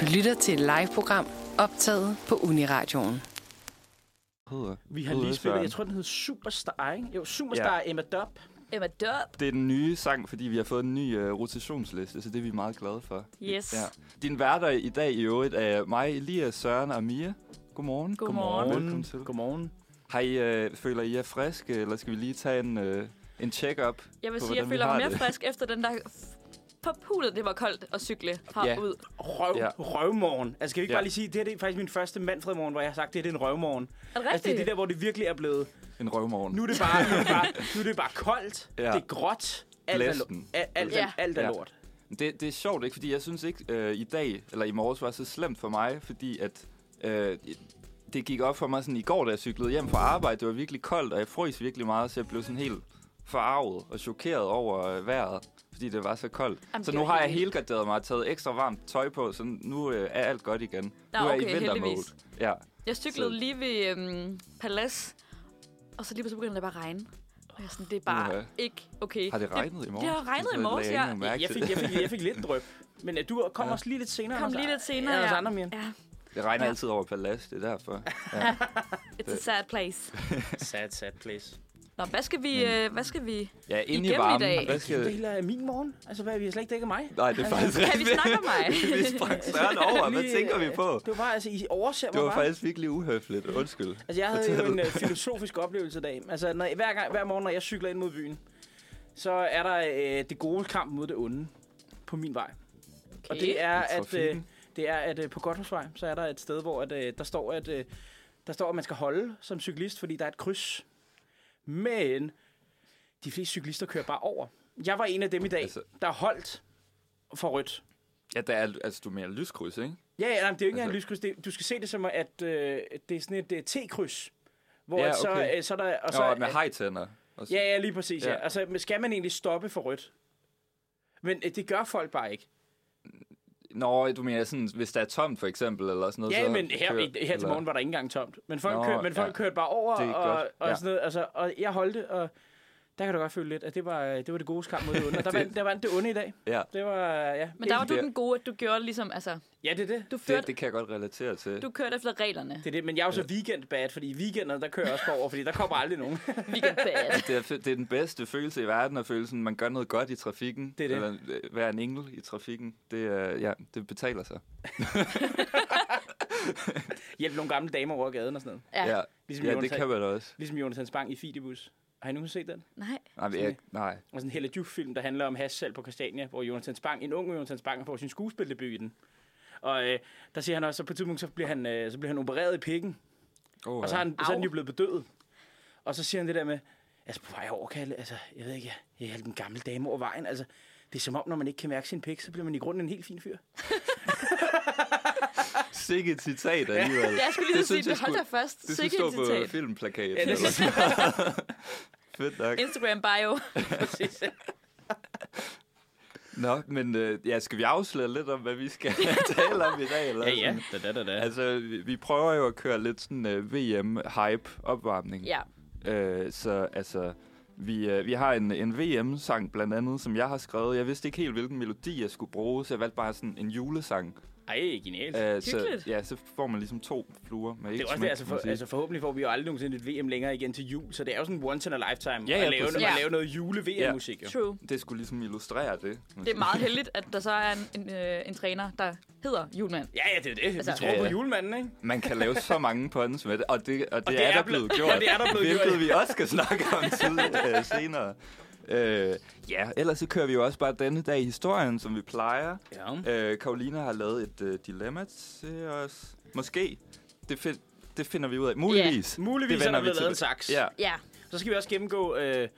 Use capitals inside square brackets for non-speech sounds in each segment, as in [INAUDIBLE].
Du lytter til et live-program optaget på Uniradioen. Vi har lige spillet, jeg tror, den hed Superstar, ikke? Jo, Superstar ja. Emma Dub. Emma Dub. Det er den nye sang, fordi vi har fået en ny uh, rotationsliste, så det er vi meget glade for. Yes. Ja. Din værter i dag i øvrigt er mig, Elias, Søren og Mia. Godmorgen. Godmorgen. Velkommen til. Godmorgen. Har I, uh, føler I er friske, eller skal vi lige tage en, uh, en check-up? Jeg vil på, sige, jeg hvordan vi føler mig har mere det? frisk efter den der på pulet, det var koldt at cykle herud. Røv, ja. Ja. Røvmorgen. Altså, skal vi ikke Ja. bare lige sige, det her det er faktisk min første Manfred-morgen, hvor jeg har sagt, det her det er en røvmorgen. Er det Altså, det er det rigtigt? der, hvor det virkelig er blevet. En røvmorgen. Nu er det bare, nu er det bare, nu er det bare koldt, ja. Ja. det er gråt, alt er, lo- Blæsten. alt, alt, Ja. er- alt er Ja. lort. Det, det er sjovt, ikke? Fordi jeg synes ikke, øh, i dag, eller i morges, var så slemt for mig, fordi at... Øh, det gik op for mig sådan i går, da jeg cyklede hjem fra arbejde. Det var virkelig koldt, og jeg frøs virkelig meget, så jeg blev sådan helt forarvet og chokeret over øh, vejret, fordi det var så koldt. Jamen, så det er nu jo har helt jeg helgarderet mig og taget ekstra varmt tøj på, så nu øh, er alt godt igen. Nå, nu er okay, jeg i vintermode. heldigvis. Ja. Jeg cyklede Så- lige ved øhm, Palads, og så lige pludselig begyndte det bare at regne. Og jeg er sådan, det er bare Uha. ikke okay. Har det regnet i morges? det har regnet i lagde morges, jeg ikke ja. engang Jeg, mærke jeg, til. fik, jeg, fik, jeg fik lidt drøb. Men øh, du kom ja. også lige lidt senere. Kom Anders- lige lidt senere. Ja, Anders Andermien. ja. Det regner Ja. altid over palads, det er derfor. It's a sad place. Sad, sad place. Nå, hvad skal vi... Øh, hvad skal vi... Ja, inde i Igennem i varmen. dag. Hvad Skal... Det skal... hele er min morgen. Altså, hvad, vi har slet ikke dækket mig. Nej, det er faktisk Kan [LAUGHS] vi snakke om [LAUGHS] mig? vi sprang Søren over. Hvad Lige, tænker vi øh, på? Det var bare, altså, I overser mig Det var bare. faktisk virkelig uhøfligt. Undskyld. Altså, jeg havde jo Fortæl. en øh, filosofisk oplevelse i dag. Altså, når, hver, gang, hver morgen, når jeg cykler ind mod byen, så er der øh, det gode kamp mod det onde på min vej. Okay. Og det er, I at, øh, trafikken. det er, at øh, på Godthåbsvej, så er der et sted, hvor at, øh, der står, at øh, der står, at man skal holde som cyklist, fordi der er et kryds. Men de fleste cyklister kører bare over. Jeg var en af dem i dag, altså... Altså- der holdt for rødt. Ja, der er, altså, du mener lyskryds, ikke? Ja, ja, nej, men det er jo ikke engang altså... Altså- lyskryds. Det, du skal se det som, at øh, det er sådan et øh, T-kryds. Hvor Ja, ja, okay. så, okay. øh, så er der... Og Og så, så, med hejtænder. Og så- Ja, ja, lige præcis. Ja. Ja. Ja. Altså, men skal man egentlig stoppe for rødt? Men øh, det gør folk bare ikke. Nå, du mener sådan, hvis der er tomt, for eksempel, eller sådan noget. Ja, så men her, kører- i, her til eller- morgen var der ikke engang tomt. Men folk, Nå, Nå, kørte, men folk ja. ja. kørte bare over Det er og, godt, og ja. sådan noget. Altså, og jeg holdt det, og der kan du godt føle lidt, at det var, øh, det var det gode skam [LAUGHS] mod det onde. Og der, vandt, der vandt det onde i dag. Ja, Det var, øh, ja. Men der var du Det- den gode, at du gjorde ligesom... Altså, Ja, det er det. du, førte, det, det kan jeg godt relatere til. du kørte efter reglerne. Det er det, men jeg er jo så weekendbad, fordi i weekenderne, der kører jeg også over, fordi der kommer aldrig [LAUGHS] nogen. Weekend bad. Det er, det er den bedste følelse i verden at føle sådan, man gør noget godt i trafikken. Det er det. Eller øh, være en engel i trafikken. Det, er- ja, det betaler sig. Hjælp nogle gamle damer over gaden og sådan noget. Ja. ja. Ligesom ja Jonas det Hal- kan man da også. Ligesom Jonas Hans Bang i Fidibus. Har I nogensinde set den? Nej. Nej, men jeg, nej. Og sådan Altså en Hella Juf-film, der handler om hashsalg på Christiania, hvor Jonathan Spang, en ung Jonathan Spang, får sin skuespildebut i den. Og øh, der siger han også, at på et tidspunkt, så bliver han, øh, så bliver han opereret i pikken, Oh, og så er, han, så er Au. den jo blevet bedøvet. Og så siger han det der med, altså på vej over, kan jeg, la- altså, jeg ved ikke, jeg, jeg hjalp en gammel dame over vejen. Altså, det er som om, når man ikke kan mærke sin pik, så bliver man i grunden en helt [LAUGHS] fin fyr. Sikke et citat alligevel. Jeg skulle lige Det så sige, synes jeg det holdt skulle- jeg først. Det skulle Sikke stå et citat. på filmplakaten. Ja, det eller synes sådan noget. [LAUGHS] Fedt nok. Instagram bio. Præcis. Nå, men øh, ja, skal vi afsløre lidt om, hvad vi [LAUGHS] skal [LAUGHS] tale om i dag? Eller sådan? Da, da, da, da. Altså, vi, vi prøver jo at køre lidt sådan øh, VM-hype-opvarmning. [LAUGHS] Ja. Øh, så altså, vi, øh, vi har en, en VM-sang blandt andet, som jeg har skrevet. Jeg vidste ikke helt, hvilken melodi jeg skulle bruge, så jeg valgte bare sådan en julesang. Ej, genialt. Øh, så, Hyggeligt. ja, så får man ligesom to fluer med Det er ikke også det, altså, kan for, man sige. altså forhåbentlig får vi jo aldrig nogensinde et VM længere igen til jul, så det er jo sådan once in a lifetime Ja, ja, at, lave, præcis. at Ja. lave noget jule-VM-musik. Jo. True. Det skulle ligesom illustrere det. Det er meget heldigt, at der så er en, en, øh, en træner, der hedder Julemand. Ja, ja, det er det. Altså- vi tror Ja, på ja. julemanden, ikke? Man kan lave så mange puns med det, og det, og det, det er, er der ble- blevet [LAUGHS] og gjort. det er der blevet Hvilket gjort. vi også skal snakke om tid, øh, senere. Øh, ja, ellers så kører vi jo også bare denne dag i historien, som vi plejer. Ja. Øh, Karolina har lavet et øh, dilemma til os. Måske. Det, find, det finder vi ud af. Muligvis. Yeah. Muligvis er der vender vi blevet lavet en til. saks. Ja, Ja. Så skal vi også gennemgå, øh,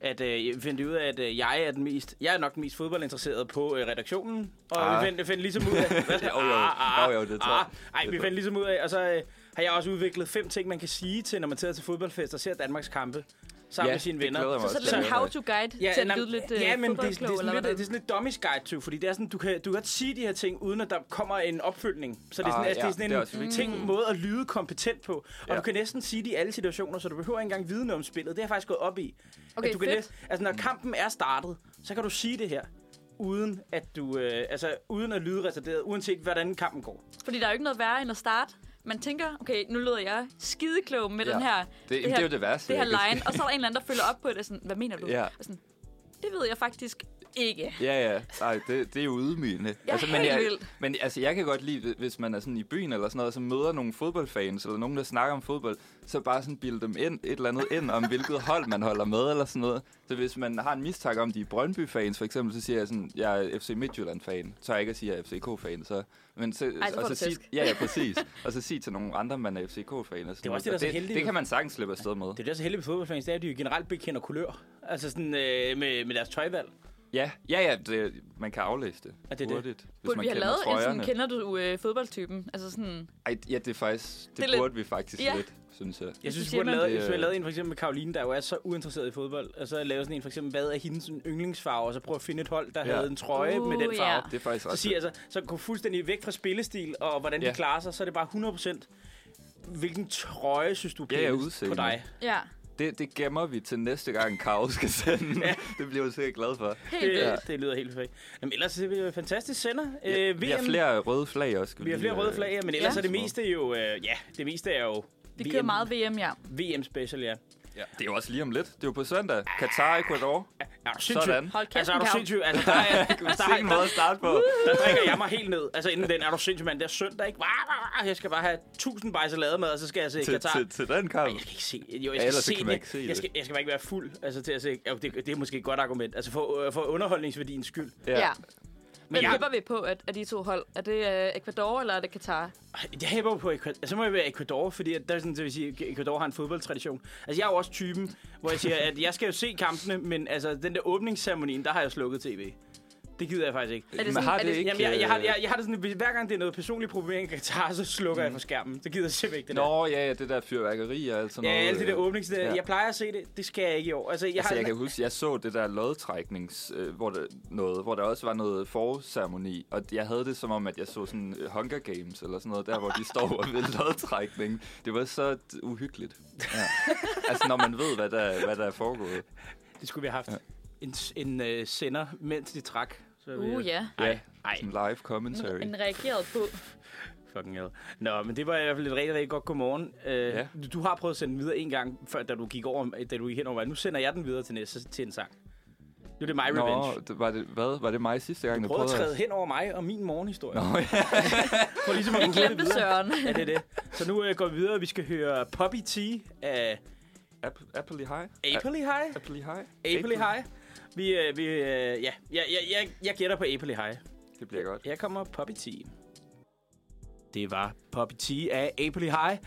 at øh, finde ud af, at øh, jeg er den mest, jeg er nok den mest fodboldinteresserede på øh, redaktionen. Og Ah. vi finder, finder ligesom ud af... [LAUGHS] Hvad, Ah, Jo, jo. Jo, jo, det tror jeg. Ej, Det tror vi jeg. finder ligesom ud af, og så øh, har jeg også udviklet fem ting, man kan sige til, når man tager til fodboldfest og ser Danmarks kampe sammen Ja, med sine det venner. glæder jeg mig Så, så er det lidt en Ja. how-to-guide ja, til at nej, lyde lidt øh, ja, men det, det, er fodboldklog, sådan eller lidt, hvad det er sådan lidt dummies guide to, fordi det er sådan, du kan, du kan godt sige de her ting, uden at der kommer en opfølgning. Så det er sådan, Ah, altså, det ja, er sådan det er en også vigtigt. ting, måde at lyde kompetent på. Og ja. Ja. du kan næsten sige det i alle situationer, så du behøver ikke engang vide noget om spillet. Det har jeg faktisk gået op i. Okay, at du kan fedt. næsten, altså, når kampen er startet, så kan du sige det her uden at du, øh, altså uden at lyde retarderet, uanset hvordan kampen går. Fordi der er jo ikke noget værre end at starte. Man tænker, okay, nu lyder jeg skideklog med Ja. den her, Det, det det, det, er jo det værste. det her jeg kan line. Og så er der en eller anden, der følger op på det. og Sådan, hvad mener du? Ja. Og Sådan, det ved jeg faktisk ikke. Ja, ja. Nej, det, det er jo ydmygende. Ja, helt jeg, vildt. men altså, jeg kan godt lide, hvis man er sådan i byen eller sådan noget, og så møder nogle fodboldfans eller nogen, der snakker om fodbold, så bare sådan bilde dem ind, et eller andet ind om, hvilket hold man holder med eller sådan noget. Så hvis man har en mistanke om, de er Brøndby-fans for eksempel, så siger jeg sådan, jeg er FC Midtjylland-fan. Så jeg ikke at sige, at jeg er FCK-fan. Så, men så, Ej, så får og så du sig, tæsk. ja, ja, præcis. og så sige til nogle andre, man er FCK-fan. Og sådan Det er også det, noget. der er Og så heldigt, det jo. kan man sagtens slippe afsted med. Det er jo det, der er så heldigt med fodboldfans, det er, at de jo generelt bekender kulør. Altså sådan øh, med, med deres tøjvalg. Ja, ja, ja det, man kan aflæse det. Ja, det er det. hurtigt, det. Hvis Burde man vi have kender lavet en sådan, trøjerne. kender du øh, fodboldtypen? Altså sådan, Ej, ja, det er faktisk, det, Det er det lidt- burde vi faktisk Ja. ja. lidt, synes jeg. Jeg synes, Det vi siger burde lave, man. hvis vi havde lavet en for eksempel med Karoline, der jo er så uinteresseret i fodbold, og så lave sådan en for eksempel, hvad er hendes yndlingsfarve, og så prøve at finde et hold, der Ja. havde en trøje Uh, med den ja. farve. Det er faktisk Så ret siger altså, så gå fuldstændig væk fra spillestil og hvordan Ja. de klarer sig, så er det bare 100% hvilken trøje synes du er Ja, ja, pænest på udseende. dig. ja, fedt. det, det gemmer vi til næste gang, Karo skal sende. ja. Det bliver jeg sikkert glad for. helt Det, vildt. ja. det lyder helt perfekt. Jamen ellers er det jo en fantastisk sender. Ja, øh, VM, vi har flere røde flag også. skal vi har lige, flere røde øh, flag, ja, men ellers Ja. ja. er det meste jo, øh, ja, det meste er jo Vi kører meget VM, ja. VM special, ja. øh, Ja. Det er jo også lige om lidt. Det er jo på søndag. Katar, Ecuador. Er du sindssyg? Sådan. Hold kæft, Altså, er du Karo. sindssyg? Altså, der [LAUGHS] er, altså, der, Sikke en er, måde at starte på. der drikker jeg mig helt ned. Altså, inden den er du sindssyg, mand. Det er søndag, ikke? Wah, wah, wah. Jeg skal bare have 1000 bajser lavet med, og så skal jeg se Til, Katar. til, til den kamp. Jeg kan ikke se Jo, jeg Ja, skal ellers så se, kan man ikke se det. Jeg det. skal, jeg skal bare ikke være fuld altså, til at se. Jo, det, det er måske et godt argument. Altså, for, øh, for underholdningsværdiens skyld. Ja. ja. Men jeg- håber vi på, at, at de to hold, er det øh, Ecuador eller er det Katar? Jeg hæber jo på Ecuador. Så må jeg være Ecuador, fordi at der er sådan, det vil sige, at Ecuador har en fodboldtradition. Altså, jeg er jo også typen, hvor jeg siger, at jeg skal jo se kampene, men altså, den der åbningsceremonien, der har jeg slukket tv. Det gider jeg faktisk ikke. Er det Men har sådan- er det, det- ikke... Jamen, jeg, jeg, har, øh, jeg, jeg har det sådan, hvis hver gang det er noget personlig problemering, i Katar, så slukker mm. jeg for skærmen. Det gider jeg simpelthen ikke, det der. øh, Nå, ja, ja, det der fyrværkeri og alt sådan Ja, noget. alt det der øh, åbnings... ja. Ja. Jeg plejer at se det, det skal jeg ikke i år. Altså, jeg Jeg, altså, har, jeg kan huske, jeg så det der lodtræknings, øh, hvor, der, noget, hvor der også var noget forceremoni, og jeg havde det som om, at jeg så sådan øh, Hunger Games eller sådan noget, der hvor de står og ved lodtrækning. Det var så t- uhyggeligt. Ja. altså, når man ved, hvad der, hvad der er foregået. Det skulle vi have haft. Ja. En, en øh, sender, mens de trak. Så vi- øh, Uh, ja. Ja, sådan live commentary. En reageret [LAUGHS] på. Fucking hell. Nå, men det var i hvert fald et rigtig, rigtig godt godmorgen. Uh, Ja. ja. du, du har prøvet at sende den videre en gang, før, da du gik over, da du gik hen over mig. Nu sender jeg den videre til, næste, til en sang. Nu er det My Revenge. Nå, det, var, det, hvad? var det mig sidste gang, du Prøv at prøvede? træde hen over mig og min morgenhistorie. Nå, ja. For ligesom at Vi komme hurtigt glemte [LAUGHS] videre. Søren. Ja, det er det. Så nu øh, går vi videre. Vi skal høre Poppy T af Apple, Apple High? Apely High. Apple High? Apely High. Vi, øh, vi, øh, ja, jeg, jeg, jeg, jeg gætter på Apely High. Det bliver godt. Her kommer Poppy T. Det var Poppy T af Apely High.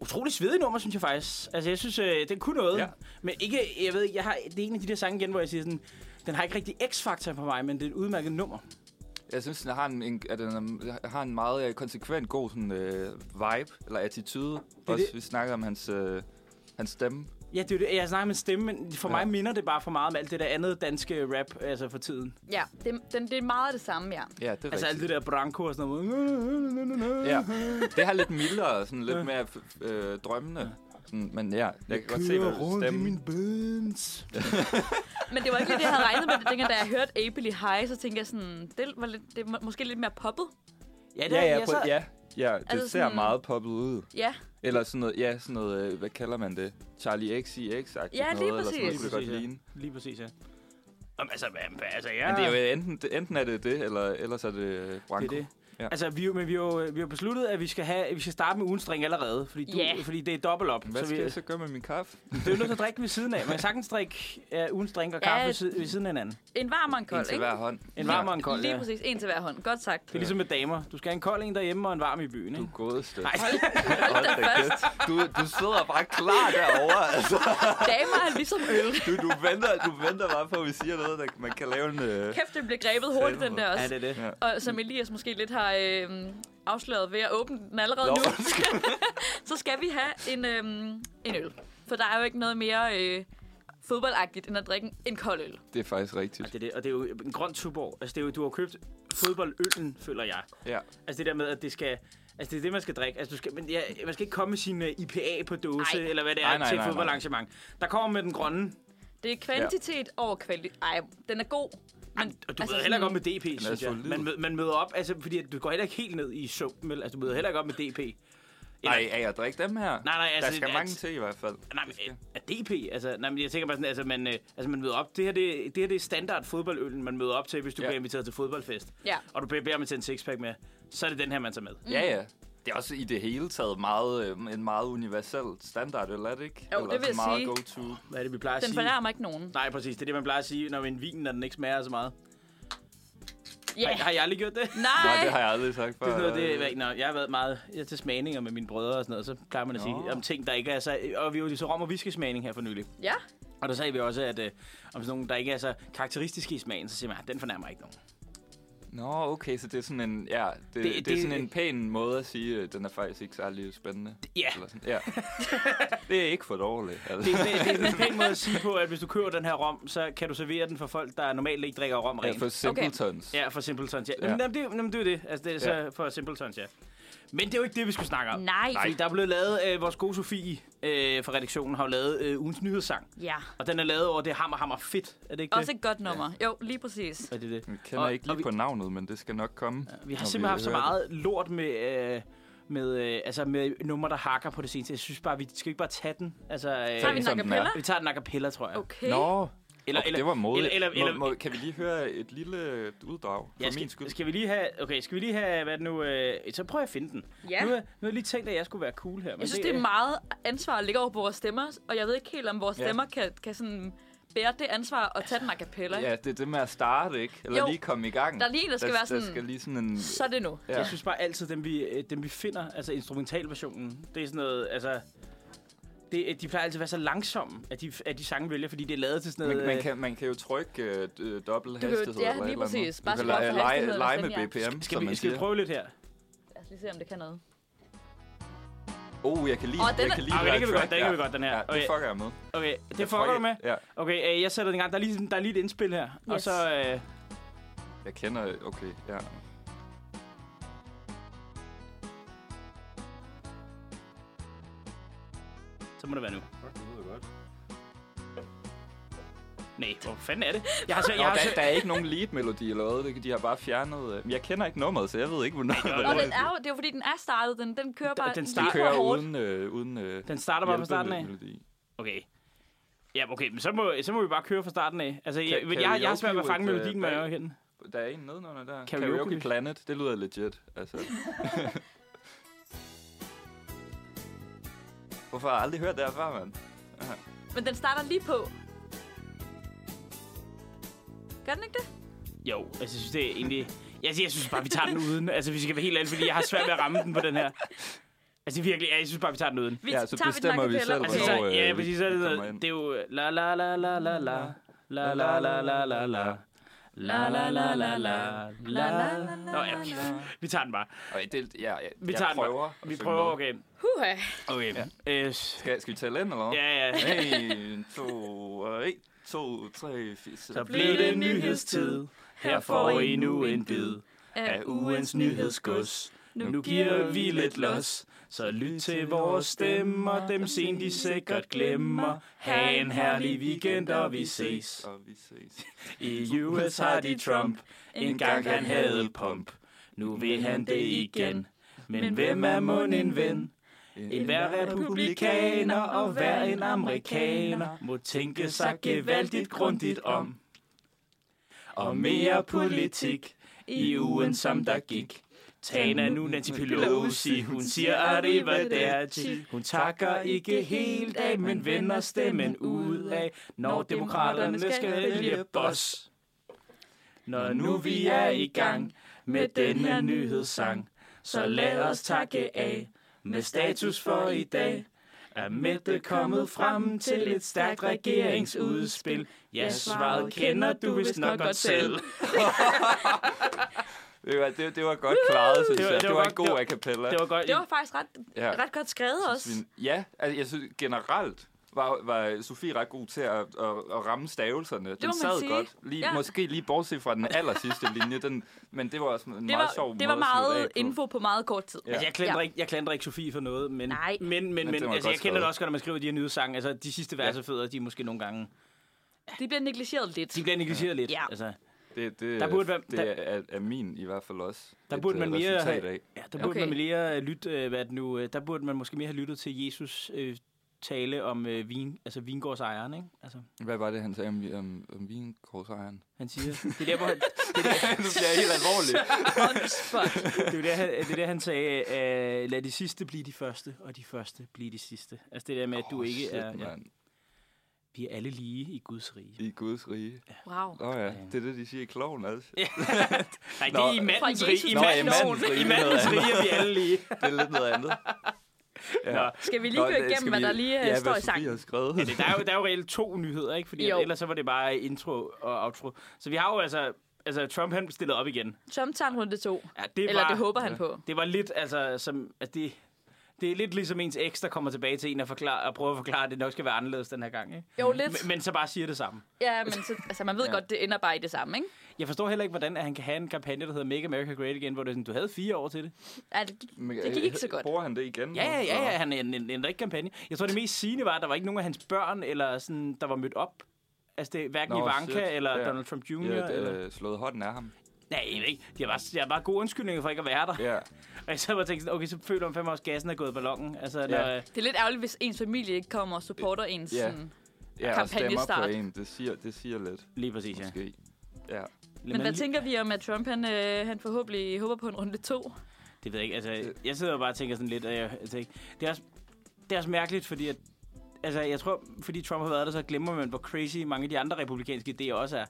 Utrolig svedig nummer, synes jeg faktisk. Altså, jeg synes, øh, den kunne noget. Ja. Ja. Men ikke, jeg ved ikke, jeg har, det er en af de der sange igen, hvor jeg siger sådan, den har ikke rigtig x-faktor på mig, men det er et udmærket nummer. Jeg synes, den har en, en, at den er- har en meget øh, konsekvent god sådan, øh, vibe, eller attitude. Også det. vi snakker om hans, øh, hans stemme. Ja, det er jo det. Jeg snakker med stemme, men for Ja. ja. mig minder det bare for meget om alt det der andet danske rap, altså for tiden. Ja, det, den, det er meget af det samme, ja. Ja, det er Altså alt det der branko og sådan noget. Ja, det har lidt mildere, sådan lidt mere f- øh, drømmende. Sådan, men ja, jeg kan godt se, hvad du stemmer. Benz. Men det var ikke lige det, jeg havde regnet med. Dengang, da jeg hørte Abel High, så tænkte jeg sådan, det, var lidt, det er må- måske lidt mere poppet. Ja, det Ja, er, ja, ja, på, så, ja, ja, det Altså ser sådan- meget poppet ud. Ja, Eller sådan noget, ja, sådan noget, øh, hvad kalder man det? Charlie XCX, sagt Ja, lige noget, eller sådan noget, præcis. kunne det godt ligne. Lige præcis, ja. Om, altså, hvad- altså, ja. Men det er jo enten, det- enten er det det, eller ellers er det øh, Branko. Det er det. Ja. Ja. Altså, vi, er jo- men vi har jo vi har besluttet, at vi skal, have, at vi skal starte med ugens drink allerede, fordi, du, Ja. fordi det er dobbelt op. Hvad så vi, skal jeg så gøre med min kaffe? det er jo nødt til at drikke ved siden af. Man kan sagtens drikke uh, ugens drink og Ja. kaffe ved siden- ved siden af hinanden. en varm og en En kold, til hver hånd. En varm og en kold, Lige ja. Det præcis, en til hver hånd. Godt sagt. er ligesom med damer. Du skal have en kold en derhjemme og en varm i byen, Du ikke? godeste. Nej, Hold da kæft. Du, du sidder bare klar derovre. Altså, [LAUGHS] Damer er ligesom øl. du, du, venter, du venter bare på, at vi siger noget, der man kan lave en... Øh... Kæft, det bliver grebet hurtigt, den der ja, det også. er det. Ja. Og som Elias måske lidt har øh, afsløret ved at åbne den allerede nu, så skal vi have en, øh, en øl. For der er jo ikke noget mere øh, fodboldagtigt, end at drikke en kold øl. Det er faktisk rigtigt. Det er det. Og det er jo en grøn tuborg. Altså, det er jo, du har købt fodboldøllen, føler jeg. Ja. Altså det der med, at det skal... Altså det er det, man skal drikke. Altså du skal, men ja, man skal ikke komme med sin uh, IPA på dåse, Ej. eller hvad det er, Nej, nej, til nej, et nej. fodboldarrangement. Der kommer med den grønne. Det er kvantitet ja. over kvalitet. Ej, den er god, Men, Og du altså, altså møder heller ikke op sådan- med DP, er synes jeg. solid. Man, møder- man møder op, altså, fordi at du går heller ikke helt ned i sumpen. vel? Altså, du møder heller ikke op med DP. Eller- Nej, er jeg drikke dem her? nej, altså, der skal at- Mm. mange til i hvert fald. Nej, men er- er DP? Altså, nej, men jeg tænker bare sådan, altså man, øh, altså man møder op. Det her, det, det her det er standard fodboldølen, man møder op til, hvis du ja. Ja. bliver inviteret til fodboldfest. Ja. Og du bliver beder om at tage en sixpack med. Så er det den her, man tager med. Ja, ja. Det er også i det hele taget meget, øh, en meget universel standard, eller er det ikke? Jo, eller det vil sådan meget jeg go-to. Hvad er det, vi plejer at Den sige? fornærmer ikke nogen. Nej, præcis. Det er det, man plejer at sige, når en vin, når den ikke smager så meget. Ja. Har, har jeg aldrig gjort det? Nej, Nej. det har jeg aldrig sagt før. Det er sådan noget, det, er- nå, jeg har været meget jeg er til smagninger med mine brødre og sådan noget, så plejer man at sige Nå. om ting, der ikke er så... Og vi var jo så rom- og viskesmagning her for nylig. Ja. Og der sagde vi også, at øh, om sådan nogle, der ikke er så karakteristiske i smagen, så siger man, at den fornærmer ikke nogen. Nå, okay, så det er sådan en, ja, det, det, det, det- er sådan en pæn måde at sige, at den er faktisk ikke særlig spændende. Ja, Eller [LAUGHS] sådan. Ja. det er ikke for dårligt. Altså. det, det, det er sådan en pæn måde at sige på, at hvis du køber den her rom, så kan du servere den for folk, der normalt ikke drikker rom Ja, rent. for simpletons. Ja, for simpletons, ja. Ja. Jamen, jamen, det, er jo- jamen, det er jo det. Altså, det er så Ja. for simpletons, ja. Men det er jo ikke det, vi skulle snakke om. Nej. Fordi der er blevet lavet, øh, vores gode Sofie øh, fra redaktionen har jo lavet øh, ugens nyhedssang. Ja. Og den er lavet over det hammer, hammer fedt. Er det ikke Også et godt nummer. Jo, lige præcis. det? Er det det? Jeg kender Og- ikke og lige vi- på navnet, men det skal nok komme. Ja, Vi har simpelthen haft så meget lort med, øh, med, øh, altså med numre, der hakker på det seneste. Jeg synes bare, vi skal ikke bare tage den. Altså, øh, Tager vi en som den er. acapella? vi tager den a cappella, tror jeg. Okay. Nå, eller, eller, det var modigt. eller- Eller, eller- eller, må, må, kan vi lige høre et lille uddrag for Ja, min skal, skyld? skal, vi lige have, okay, skal vi lige have, hvad er det nu, øh, så prøver jeg at finde den. Ja. Nu, har- nu har jeg lige tænkt, at jeg skulle være cool her. Men øh, Jeg synes, det er meget ansvar at ligge over på vores stemmer, og jeg ved ikke helt, om vores Ja. stemmer kan, kan sådan bære det ansvar og tage den a cappella. Ja, det er det med at starte, ikke? Eller Jo. jo. lige komme i gang. Der er lige en, der skal være Der sådan- skal lige sådan en... Så er det nu. Ja. Jeg synes bare altid, dem vi, øh, dem vi finder, altså instrumentalversionen, det er sådan noget, altså... Det, de plejer altid at være så langsomme, at de, at de sange vælger, fordi det er lavet til sådan noget... Man, man, øh, kan, man kan jo trykke øh, d- øh, dobbelt kan jo- hastighed. ja, eller et lige eller andet. præcis. Du Bare kan skrue op for lege, lege, hastigheden lege og med sådan, ja. BPM, skal, som vi, man skal vi siger. prøve lidt her? Lad os lige se, om det kan noget. Oh, jeg kan lide, Åh, den jeg er- kan lide Ah, okay, det kan vi track godt, det kan vi der. godt, den her. Ja, det Okay. fucker jeg med. Okay, Jeg det fucker tror du med? ikke- Ja, Okay, øh, jeg sætter den i gang. Der er lige, der er lige et indspil her. Yes. Og Yes. så... Øh, jeg kender... Okay, ja. Så må det være nu. Nej, hvor fanden er det? Jeg har, så, Nå, jeg har, der, så, der er ikke nogen lead-melodi eller noget. Det- De har bare fjernet... øh, Jeg kender ikke nummeret, så jeg ved ikke, hvornår det er det Nå, også- er. den er jo, det er jo fordi, den er startet. Den, den kører bare den lige starter- for kører hårdt. uden... Øh, uden øh, den starter bare fra starten af. hjælpemelodi. Okay. Ja, okay, men så må, så må vi bare køre fra starten af. Altså, jeg, Ka- men jeg, jeg har karaoke svært ved at fange et, øh, melodien med bag- øjehænden. Der er en nedenunder der. Karaoke. Karaoke, Karaoke Planet, det lyder legit. Altså. [LAUGHS] Hvorfor har jeg aldrig hørt det her før, mand? Men den starter lige på. Gør den ikke det? Jo, altså, jeg synes, det er egentlig... Jeg, jeg synes bare, vi tager den uden. Altså, vi skal være helt ærlige, fordi jeg har svært ved at ramme den på den her. Altså, virkelig, ja, jeg synes bare, vi tager den uden. Vi Ja, så tager bestemmer vi den a cappella. selv, Altså, så, Hvornår, øh, ja, vi- præcis, så er det, vi noget- kommer ind? det er jo... øh, La, la, la, la, la, la. La, la, la, la, la, la. La, la, la, la, la, la. Nå, ja, vi tager den bare. Okay, det, ja, ja, Vi jeg tager den bare. prøver. at Vi synge prøver, med. okay. Huha. Okay. Øh, s- Skal, skal vi tælle ind, eller hvad? ja, ja. 1, 2, 1, 2, 3, 4. Så blev det nyhedstid. Her får I nu en bid af Altså, ugens nyhedsgods. Nu giver vi lidt los. Så lyt til vores stemmer, dem sent de sikkert glemmer. Ha' en herlig weekend, og vi ses. Og vi ses. I US har de Trump, en gang han havde pump. Nu vil han det igen. Men hvem er mon en ven? En hver republikaner og hver en amerikaner må tænke sig gevaldigt grundigt om. Og mere politik i ugen, som der gik. Tana nu Nancy Pelosi, hun siger arrivederci. Hun takker ikke helt af, men vender stemmen ud af, når demokraterne skal vælge boss. Når nu vi er i gang med denne nyhedssang, så lad os takke af med status for i dag. Er Mette kommet frem til et stærkt regeringsudspil? Ja, svaret kender du vist nok godt selv. Det var, det, det var godt klaret, synes Det var- jeg. det Det var var en godt- god det var- a cappella. Det var godt. Det var faktisk ret, Ja. ret godt skrevet også. Ja, altså, jeg synes generelt var, var Sofie ret god til at, at, at ramme stavelserne. Den må man sad sige. godt. Lige, Ja. ja. Måske lige bortset fra den aller sidste linje, den, men det var også en Det meget sjov var, det var måde at slutte meget af på. info på meget kort tid. Ja. Altså, jeg klandrer, Ja. ikke, jeg klandrer ikke Sofie for noget, men, Nej. men, men, men, det var altså, godt jeg kender det skrevet. også godt, når man skriver de her nye sange. Altså, de sidste vers er federe, de er måske nogle gange... De bliver negligeret lidt. [LAUGHS] De bliver negligeret lidt. Ja. Altså, Det, det, Der burde være- det der- er, er, er min i hvert fald også. Der et, burde øh, man mere resultat have- af. Ja, der burde Okay. okay. man mere øh, lytte, øh, hvad er det nu, øh, der burde man måske mere have lyttet til Jesus øh, tale om øh, vin, altså vingårdsejeren, ikke? Altså, Hvad var det, han sagde om, vi- om, om vinkorsejeren? han siger, det er der, hvor han, nu bliver jeg helt alvorlig. On the spot. det er der, han, det er der, han sagde, øh, lad de sidste blive de første, og de første blive de sidste. Altså det der med, at du Åh, ikke shit, er, ja, mand. vi er alle lige i Guds rige. I Guds rige. Wow. Nå ja, det er det, de siger i kloven også. Nej, det Nå, er i mandens Fra rige, Jesus i Nå, i mandens, mandens rige. det er noget i mandens andet. rige er vi alle lige. Det er lidt noget andet. Ja. Nå. Skal vi lige gå det- skal igennem, hvad vi- der lige øh, ja, står hvad i sangen? Sofie har skrevet. [LAUGHS] Ja, det, der, er jo, der er jo reelt to nyheder, ikke? Fordi Jo. at ellers så var det bare intro og outro. Så vi har jo altså... Altså, Trump han stillede op igen. Tom tager en runde to. Ja, det Eller var, det håber han på. Det var lidt, altså, som, altså det, det er lidt ligesom ens eks, der kommer tilbage til en og, forklare, og prøver at forklare, at det nok skal være anderledes den her gang. Ikke? Jo, lidt. Men, men så bare siger det samme. Ja, men så, altså, man ved Ja. ja. godt, det ender bare i det samme, ikke? Jeg forstår heller ikke, hvordan at han kan have en kampagne, der hedder Make America Great Again, hvor det er sådan, du havde fire år til det. Ja, det gik, Men, det gik øh, ikke så godt. Bruger han det igen? Ja, nu? ja, ja, Nå. ja han ænd- ænd- ændrer ikke kampagne. Jeg tror, det mest sigende var, at der var ikke nogen af hans børn, eller sådan, der var mødt op. Altså, det er hverken Nå, Ivanka shit. eller Ja. Donald Trump Jr. Ja, eller... det, øh, slået hånden af ham. Nej, jeg ved ikke. De har bare, de har bare gode undskyldninger for ikke at være der. Ja. Og så var jeg tænkt sådan, okay, så føler man fandme også, at gassen er gået i ballongen. Altså, når, Ja. øh, Det er lidt ærgerligt, hvis ens familie ikke kommer og supporter ens. Ja. Yeah. Sådan. Ja, og stemmer Kampagnestart. på en. Det siger, det siger lidt, lige præcis, ja. måske. Ja. Men hvad tænker vi om, at Trump han, øh, han forhåbentlig håber på en runde to? Det ved jeg ikke. Altså, jeg sidder og bare og tænker sådan lidt, og jeg, jeg tænker, det, er også, det er også mærkeligt, fordi at, altså, jeg tror, fordi Trump har været der, så glemmer man, hvor crazy mange af de andre republikanske idéer også er.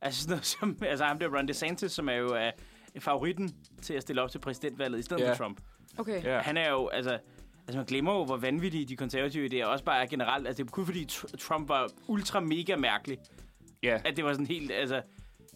Altså, sådan noget, [LAUGHS] som, altså ham der Ron DeSantis, som er jo er favoritten til at stille op til præsidentvalget i stedet Ja. yeah. for Trump. Okay. ja. Han er jo, altså, altså man glemmer jo, hvor vanvittige de konservative idéer også bare er generelt. Altså, det er kun fordi tr- Trump var ultra mega mærkelig, ja. at det var sådan helt, altså,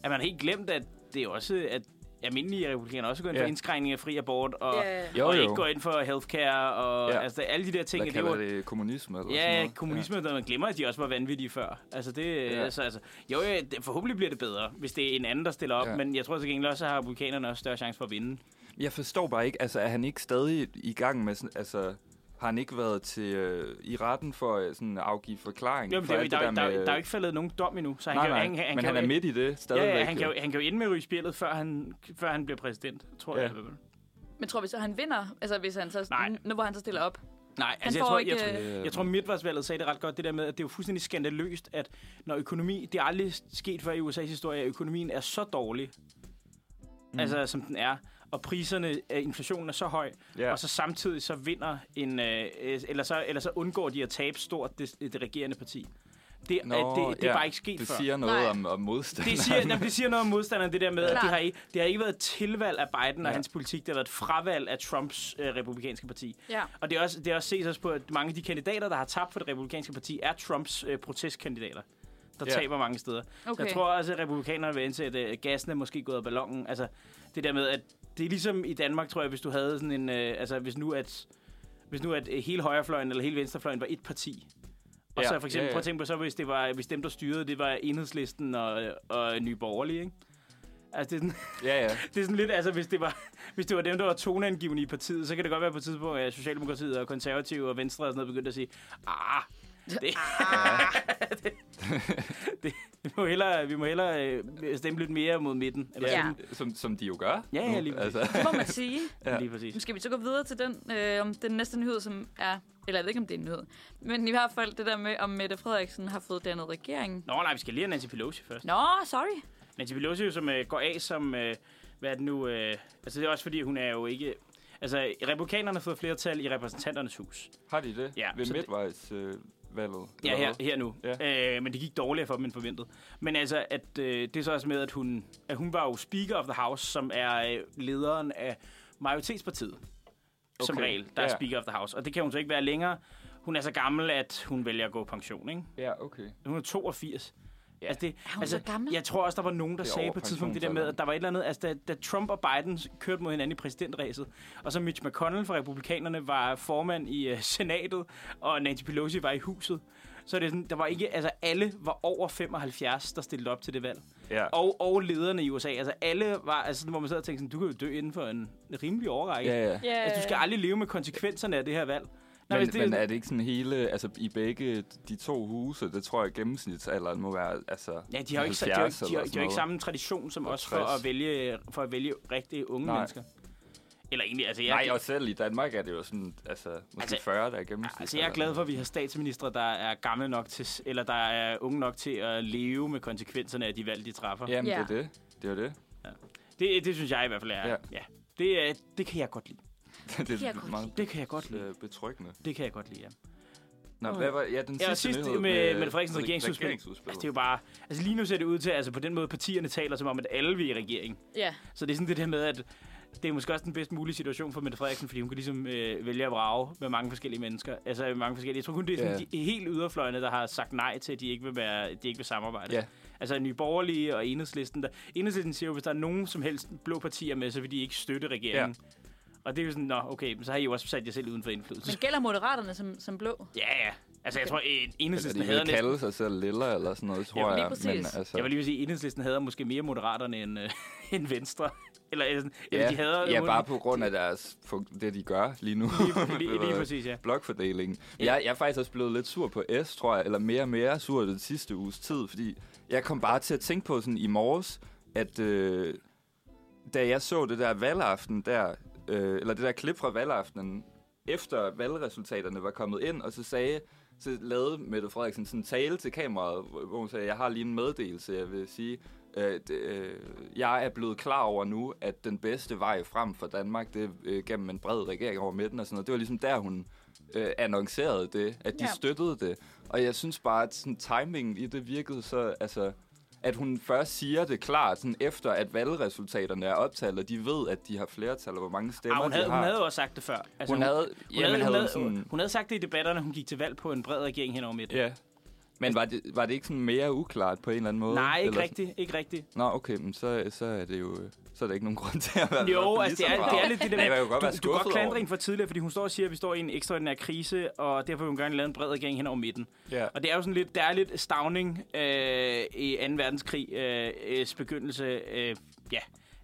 at man helt glemt, at det er også, at almindelige republikanere også går ind for Ja. indskrænkning af fri abort, og, Ja. Jo, og jo. ikke går ind for healthcare, og Ja. ja. altså, alle de der ting. Hvad det kalder var, det? Kommunisme? Eller sådan Ja, ja, noget? kommunisme, ja. man glemmer, at de også var vanvittige før. Altså, det, Ja. ja. altså, altså, jo, ja, det, forhåbentlig bliver det bedre, hvis det er en anden, der stiller op, Ja. ja. men jeg tror til gengæld også, at republikanerne også større chance for at vinde. Jeg forstår bare ikke, altså er han ikke stadig i gang med sådan, altså har han ikke været til øh, i retten for øh, sådan at afgive forklaring? Jo, men for det er, jo- alt der, er der jo- der, er jo- med- der er jo ikke faldet nogen dom endnu, så han nej, kan, jo- nej, han, han, men kan, han er jo- midt i det stadigvæk. Ja, ja, han kan, jo. jo, han kan jo indmøde i spillet, før han, før han bliver præsident, tror Ja. ja. jeg. i hvert fald. Men tror vi så, han vinder? Altså, hvis han så, Nej. nu hvor han så stiller op. Nej, Han altså, jeg får tror, ikke, jeg, tror, øh, jeg tror, midtvejsvalget sagde det ret godt, det der med, at det er jo fuldstændig skandaløst, at når økonomi, det er aldrig sket før i USA's historie, at økonomien er så dårlig, mm. altså som den er, og priserne, øh, inflationen er så høj, Ja. ja. og så samtidig så vinder en, øh, øh, eller, så, eller så undgår de at tabe stort det, det regerende parti. Det, Nå, det, det, det er bare ikke sket det før. siger noget Nej. om, om modstand. Det siger, jamen, det siger noget om modstanderne, det der med, at Klart. det har, ikke, det har ikke været et tilvalg af Biden og Ja. hans politik. Det har været et fravalg af Trumps øh, republikanske parti. Ja. Og det er også, det er også ses også på, at mange af de kandidater, der har tabt for det republikanske parti, er Trumps øh, protestkandidater, der Ja. taber mange steder. Okay. Okay. Jeg tror også, at republikanerne vil indse, at øh, gassen er måske gået af ballongen. Altså, det der med, at det er ligesom i Danmark, tror jeg, hvis du havde sådan en... Øh, altså, hvis nu at hvis nu at øh, hele højrefløjen eller hele venstrefløjen var et parti, og Ja, så for eksempel, ja, ja. prøv at tænke på så, hvis, det var, hvis dem, der styrede, det var enhedslisten og, og Nye Borgerlige, ikke? Altså, det er, sådan, Ja, ja. det er sådan lidt, altså, hvis det, var, [LAUGHS] hvis det var dem, der var toneangivende i partiet, så kan det godt være på et tidspunkt, at Socialdemokratiet og Konservative og Venstre og sådan noget begyndte at sige, ah, [LAUGHS] det, Ah." [LAUGHS] det, vi må hellere, vi må hellere øh, stemme lidt mere mod midten. Eller Ja. sådan. Som, som de jo gør. Ja, ja, nu, lige præcis. altså. Det må man sige. [LAUGHS] Ja. Lige præcis. Men Skal vi så gå videre til den, øh, om den næste nyhed, som er... Eller jeg ved ikke, om det er en nyhed. Men i hvert fald det der med, om Mette Frederiksen har fået dannet regeringen. Nå, nej, vi skal lige have Nancy Pelosi først. Nå, sorry. Nancy Pelosi, jo, som øh, går af som, øh, hvad er det nu, øh, altså det er også fordi, hun er jo ikke, altså republikanerne har fået flertal i repræsentanternes hus. Har de det? Ja, Ved så det- midtvejsvalget? Øh, valget, Ja, eller her, hvad? her nu. Ja. Øh, men det gik dårligere for dem end forventet. Men altså, at, øh, det er så også med, at hun, at hun var jo Speaker of the House, som er øh, lederen af majoritetspartiet. Okay. Som Okay, regel, der ja. er ja. Speaker of the House. Og det kan hun så ikke være længere. Hun er så gammel, at hun vælger at gå pension, ikke? Ja, okay. Hun er 82. Ja. Altså det, hun altså, så gammel? Jeg tror også, der var nogen, der Det er sagde over på et tidspunkt det der med, at der var et eller andet... Altså, da, da Trump og Biden kørte mod hinanden i præsidentræset, og så Mitch McConnell fra republikanerne var formand i uh, senatet, og Nancy Pelosi var i huset, så er det sådan, der var ikke... Altså, alle var over 75, der stillede op til det valg. Ja. Og, og lederne i USA. Altså, alle var... Altså, sådan, hvor man sad og tænkte sådan, du kan jo dø inden for en rimelig overrække. Ja, ja. Altså, du skal aldrig leve med konsekvenserne af det her valg. Nej, men, hvis det- det... men er det ikke sådan hele, altså i begge de to huse, det tror jeg gennemsnitsalderen må være, altså Ja, de har jo ikke, de har, jo ikke- 70 de har, eller de har jo ikke sådan samme tradition som Og os for 60. at, vælge, for at vælge rigtige unge Nej. mennesker. Eller egentlig, altså jeg, noget. Nej, og selv i Danmark er det jo sådan, altså måske Altså- altså, 40, der er gennemsnitsalderen. altså, jeg er glad for, at vi har statsminister, der er gamle nok til, s- eller der er unge nok til at leve med konsekvenserne af de valg, de træffer. Jamen, Ja. det er det. Det er jo det. [LAUGHS] Det, det synes jeg i hvert fald er. Ja. Ja. ja. Det, er, det kan jeg godt lide. det kan jeg er godt meget Det kan jeg godt lide. øh, betryggende. Det kan jeg godt lide, ja. Nå, Nå. hvad var ja, den Ja, sidste og sidst nyhed med, med Mette Frederiksens med regeringsudspil. regeringsudspil. Altså, det er jo bare... Altså, lige nu ser det ud til, altså på den måde, partierne taler som om, at alle vil i regering. Ja, Så det er sådan det der med, at det er måske også den bedst mulige situation for Mette Frederiksen, fordi hun kan ligesom øh, vælge at vrage med mange forskellige mennesker. Altså med mange forskellige. Jeg tror kun, det er sådan, Ja. de helt yderfløjene, der har sagt nej til, at de ikke vil, være, de ikke vil samarbejde. Ja. Altså Nye Borgerlige og Enhedslisten. Der, Enhedslisten siger jo, hvis der er nogen som helst blå partier med, så vil de ikke støtte regeringen. Ja. Og det er jo sådan, nå okay, men så har I jo også sat jer selv uden for indflydelse. men gælder moderaterne som, som blå? Ja, ja. Altså jeg tror, en- Eller Enhedslisten de hader vil næsten... kalde sig selv lilla eller sådan noget, tror Ja, lige jeg. præcis. altså, Jeg vil lige vil sige, at Enhedslisten hader måske mere Moderaterne end, øh, [LAUGHS] end Venstre. Eller, eller, sådan- eller ja, de hader... ja, bare på grund af deres, fun- det, de gør lige nu. [LAUGHS] Lige, lige, lige præcis, ja. blokfordelingen. Jeg, jeg er faktisk også blevet lidt sur på S, tror jeg, eller mere og mere sur den sidste uges tid, fordi jeg kom bare til at tænke på sådan i morges, at øh, da jeg så det der valgaften der, øh, eller det der klip fra valgaftenen, efter valgresultaterne var kommet ind, og så sagde, så lavede Mette Frederiksen sådan en tale til kameraet, hvor hvor hun sagde, jeg har lige en meddelelse, jeg vil sige, øh, d- øh, jeg er blevet klar over nu, at den bedste vej frem for Danmark, det er øh, gennem en bred regering over midten og sådan noget. Det var ligesom der, hun øh, annoncerede det, at de Ja. ja. støttede det. Og jeg synes bare, at sådan, timingen i det virkede så, altså, at hun først siger det klart, sådan efter at valgresultaterne er optalt, og de ved, at de har flertal, og hvor mange stemmer Ah, hun, havde, de hun har. havde jo også sagt det før. Altså, hun havde, hun, ja, havde, men hun, havde havde, hun sådan, hun havde sagt det i debatterne, hun gik til valg på en bred regering henover midten. Ja. Men var det, var det ikke sådan mere uklart på en eller anden måde? Nej, ikke Eller- rigtigt. Ikke rigtigt. Nå, okay, men så, så er det jo... Så er der ikke nogen [LAUGHS] grund til at være Jo, vred altså det lige så er, meget. det er lidt det der Nej, med, man kan jo godt være du, du kan godt skuffet klandre over hende for tidligere, fordi hun står og siger, at vi står i en ekstraordinær krise, og derfor vil hun gerne lave en bred regering hen over midten. Ja. Og det er jo sådan lidt, der er lidt stavning øh, i 2. verdenskrig, øh, øh, begyndelse, øh, ja,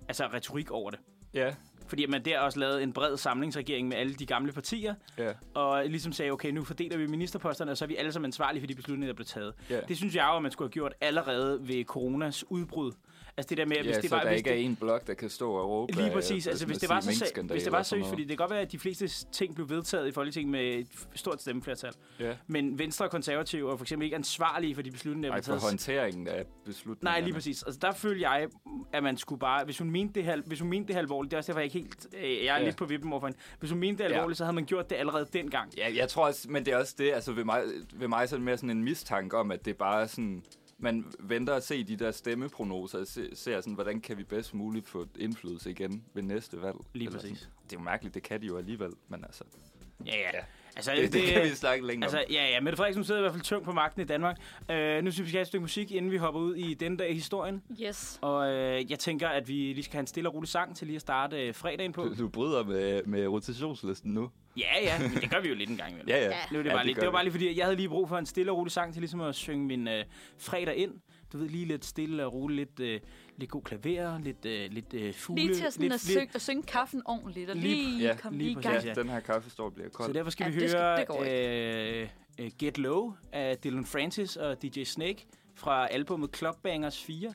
altså retorik over det. Ja, Fordi man der også lavede en bred samlingsregering med alle de gamle partier, ja. og ligesom sagde, okay, nu fordeler vi ministerposterne, og så er vi alle sammen ansvarlige for de beslutninger, der blev taget. Ja. Det synes jeg jo, at man skulle have gjort allerede ved coronas udbrud. Altså det der med, at hvis ja det så var... der hvis ikke det, er en blok, der kan stå og råbe... Lige af, præcis. Altså, sådan hvis at det, var sige, så, se- minkskandale hvis det var og sådan seriøst, fordi noget. det kan godt være, at de fleste s- ting blev vedtaget i Folketinget med et f- stort stemmeflertal. Ja. Men Venstre og Konservative er for eksempel ikke ansvarlige for de beslutninger, der Nej, blev for taget. håndteringen af beslutningerne. Nej, lige præcis. Altså, der følte jeg, at man skulle bare... Hvis hun mente det, her, hvis hun mente det her alvorligt, det er også derfor, jeg ikke helt... Øh, jeg er Ja. lidt på vippen overfor hende. Hvis hun mente det Ja. alvorligt, så havde man gjort det allerede dengang. Ja, jeg tror også, men det er også det, altså ved mig, ved mig så er det mere sådan en mistanke om, at det bare er sådan, man venter at se de der stemmeprognoser, og se, ser sådan, hvordan kan vi bedst muligt få indflydelse igen ved næste valg. Lige Eller præcis. Sådan. Det er jo mærkeligt, det kan de jo alligevel, men altså, det, Ja, ja. Ja. Altså, det, det kan vi snakke længere altså, Altså, om. ja, ja. Mette Frederiksen sidder i hvert fald tungt på magten i Danmark. Øh, nu synes vi, vi skal have et stykke musik, inden vi hopper ud i den dag i historien. Yes. Og øh, jeg tænker, at vi lige skal have en stille og rolig sang til lige at starte øh, [LAUGHS] fredagen på. Du- Du bryder med, med rotationslisten nu. ja, ja. Men det gør vi jo lidt en gang imellem. Ja, ja. Ja. Det var, det Ja, bare det lige, gør det var vi. bare lige fordi, at jeg havde lige brug for en stille og rolig sang til ligesom at synge min øh, fredag ind. Du ved, lige lidt stille og roligt, lidt, øh, lidt god klaver, lidt, øh, lidt øh, fugle. Lige til at, sådan lidt, at, synge, at synge kaffen ordentligt, og Lige- lige, ja, komme lige lige i præcis, gang. ja. Den her kaffestor bliver kold. Så derfor skal Ja, vi det skal- høre det går øh, øh, Get Low af Dylan Francis og DJ Snake fra albumet Clubbangers 4.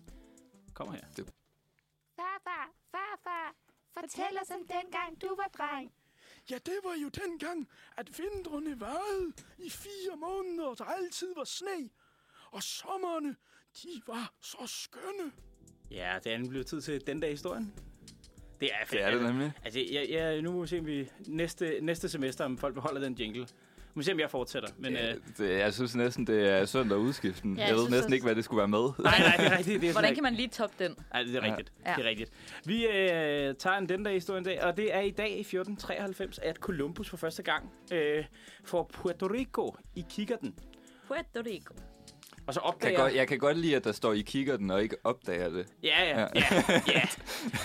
Kommer her. Farfar, farfar, fortæl os om dengang du var dreng. Ja, det var jo dengang, at vintrene varede i fire måneder, og der altid var sne. Og sommerne, de var så skønne. Ja, det er nu blevet tid til den dag i historien. Det er fedt. det er det nemlig. Altså, jeg, jeg, nu må vi se, om vi næste, næste semester, om folk beholder den jingle. Vi må se, om jeg fortsætter. Men, øh, Ja, det, jeg synes næsten, det er synd at udskifte den. Ja, Ja, jeg jeg ved synes næsten også- ikke, hvad det skulle være med. nej, nej, det er rigtigt. Det er Hvordan sådan- kan man lige toppe den? Ej, det er rigtigt. Ja. Ja. Det er rigtigt. Vi øh, tager en den dag historien dag, og det er i dag i 1493, at Columbus for første gang øh, får Puerto Rico i kikkerten. Puerto Rico. Og så Jeg opdager... kan, godt, jeg kan godt lide, at der står, I kigger den og ikke opdager det. Ja, ja, ja, ja.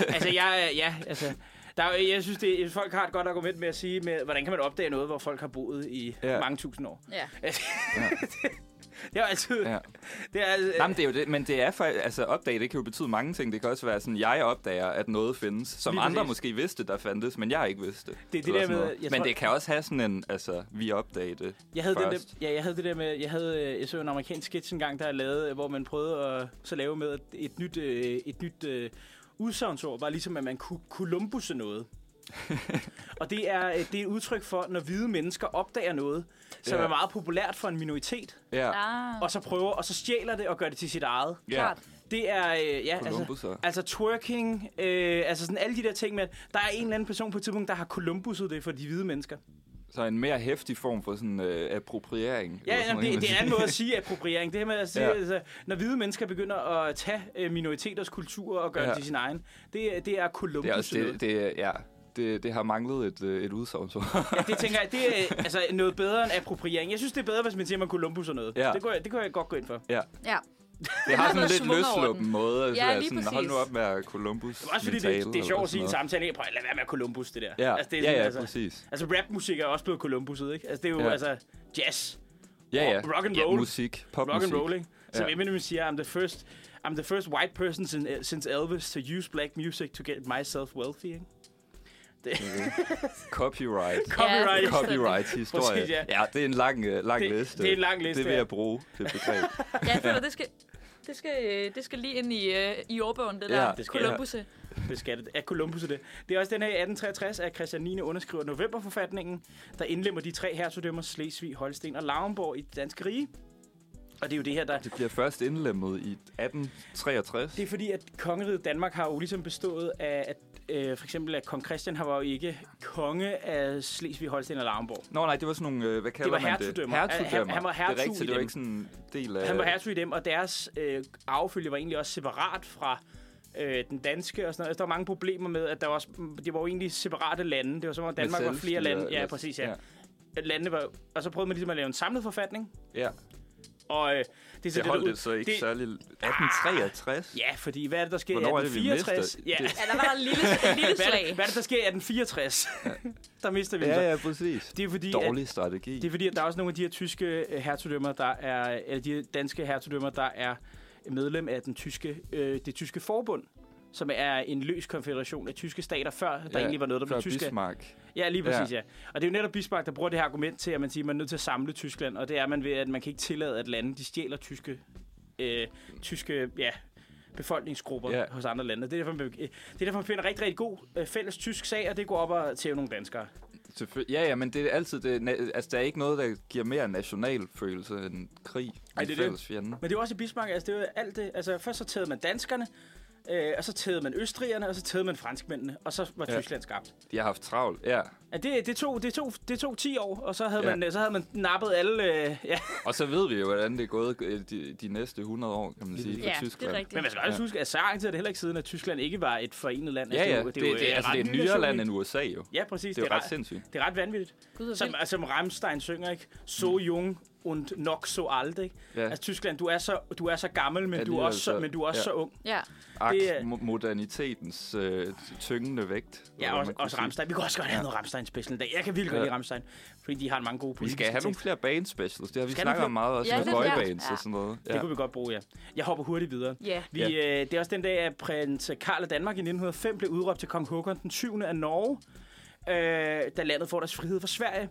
Altså, jeg, øh, ja, altså... Der, er jo- jeg synes, det, folk har et godt argument med at sige, med, hvordan kan man opdage noget, hvor folk har boet i ja. Ja. mange tusind år. Ja. [LAUGHS] Det er jo altid... Ja. Det er, altid- Nej, men det er jo det, men det er for, altså opdage, det kan jo betyde mange ting. Det kan også være sådan, jeg opdager, at noget findes, som Lige andre præcis. måske vidste, der fandtes, men jeg ikke vidste. det Eller der sådan med- noget. jeg men tror- det kan også have sådan en, altså, vi opdager det. Jeg havde, den der, Først. ja, jeg havde det der med, jeg havde, øh, jeg så en amerikansk sketch engang, der jeg lavede, øh, hvor man prøvede at så lave med at et nyt, øh, et nyt øh, udsagnsord, var ligesom, at man kunne [LAUGHS] Columbuse noget. og det er, øh, det er et udtryk for, når hvide mennesker opdager noget, som Ja. er meget populært for en minoritet, Ja, Ah, og så prøver, og så stjæler det og gør det til sit eget. ja. klart. Det er, øh, ja, altså, Columbusser. altså twerking, øh, altså sådan alle de der ting med, at der er en eller anden person på et tidspunkt, der har Columbuset det for de hvide mennesker. Så en mere hæftig form for sådan øh, appropriering. eller Ja, sådan jamen, noget, det, kan det er en man anden måde at sige appropriering. Det her med at sige, Ja. ja. altså, når hvide mennesker begynder at tage øh, minoriteters kultur og gøre ja. Ja. det til sin egen, det, er- det er Columbus. Det er også, det, det, er- ja, det, det har manglet et, øh, et udsagn, så. Ja, det tænker jeg, det er [LAUGHS] øh, altså, noget bedre end appropriering. Jeg synes, det er bedre, hvis man siger, man Columbus og noget. Ja. Det, kunne jeg, det kunne jeg godt gå ind for. [LAUGHS] ja. Ja. Det har sådan noget en lidt schwung over løsluppen den. måde. at Ja, være lige sådan, præcis. Hold nu op med at Columbus Også fordi tale, det, det er eller sjovt sådan at sige i en noget. samtale, "Hey, prøv at lade være med Columbus, det der. Ja, altså, det er ja, sådan, ja, altså, præcis. Altså rapmusik er også blevet Columbuset, ikke? Altså det er jo Ja. altså jazz, Ja, ja. rock and Ja, roll. musik, popmusik. rock and roll, ikke? Som Ja. Eminem siger, I'm the first, I'm the first white person sin- since Elvis to use black music to get myself wealthy, ikke? Copyright. [LAUGHS] Copyright. Ja, Copyright-historie. Præcis, ja. ja. det er en lang, øh, lang Det- liste. det er en lang liste, Det vil ja. jeg bruge, det begreb. Ja, [LAUGHS] jeg føler, det skal, det skal, øh, det skal lige ind i, øh, i ordbogen, det Ja, der det skal- Columbus. øh. beskattet af Columbus er det. Det er også den her i 1863, at Christian 9. underskriver novemberforfatningen, der indlemmer de tre hertugdømmer Slesvig, Holsten og Lauenborg i det danske rige. Og det er jo det her, der... Det bliver først indlemmet i 1863. Det er fordi, at kongeriget Danmark har jo ligesom bestået af, at øh, for eksempel, at kong Christian har var jo ikke konge af Slesvig, Holsten og Lauenborg. Nå nej, det var sådan nogle, øh, hvad kalder var man hertugdømmer. det? Hertugdømmer. Han- han var Det er hertug i rigtigt, det var dem. ikke sådan en del af... Han var hertug i dem, og deres øh, arvefølge var egentlig også separat fra øh, den danske og sådan noget. Altså, der var mange problemer med, at der var også, det var jo egentlig separate lande. Det var som om, at med Danmark var flere selvstyre, lande. Ja, eller- præcis, ja. ja. Landene var, og så prøvede man ligesom at lave en samlet forfatning, ja. og øh, det er så Det der holdt ud- det så ikke særlig... 1863? Ja, fordi hvad er det, der sker i Hvornår er det, vi 1864? mister? Ja. Det- Ja, der var der en lille, en lille Hvad, er slag. det, hvad er det, der sker i 1864? [LAUGHS] der mister vi den så. Ja, ja, præcis. Det er fordi, at, Dårlig strategi. det er fordi, at der er også nogle af de her tyske øh, hertugdømmer, der er, eller de danske hertugdømmer, der er medlem af den tyske, øh, det tyske forbund som er en løs konfederation af tyske stater, før der Ja, egentlig var noget, der før blev tyske. Bismarck. Ja, lige præcis, ja. ja. Og det er jo netop Bismarck, der bruger det her argument til, at man siger, at man er nødt til at samle Tyskland, og det er man ved, at man kan ikke tillade, at lande de stjæler tyske, øh, tyske ja, befolkningsgrupper Ja. ja. hos andre lande. Og Det er derfor, man, øh, det er derfor, man finder en rigtig, rigtig god øh, fælles tysk sag, og det går op og tæve nogle danskere. Selvføl- Ja, ja, men det er altid... Det, na- altså, der er ikke noget, der giver mere national følelse end krig. Ej, det er det. fælles fjende. Men det er jo også i Bismarck, altså det er jo alt det. Altså først så tævede man danskerne, øh, og så tævede man østrigerne, og så tævede man franskmændene, og så var Ja. Tyskland skabt. De har haft travlt, ja. Ja, det, det, tog, det, tog, det tog 10 år, og så havde, Ja. ja. man, så havde man nappet alle... Øh, ja. Og så ved vi jo, hvordan det er gået øh, de, de næste 100 år, kan man sige, for Ja, det Tyskland. er rigtigt. Men man skal også Ja. huske, at så lang tid er det heller ikke siden, at Tyskland ikke var et forenet land. Ja, Altså, ja, jo- det, det, det, øh, altså, det er ret et ny nyere nation, land ikke? end USA, jo. Ja, præcis. Det er jo ret ret- sindssygt. Det er ret vanvittigt. Gud, hvor Som, vildt. som Rammstein synger, ikke? So jung und nok so alt, ikke? Mm. Ja. Altså Tyskland, du er så, du er så gammel, men du er Alligevel også, så, så- men du er også ja. så ung. Ja. Ak, det er- mo- modernitetens øh, tyngende vægt. Ja, eller hvad også, man kan også sige. Rammstein. Vi kunne også godt have noget Rammstein special en dag. Jeg kan virkelig godt Ja. lide Rammstein, fordi de har mange gode Vi politiske skal have nogle tekster. flere band specials. Det har vi Skal snakket vi- om meget, også Ja, med det er klart. boybands Ja. og sådan noget. Det Ja. kunne vi godt bruge, ja. Jeg hopper hurtigt videre. Ja. Vi, Ja. øh, det er også den dag, at prins Karl af Danmark i 1905 blev udråbt til kong Håkon den 7. af Norge, øh, da landet får deres frihed fra Sverige.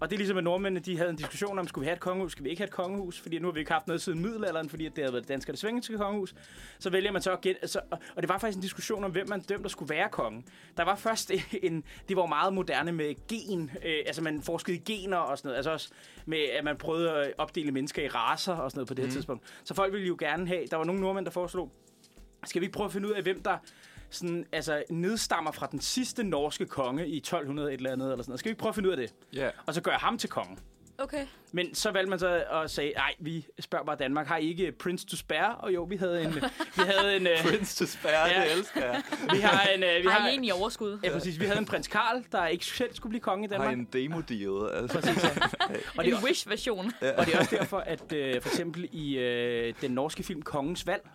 Og det er ligesom, at nordmændene de havde en diskussion om, skulle vi have et kongehus, skal vi ikke have et kongehus? Fordi nu har vi ikke haft noget siden middelalderen, fordi at det havde været danskere det svenske kongehus. Så vælger man så at gen... altså, og- Og det var faktisk en diskussion om, hvem man dømte, der skulle være konge. Der var først [LAUGHS] en... Det var jo meget moderne med gen. Øh, altså man forskede i gener og sådan noget. Altså også med, at man prøvede at opdele mennesker i raser og sådan noget på det her mm. tidspunkt. Så folk ville jo gerne have... Der var nogle nordmænd, der foreslog, skal vi ikke prøve at finde ud af, hvem der sådan, altså, nedstammer fra den sidste norske konge i 1200 et eller andet? Eller sådan. noget? Skal vi ikke prøve at finde ud af det? Ja. [LAUGHS] Og så gør ham til konge. Okay. Men så valgte man så at sige, nej, vi spørger bare Danmark, har I ikke eh, Prince to spare? Og jo, vi havde en... Vi havde en... øh, Prince to spare, Ja. det elsker jeg. vi har en... øh, Vi Har I har, egentlig overskud? ja, præcis. Vi havde en prins Karl, der ikke selv skulle blive konge i Har Danmark. en demo deal, altså. [LAUGHS] og, det En er, wish-version. og det er også derfor, at øh, for eksempel i øh, den norske film Kongens Valg,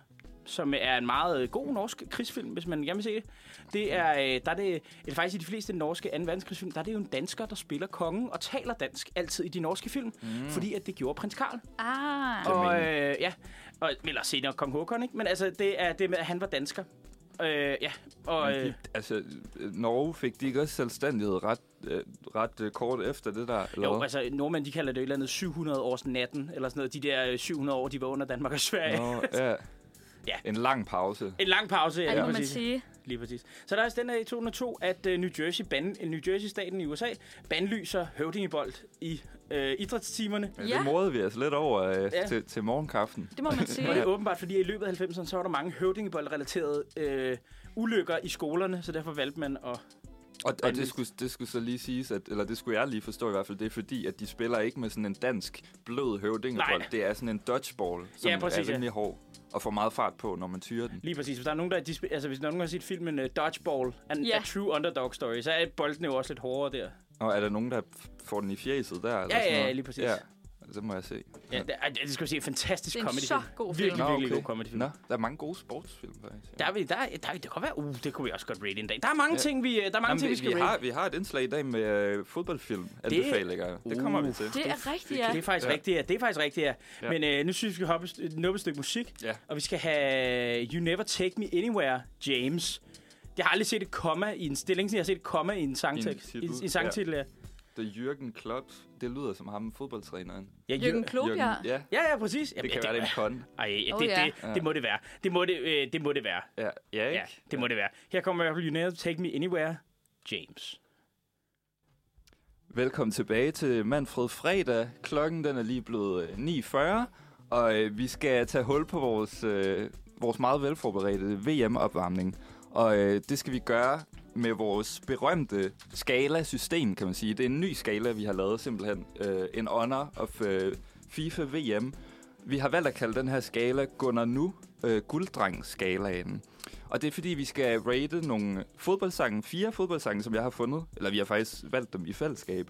som er en meget øh, god norsk krigsfilm, hvis man gerne vil se det. Det er, øh, der er det, eller faktisk i de fleste norske 2. verdenskrigsfilm, der er det jo en dansker, der spiller kongen og taler dansk altid i de norske film, mm. fordi at det gjorde prins Karl. Ah, Og, øh, ja, og, eller senere kong Håkon, ikke? Men altså, det er det med, at han var dansker. Øh, ja, og... Men Øh, de, altså, øh, Norge fik de ikke også selvstændighed ret, øh, ret øh, kort efter det der? Eller jo, hvad? altså, nordmænd, de kalder det et eller andet 700 års natten, eller sådan noget. De der øh, 700 år, de var under Danmark og Sverige. Nå, ja. [LAUGHS] Ja. En lang pause. En lang pause, ja, ja, det lige må man præcis. sige. Lige præcis. Så der er også den her i 2002, at øh, New Jersey, ban, øh, New Jersey-staten i USA bandlyser høvdingebold i øh, idrætstimerne. Men Ja. ja. det modede vi os lidt over øh, Ja. ja. til, til morgenkaffen. Det må man Og det er sige. åbenbart, fordi i løbet af 90'erne, så var der mange høvdingebold-relaterede øh, ulykker i skolerne, så derfor valgte man at... Og, og Men- det, skulle, det skulle så lige siges, at, eller det skulle jeg lige forstå i hvert fald, det er fordi, at de spiller ikke med sådan en dansk blød høvdingebold. Nej. Det er sådan en dodgeball, som Ja, præcis, ja. er rimelig hård og får meget fart på, når man tyrer den. Lige præcis. Hvis der er nogen, der... De, sp- altså, hvis nogen har set filmen uh, Dodgeball, en Ja. yeah. True Underdog Story, så er bolden jo også lidt hårdere der. Og er der nogen, der f- får den i fjeset der? Eller Ja, sådan ja, ja, noget? lige præcis. Ja, altså, det må jeg se. Ja, det, er, det skal vi se. en Fantastisk Det er en comedy så god film. Virkelig, Nå, virkelig okay. god comedy film. Nå, der er mange gode sportsfilm, faktisk. Der, er vi, der, er- der, er- det kan godt være, uh, det kunne vi også godt rate en dag. Der er mange Ja. ting, vi, øh, der er mange Jamen, ting, vi vi, skal vi, rate. har, vi har et indslag i dag med øh, fodboldfilm anbefalinger. Det, Uh. det kommer vi til. Det er rigtigt, ja. Det er faktisk ja. Ja. rigtigt, ja. Det er faktisk rigtigt, ja. Ja. ja. Men øh, nu synes jeg, vi skal hoppe et st- nuppe et stykke musik. Ja. Og vi skal have You Never Take Me Anywhere, James. Jeg har aldrig set et komma i en... Det er længe siden, jeg har set et komma i en sangtekst. I en, titel, i en sangtitel, ja. Det er Jürgen Klopps. Det lyder som ham, fodboldtræneren. Ja, Jørgen Jør- Klob, ja. Ja, ja, ja, præcis. Jamen, det kan ja, være, det er en kon. Ej, det, Oh, det, ja. det, det må det være. Det må det, øh, det, må det være. Ja, ja, ikke? Ja, det må det være. Her kommer i hvert fald You Never Take Me Anywhere, James. Velkommen tilbage til Manfred Fredag. Klokken den er lige blevet øh, 9.40, og øh, vi skal tage hul på vores, øh, vores meget velforberedte VM-opvarmning. Og øh, det skal vi gøre med vores berømte skala-system, kan man sige. Det er en ny skala, vi har lavet simpelthen. Øh, en honor of øh, FIFA VM. Vi har valgt at kalde den her skala Gunnar Nu øh, Gulddreng-skalaen. Og det er fordi, vi skal rate nogle fodboldsange, fire fodboldsange, som jeg har fundet. Eller vi har faktisk valgt dem i fællesskab.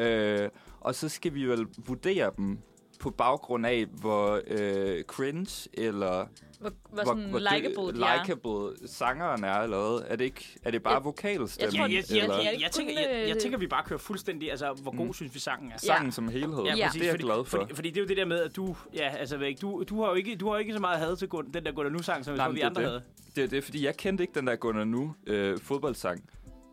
Øh, og så skal vi vel vurdere dem på baggrund af, hvor øh, cringe eller Hvor, hvor sådan hvor likeable de er. likeable sangeren er allerede. Er det, ikke, er det bare Jeg- Jeg, vokalstemmen? jeg, jeg, jeg, eller jeg, jeg, tænker, jeg, jeg øh, tænker, vi bare kører fuldstændig, altså, hvor Mm. god synes vi sangen er. sangen som helhed? Ja, det er jeg fordi, glad for. Fordi, fordi det er jo det der med, at du... Ja, altså, ved ikke, du, du har jo ikke, du har jo ikke så meget had til Gun, den der Gunnar Nu-sang, som jeg Nej, tror, men vi det er andre det. havde. Det er det, er fordi jeg kendte ikke den der Gunnar Nu øh, fodboldsang,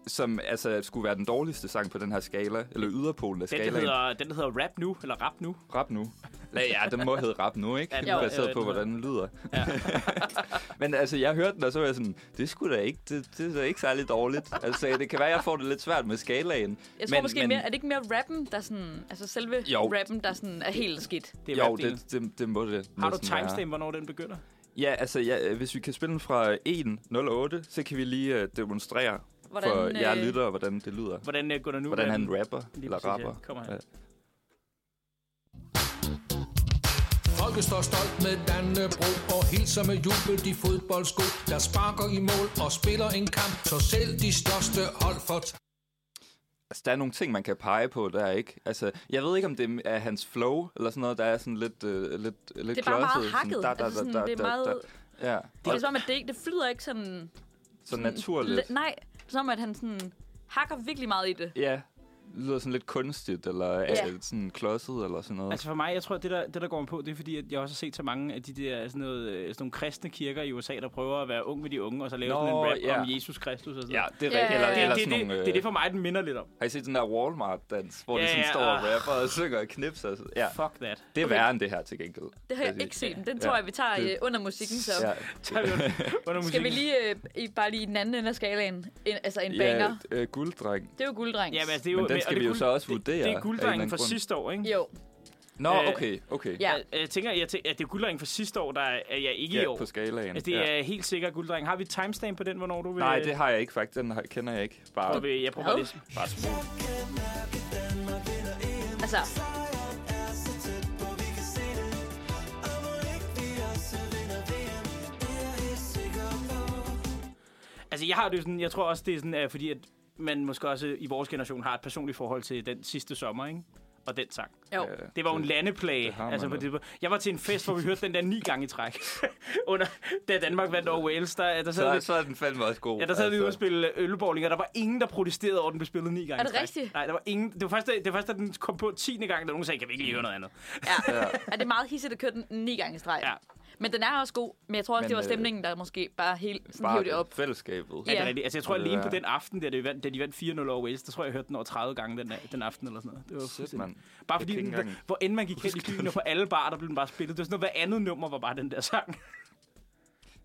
som altså skulle være den dårligste sang på den her skala, eller yderpolen af Den, skalaen. der hedder, den der hedder Rap Nu, eller Rap Nu. Rap nu. Ja, ja, den må hedde rap nu, ikke? Ja, Ja, den må- Baseret øh, på, den hvordan den lyder. Ja. [LAUGHS] Men altså, jeg hørte den, og så var jeg sådan, det skulle da ikke, det, det er da ikke særlig dårligt. Altså, det kan være, jeg får det lidt svært med skalaen. Jeg tror men, måske men... mere, er det ikke mere rappen, der sådan, altså selve Jo. rappen, der sådan er helt skidt? Det er jo, rapdelen. det, det, det må det Har du næsten være. timestamp, hvornår den begynder? Ja, altså, ja, hvis vi kan spille den fra 1.08, så kan vi lige uh, demonstrere Hvordan, for øh, jer lyttere, hvordan det lyder. Hvordan uh, Gunnar Nu... Hvordan han rapper. rapper, Lige eller præcis, ja. rapper. Kommer her. Folket står stolt med Dannebro og hilser med jubel de fodboldsko, der sparker i mål og spiller en kamp, så selv de største hold for Altså, der er nogle ting, man kan pege på, der er ikke. Altså, jeg ved ikke, om det er hans flow, eller sådan noget, der er sådan lidt øh, lidt, lidt Det er bare meget klodset, hakket. Sådan, da, da, altså sådan, da, da, det er da, meget... da. Ja, Det er og som om, at det, ikke, det flyder ikke sådan... så naturligt. Le- nej, det er som om, at han sådan hakker virkelig meget i det. Ja, det lyder sådan lidt kunstigt, eller Ja. ja. sådan klodset, eller sådan noget. Altså for mig, jeg tror, at det der, det der går mig på, det er fordi, at jeg også har set så mange af de der sådan, noget, øh, sådan nogle kristne kirker i USA, der prøver at være ung med de unge, og så lave Nå, sådan en rap ja. om Jesus Kristus og sådan ja, noget. det er rigtigt. Ja, ja, Eller, ja. eller Det, det, sådan det, nogle, øh, det, det er for mig, den minder lidt om. Har I set den der Walmart-dans, hvor Ja, de sådan ja, står og og- rapper og synger og knipser? og sådan- Ja, Fuck [LAUGHS] that. det er Okay. værre end det her til gengæld. Det vil har jeg sige. ikke set. Den Altså, Ja. tror jeg, vi tager Det- øh, under musikken, så... Ja, Tager vi under- under Skal vi musikken. lige, øh, i, bare lige i den anden ende af skalaen? En, altså en banger. ja øh, gulddreng. Det er jo gulddrengs. Ja, men altså, det er jo, Men den og skal det er vi jo guld- så også det- vurderer af Det er en eller gulddrengen anden fra grund. sidste år, ikke? Jo, Nå, Øh, okay, okay. ja. Jeg, jeg tænker, jeg tæ- at det er gulddrengen fra sidste år, der er jeg ikke i ja år. på skalaen. Altså, det ja. er helt sikkert gulddrengen. Har vi et timestamp på den, hvornår du vil? Nej, det har jeg ikke faktisk. Den har- kender jeg ikke. Bare, jeg. øh, Jeg prøver Hvad? det. bare smule. altså... Altså, jeg har det jo sådan, jeg tror også, det er sådan, uh, fordi at man måske også i vores generation har et personligt forhold til den sidste sommer, ikke? og den sang. Jo. Øh, Det var jo en det landeplage. har man altså, på jo. det, jeg var til en fest, hvor vi hørte den der ni gange i træk. [LAUGHS] Under, da Danmark vandt over Wales, der, der sad så, vi... så er den fandme også god. Ja, der sad vi ude og altså. spille ølbowling, og der var ingen, der protesterede over, at den blev spillet ni gange. Er det i træk. rigtigt? Nej, der var ingen. Det var først, da, det var først, da den kom på 10. gang, der nogen sagde, kan vi ikke lige høre noget andet? Ja. ja. Er det meget hissigt at køre den ni gange i streg? Ja. Men den er også god, men jeg tror også, Men, det var øh, stemningen, der måske bare helt sådan Bare hævde det det op. fællesskabet. Ja, Ja. det er rigtigt. Altså, jeg tror, Og det alene på var- den aften, da de vandt, da de vandt 4-0 over Wales, der tror jeg, jeg hørte den over 30 gange den, den aften eller sådan noget. Det var Shit, fuldstændig- mand. Bare Jeg fordi, kan den, ikke der, engang hvor end man gik hen i byen, og på alle barer, der blev den bare spillet. Det var sådan noget, hver andet nummer var bare den der sang. [LAUGHS]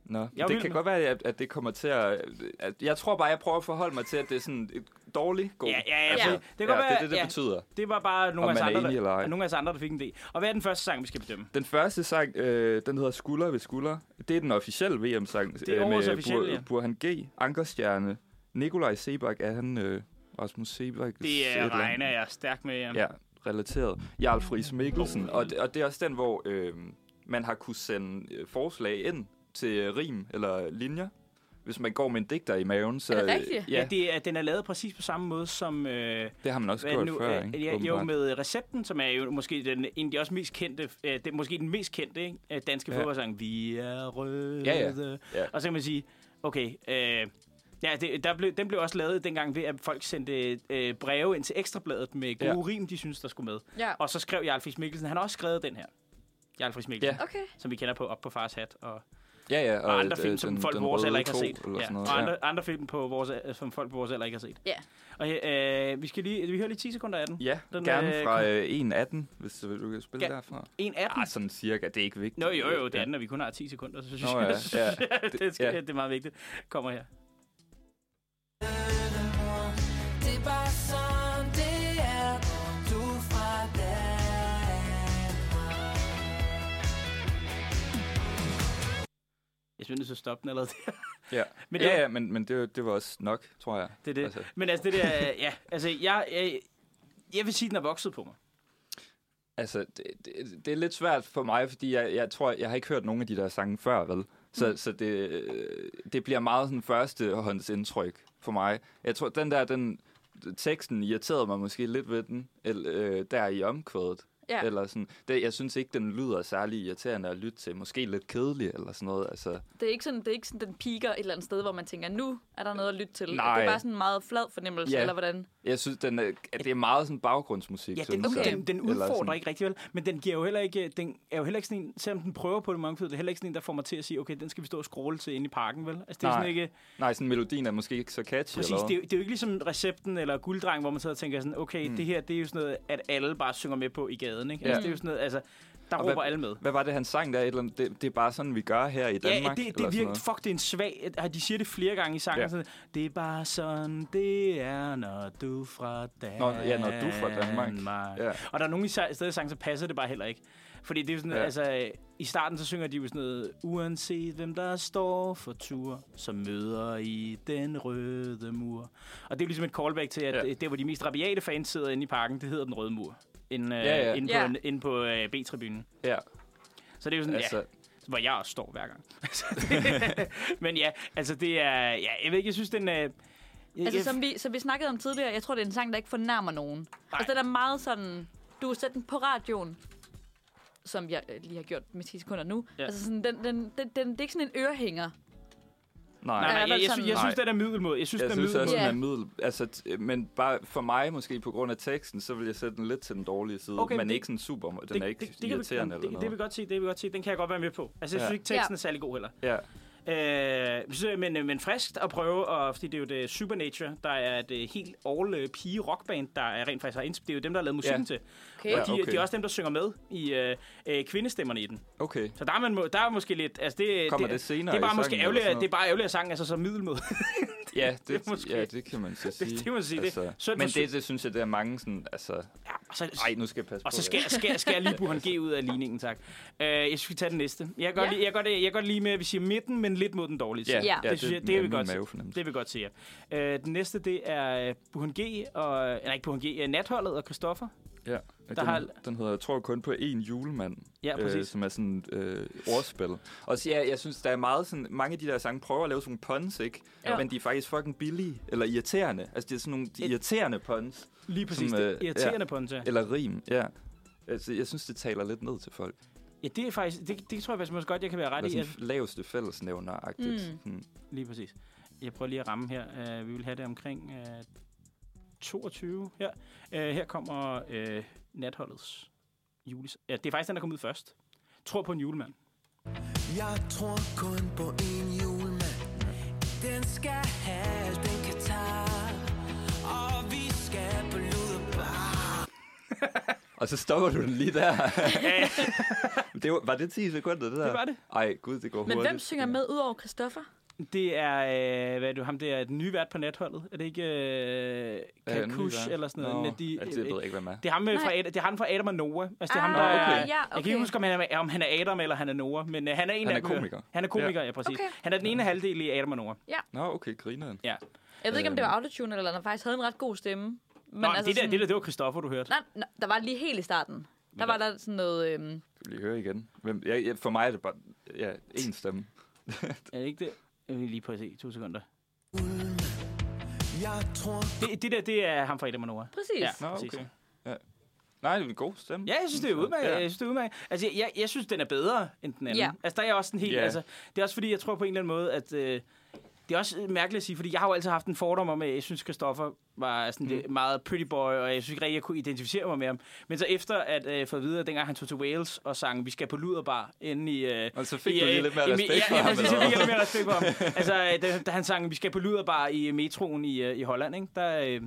Nå, Jeg er vild det kan med- godt være, at, at det kommer til at, at... Jeg tror bare, jeg prøver at forholde mig til, at det er sådan et dårligt god. Ja, ja, ja. Altså, Det, det kan godt ja, være, det er det, det ja. betyder. Det var bare nogle Om af, os man er andre, enig eller ej. der, nogle af os andre, der fik en idé. Og hvad er den første sang, vi skal bedømme? Den første sang, øh, den hedder Skulder ved skulder. Det er den officielle VM-sang Det er årets officielle, ja. Burhan G, Ankerstjerne, Nikolaj Sebak, er han øh, Rasmus Sebak? Det er regner jeg stærkt med. Ja. Ja, relateret. Jarl Friis Mikkelsen. Og, det- og det er også den, hvor øh, man har kunne sende øh, forslag ind til øh, rim eller linjer, hvis man går med en digter i maven. Så, Er det øh, rigtigt? Ja, Ja, det er, den er lavet præcis på samme måde som... Øh, det har man også hvad er gjort det nu, før, øh, ikke? ja, jo, Åbenbart. med recepten, som er jo måske den, en af de også mest kendte, øh, den, måske den mest kendte ikke? Øh, danske Ja. ja. fodboldsang. Vi er røde. Ja, Ja. Og så kan man sige, okay, øh, ja, det, der blev, den blev også lavet dengang ved, at folk sendte øh, breve ind til Ekstrabladet med gode Ja. rim, de synes der skulle med. Ja. Og så skrev Jarl Friis Mikkelsen, han har også skrevet den her. Jarl Friis Mikkelsen. Ja. Okay. som vi kender på Op på Fars Hat, og, Ja, ja. og andre øh, film, som den- folk på den vores røde alder ikke har tog, set. Eller sådan Ja, noget. og ja. andre, andre film, på vores, øh, som folk på vores alder ikke har set. Ja. Og øh, vi skal lige, vi hører lige 10 sekunder af den. Ja, Den, den, gerne øh, fra øh, 1.18, hvis du, du kan spille Ja. derfra. En af dem. Ah, sådan cirka, det er ikke vigtigt. Nå jo jo, det er den, og vi kun har 10 sekunder, så synes Nå, jeg, ja, ja. [LAUGHS] det, det, skal, ja. det er meget vigtigt. Kommer her. Det er bare sådan, det er. Du er fra Danmark. Jeg synes, det så stoppe den allerede [LAUGHS] der. Ja, Men men, det- ja, ja, men, men det, var- det var også nok, tror jeg. Det er det. Altså, Men altså det der, ja, altså jeg, jeg, jeg vil sige, den er vokset på mig. altså det, det, det er lidt svært for mig, fordi jeg, jeg tror, jeg har ikke hørt nogen af de der sange før, vel? Så, Mm. så det, øh, det bliver meget sådan førstehåndsindtryk for mig. Jeg tror, den der, den teksten irriterede mig måske lidt ved den, eller, øh, der i omkvædet. Ja. Eller sådan. Det, jeg synes ikke, den lyder særlig irriterende at lytte til. Måske lidt kedelig eller sådan noget. Altså, Det er ikke sådan, det er ikke sådan, den piker et eller andet sted, hvor man tænker, nu er der noget at lytte til. Nej. Det er bare sådan en meget flad fornemmelse, Ja. eller hvordan? Jeg synes, den er, at det er meget sådan baggrundsmusik. Ja, den, synes okay. jeg. den, den Eller udfordrer sådan- ikke rigtig vel, men den giver jo heller ikke, den er jo heller ikke sådan en, selvom den prøver på det mange det er heller ikke sådan en, der får mig til at sige, okay, den skal vi stå og scrolle til inde i parken, vel? Altså, det er Nej. sådan ikke, Nej, sådan melodien er måske ikke så catchy. præcis, eller det hvad? er, jo- det er jo ikke ligesom recepten eller gulddreng, hvor man sidder og tænker sådan, okay, mm. det her, det er jo sådan noget, at alle bare synger med på i gaden, ikke? Ja. Altså, det er jo sådan noget, altså, der råber hvad- alle med. Hvad var det, han sang der? Et eller andet? Det, det er bare sådan, vi gør her i Danmark. Ja, det, eller det sådan virker, fuck, det er en svag, at- de siger det flere gange i sangen, Ja. ja. sådan, det er bare sådan, det er, når du er fra Nå, Danmark. ja, når du er fra Danmark. Ja. Og der er nogle i sa- steder i sangen, så passer det bare heller ikke. Fordi det er jo sådan, Ja. ja. altså, øh, i starten så synger de jo sådan noget, uanset hvem der står for tur, så møder I den røde mur. Og det er jo ligesom et callback til, at Ja. ja. det, hvor de mest rabiate fans sidder inde i parken, det hedder den røde mur. Inde, øh, Ja, ja. inde på, Ja. en- inde på øh, B-tribunen. Ja, Så det er jo sådan, altså, ja, hvor jeg også står hver gang. [LAUGHS] Så det- Men ja, altså det er... Ja, jeg ved ikke, jeg synes, den er... Jeg, Altså, jeg, som vi, som vi snakkede om tidligere, jeg tror, det er en sang, der ikke fornærmer nogen. Nej. Altså, den er meget sådan... Du har sat den på radioen, som jeg øh, lige har gjort med 10 sekunder nu. Ja. Ja. Altså, sådan, den, den, den, den, det er ikke sådan en ørehænger. nej. Nej, nej, Ja, i jeg, jeg, hvert fald jeg, sådan- synes, jeg synes, den er middelmåd. Jeg synes, Jeg den er synes middelmåd. også, den Ja. er middel. Altså, t- men bare for mig, måske på grund af teksten, så vil jeg sætte den lidt til den dårlige side. Okay, Okay, men men det- ikke sådan super. Den er ikke kan vi- irriterende det, eller det, det, noget. vil godt se, det vil vi godt se. Den kan jeg godt være med på. Altså, jeg Ja. synes ikke, teksten Ja. er særlig god heller. ja. Øh, så- men, men friskt at prøve, og, fordi det er jo det Supernature, der er et øh, helt all øh, pige rockband, der er rent faktisk har indsp- Det er jo dem, der har lavet musikken Ja. til. Okay. Og de, Ja, okay. det er også dem, der synger med i øh, øh, kvindestemmerne i den. Okay. Så der er, man må, der er måske lidt... Altså det, Kommer det, det senere det er i bare sangen måske eller ærgerligt, sådan at- noget? det er bare ærgerligt, at sangen er så, så [LAUGHS] middelmåd. Ja, det, er måske- ja, det kan man så sige. [LAUGHS] Altså, det må man sige, det- synd for men sy- det, det synes jeg, det er mange sådan, altså... Og så, Ej, nu skal jeg passe Og på. så skal, skal, skal jeg [LAUGHS] lige Burhan G ud af ligningen, tak. Øh, jeg skal tage den næste. Jeg kan godt, Ja. ja. jeg kan godt, jeg kan godt lide med, at vi siger midten, men lidt mod den dårlige side. Ja, Ja. ja, det, det, synes jeg, det, er er vi min godt se. mavefornemmelse. Det vil godt se, ja. Øh, den næste, det er øh, Burhan G og... Nej, ikke Burhan G. øh, Natholdet og Christoffer. Ja, Der den, har- har... den hedder, jeg tror kun på én julemand, øh, Ja, præcis. som er sådan et øh, ordspil. Og så, ja, jeg synes, der er meget sådan, mange af de der sange prøver at lave sådan nogle puns, ikke? Ja. Ja. Men de er faktisk fucking billige, eller irriterende. Altså, det er sådan nogle de irriterende puns, Lige præcis Som, som, øh, det irriterende ja. ponta. eller rim, ja. Altså, jeg synes, det taler lidt ned til folk. Ja, det er faktisk, det, det tror jeg faktisk måske godt, jeg kan være ret Eller sådan i. At, f- laveste fællesnævner-agtigt. Mm. Mm. Hmm. lige præcis. Jeg prøver lige at ramme her. Uh, vi vil have det omkring uh, 22 her. Uh, her kommer uh, natholdets jules. Ja, det er faktisk den, der kom ud først. Tror på en julemand. Jeg tror kun på en julemand Den skal have den Katar Og vi skal på luderbar Og så stopper du den lige der. [LAUGHS] det var, var det 10 sekunder, det der? Det var det. Ej, gud, det går Men hurtigt. hvem synger med udover Christoffer? Det er, øh, hvad er det, ham der, den nye vært på natholdet. Er det ikke øh, Ja, Kat ny Kush der. eller sådan noget? Nå, Nadi- ja, det ved jeg ikke, hvem er. Det er, ham, øh, fra, Nej. Ad- det er ham fra Adam og Noah. Altså, det er ham, Ah, der er, okay, ja, Jeg kan okay. ikke huske, om han, er, om han er Adam eller han er Noah, men øh, han er en Han af er dem, øh. komiker. Han er komiker, ja, ja præcis. Okay. Han er den ene halvdel i Adam og Noah. Nå, okay, grineren. Ja. Jeg ved ikke, om det var autotune, eller han faktisk havde en ret god stemme. Men Øhm. Nå, altså det, der, det der, det var Christoffer, du hørte. Nej, nej, der var lige helt i starten. Der var der sådan noget... Øhm, Skal vi lige høre igen? Hvem, ja, ja, for mig er det bare ja, én stemme. Er det ikke det? Jeg vil lige prøve at se. To sekunder. Jeg tror Det, det der, det er ham fra Adam og Noah. præcis. Ja. Ja. Nå, Præcis. okay. Ja. Nej, det er en god stemme. Ja, jeg synes, det er udmærket. Ja. Jeg synes, det er udmærket. Altså, jeg, jeg synes, den er bedre end den anden. Ja. Altså, der er jeg også sådan helt... Ja. Altså, det er også fordi, jeg tror på en eller anden måde, at... Øh, det er også øh, mærkeligt at sige, fordi jeg har jo altid haft en fordom om, at jeg synes, Christoffer var sådan mm. meget pretty boy, og jeg synes ikke rigtig, jeg kunne identificere mig med ham. Men så efter at øh, få at vide, at dengang han tog til Wales og sang, vi skal på luderbar, inde i... Øh, Og så fik i, du lige øh, lidt mere i- respekt ja, for ja, ham, præcis, eller jeg fik hvad? lidt mere respekt for ham. Altså, øh, da, da han sang, vi skal på luderbar i metroen i, øh, i Holland, ikke? Der, øh,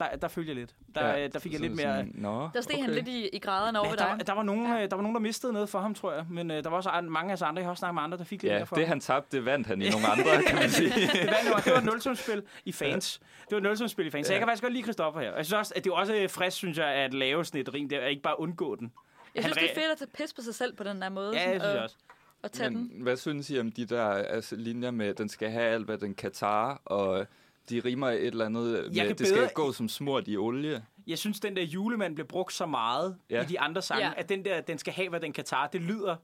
der, der følte jeg lidt. Der, ja, der fik jeg Så lidt er det mere... sådan, Nå, Der steg okay. han lidt i, i graderne over Ja, ved der, var, dig. der, var nogen, øh, der var nogen, der mistede noget for ham, tror jeg. Men øh, der var også an- mange af os andre, jeg har også snakket med andre, der fik lidt Ja, mere for det ham. han tabte, det vandt han i nogle [LAUGHS] andre, kan man sige. Det, var, det var- [LAUGHS] det var et nulsumsspil i fans. Det var et nulsumsspil i fans. Så jeg kan faktisk godt lide Christoffer her. Og Jeg synes også, at det er også øh, frisk, synes jeg, at lave sådan et rim. Det er ikke bare undgå den. Jeg han synes, det er re- fedt at tage pis på sig selv på den der måde. Ja, sådan, jeg synes og, jeg også. og tage den. Men hvad synes I om de der altså, linjer med, den skal have alt, hvad den kan tage, og de rimer et eller andet med, kan det skal bedre- gå som smurt i olie? Jeg synes, den der julemand blev brugt så meget ja. Ja. i de andre sange, ja. Ja. at den der, den skal have, hvad den kan tage, det lyder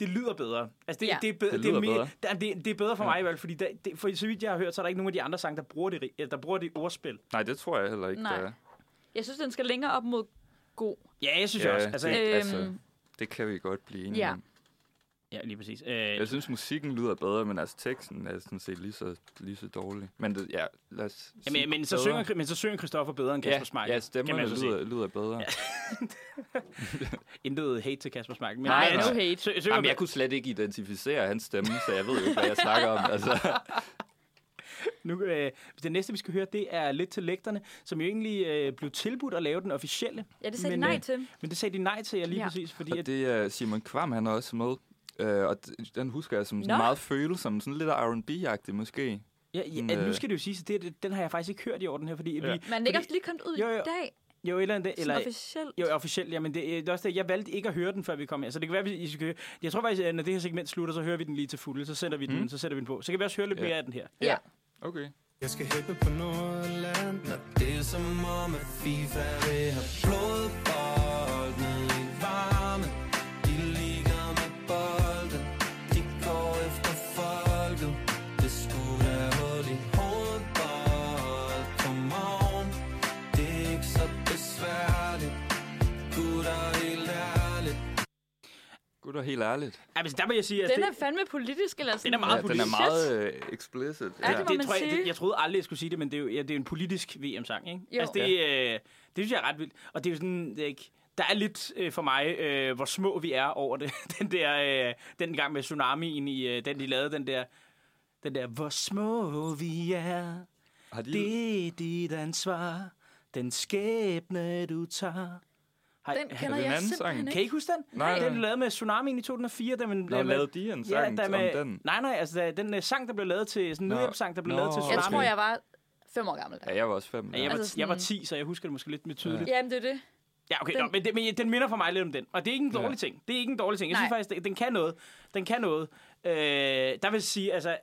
det lyder bedre. Altså, det, ja. Ja. det, er bedre, Det det, lyder er mere, bedre. det, det, det er bedre for mig i hvert fald, fordi der, det, for så vidt jeg har hørt, så er der ikke nogen af de andre sange, der bruger det, ri- eller der bruger det ordspil. Nej, det tror jeg heller ikke, Nej. der er. Jeg synes, den skal længere op mod god. Ja, jeg synes ja, også. Altså, det, øh, Øhm. altså, det kan vi godt blive enige Ja. om. ja, lige præcis. Øh, Jeg synes, musikken lyder bedre, men altså teksten er sådan set lige så, lige så dårlig. Men det, ja, lad os sige Jamen, men, så bedre. synger, men så synger Christoffer bedre end Kasper ja, Smeichel. Ja, kan stemmerne man så sige. lyder, lyder bedre. Ja. Intet hate til Kasper Smeichel. Men Nej, han nej. no hate. sy- synger Jamen, bedre. jeg kunne slet ikke identificere hans stemme, så jeg ved jo ikke, hvad jeg snakker [LAUGHS] om. Altså, Nu, øh, det næste, vi skal høre, det er Lidt til lægterne, som jo egentlig øh, blev tilbudt at lave den officielle. Ja, det sagde de men, nej øh, til. Men det sagde de nej til, ja, lige ja. Ja. præcis, fordi og at, det er Simon Kvam, han er også med. Øh, og d- den husker jeg som sådan Nå. meget følsom, sådan lidt R&B-agtig måske. ja, ja, men, nu øh, skal det jo siges, at det, det, den har jeg faktisk ikke hørt i år, den her, fordi Ja. vi... Men det er ikke også lige kommet ud Jo, jo. i dag, Jo, et eller andet, eller, eller, officielt. jo, officielt, ja, men det, øh, det er også det, jeg valgte ikke at høre den, før vi kom her. Så det kan være, at I skal høre. Jeg tror faktisk, at når det her segment slutter, så hører vi den lige til fulde, så sender vi den, så sætter vi den på. Så kan vi også høre lidt Mm. Ja. mere af den her. Ja. Okay. Jeg skal hæppe på Nordland Når det er som om at FIFA vil have blodbolden i varme De ligger med bolden De går efter folket Det skulle da hul i hovedbold Come on Det er ikke så besværligt Gutter helt ærligt Gud, og helt ærligt. Ja, men der vil jeg sige, at Den altså, det, er fandme politisk, eller sådan. Den er ja, meget den politisk. er meget øh, explicit. Ja, det må det man tror jeg, det, sige. jeg troede aldrig, jeg skulle sige det, men det er jo, ja, det er jo en politisk VM-sang, ikke? Jo. Altså, det, øh, det synes jeg er ret vildt. Og det er jo sådan, det er ikke, der er lidt øh, for mig, øh, hvor små vi er over det. [LAUGHS] Den der, øh, den gang med tsunamien, i, øh, den de lavede, den der, den der, hvor små vi er, Har de, det er dit ansvar, den skæbne du tager. Har, Den har- kender det en jeg anden sang? simpelthen kan I ikke. ikke huske den? Nej. Den blev lavet med Tsunamien i 2004. Den, den, Nå, lavede de en sang der om med, den? Nej, nej, altså der- den uh, sang, der blev lavet til, sådan en Nå. nødhjælpsang, der blev Nå. lavet til Jeg Tsunami. Okay. Jeg tror, jeg var fem år gammel. Ja, jeg var også fem. Ja, jeg, var, Altså jeg var sådan- 10, så jeg husker det måske lidt mere tydeligt. Ja, Jamen, det er det. ja okay, den, Den- nå, men, det, men den minder for mig lidt om den. Og det er ikke en dårlig Ja. ting. Det er ikke en dårlig ting. Jeg synes Nej. faktisk, det- den kan noget. Den kan noget. Øh, der vil sige, altså,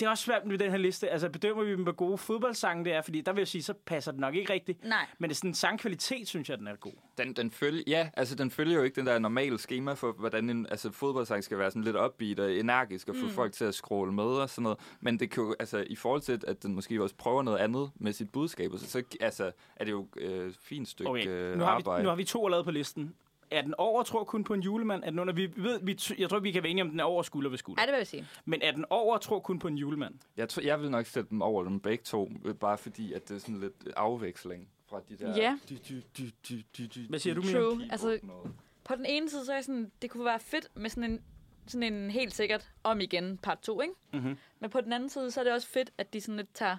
det er også svært med den her liste. Altså, bedømmer vi dem, hvor gode fodboldsange det er? Fordi der vil jeg sige, så passer det nok ikke rigtigt. Nej. Men det er sådan en sangkvalitet, synes jeg, den er god. Den, den følger, ja, altså den følger jo ikke den der normale schema for, hvordan en altså, fodboldsang skal være sådan lidt upbeat og energisk og få mm. folk til at scrolle med og sådan noget. Men det kan jo, altså i forhold til, at den måske også prøver noget andet med sit budskab, så, så altså, er det jo øh, fint stykke okay. øh, nu har, vi, arbejde. nu har vi to allerede på listen. Er den over, tror kun på en julemand? Er den under, vi ved, vi, t- jeg tror, vi kan være enige om, den er over skulder ved Ja, skulder. det vil jeg sige. Men er den over, tror kun på en julemand? Jeg, tror, jeg vil nok sætte dem over dem begge to, øh, bare fordi, at det er sådan lidt afveksling fra de der... Ja. Du, du, du, du, du, du, Hvad siger du, Mia? True. keyboard Altså, noget. på den ene side, så er jeg sådan, det kunne være fedt med sådan en, sådan en helt sikkert om igen part 2, ikke? Mhm. Men på den anden side, så er det også fedt, at de sådan lidt tager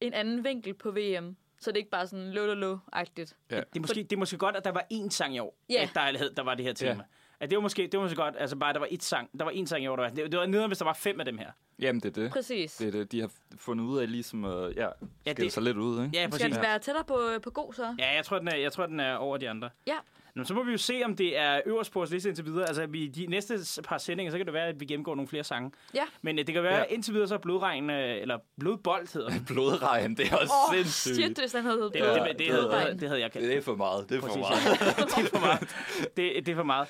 en anden vinkel på VM. Så det ikke bare sådan lå-lå-agtigt. Det er, måske, det er måske godt, at der var én sang i år, Ja. yeah. at der, hed- der var det her tema. Ja. At det var måske, det var måske godt, altså bare, der var et sang, der var én sang i år, der var, det, det var nederen, hvis der var fem af dem her. Jamen, det er det. Præcis. Det er det, de har fundet ud af ligesom at ja, ja, det- det... sig lidt ud, ikke? Ja, Skal præcis. den være tættere på, på god, så? Ja, jeg tror, den er, jeg tror, den er over de andre. Ja. Nå, så må vi jo se, om det er øverst på vores liste indtil videre. Altså, vi, de næste s- par sendinger, så kan det være, at vi gennemgår nogle flere sange. Ja. Men øh, det kan være, Ja. ja. indtil videre, så er blodregn, øh, eller blodbold hedder det. Blodregn, det er også Åh, oh, oh, sindssygt. shit, hvis den havde Det, Ja, det, det, det, det havde, hedder- det havde jeg kaldt. Det er for meget, det er for Præcis. meget. [LAUGHS] det er for meget. Det, det er for meget.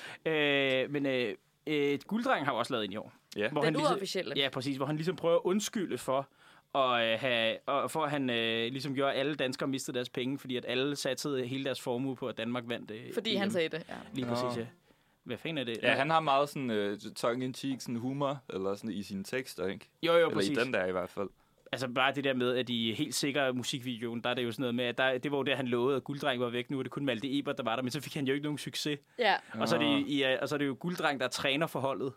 Øh, men øh, øh, Gulddreng har jo også lavet en i år. Ja. Hvor Den ligesom- uofficielle. Ja, præcis. Hvor han ligesom prøver at undskylde for, og, øh, have, og for at han øh, ligesom gjorde, at alle danskere mistede deres penge, fordi at alle satte hele deres formue på, at Danmark vandt. Øh, Fordi EM. han sagde det. Ja. Lige præcis, ja. Hvad fanden er det? Ja, han har meget sådan øh, tongue-in-cheek sådan humor eller sådan i sine tekster, ikke? Jo, jo, Eller i præcis. den der i hvert fald. Altså bare det der med, at de helt sikre musikvideoen, der er det jo sådan noget med, at der, det var jo der, han lovede, at Gulddreng var væk. Nu er det kun Malte Ebert, der var der, men så fik han jo ikke nogen succes. ja. Og så, er det, i, øh, og så er det jo gulddreng, der træner for holdet.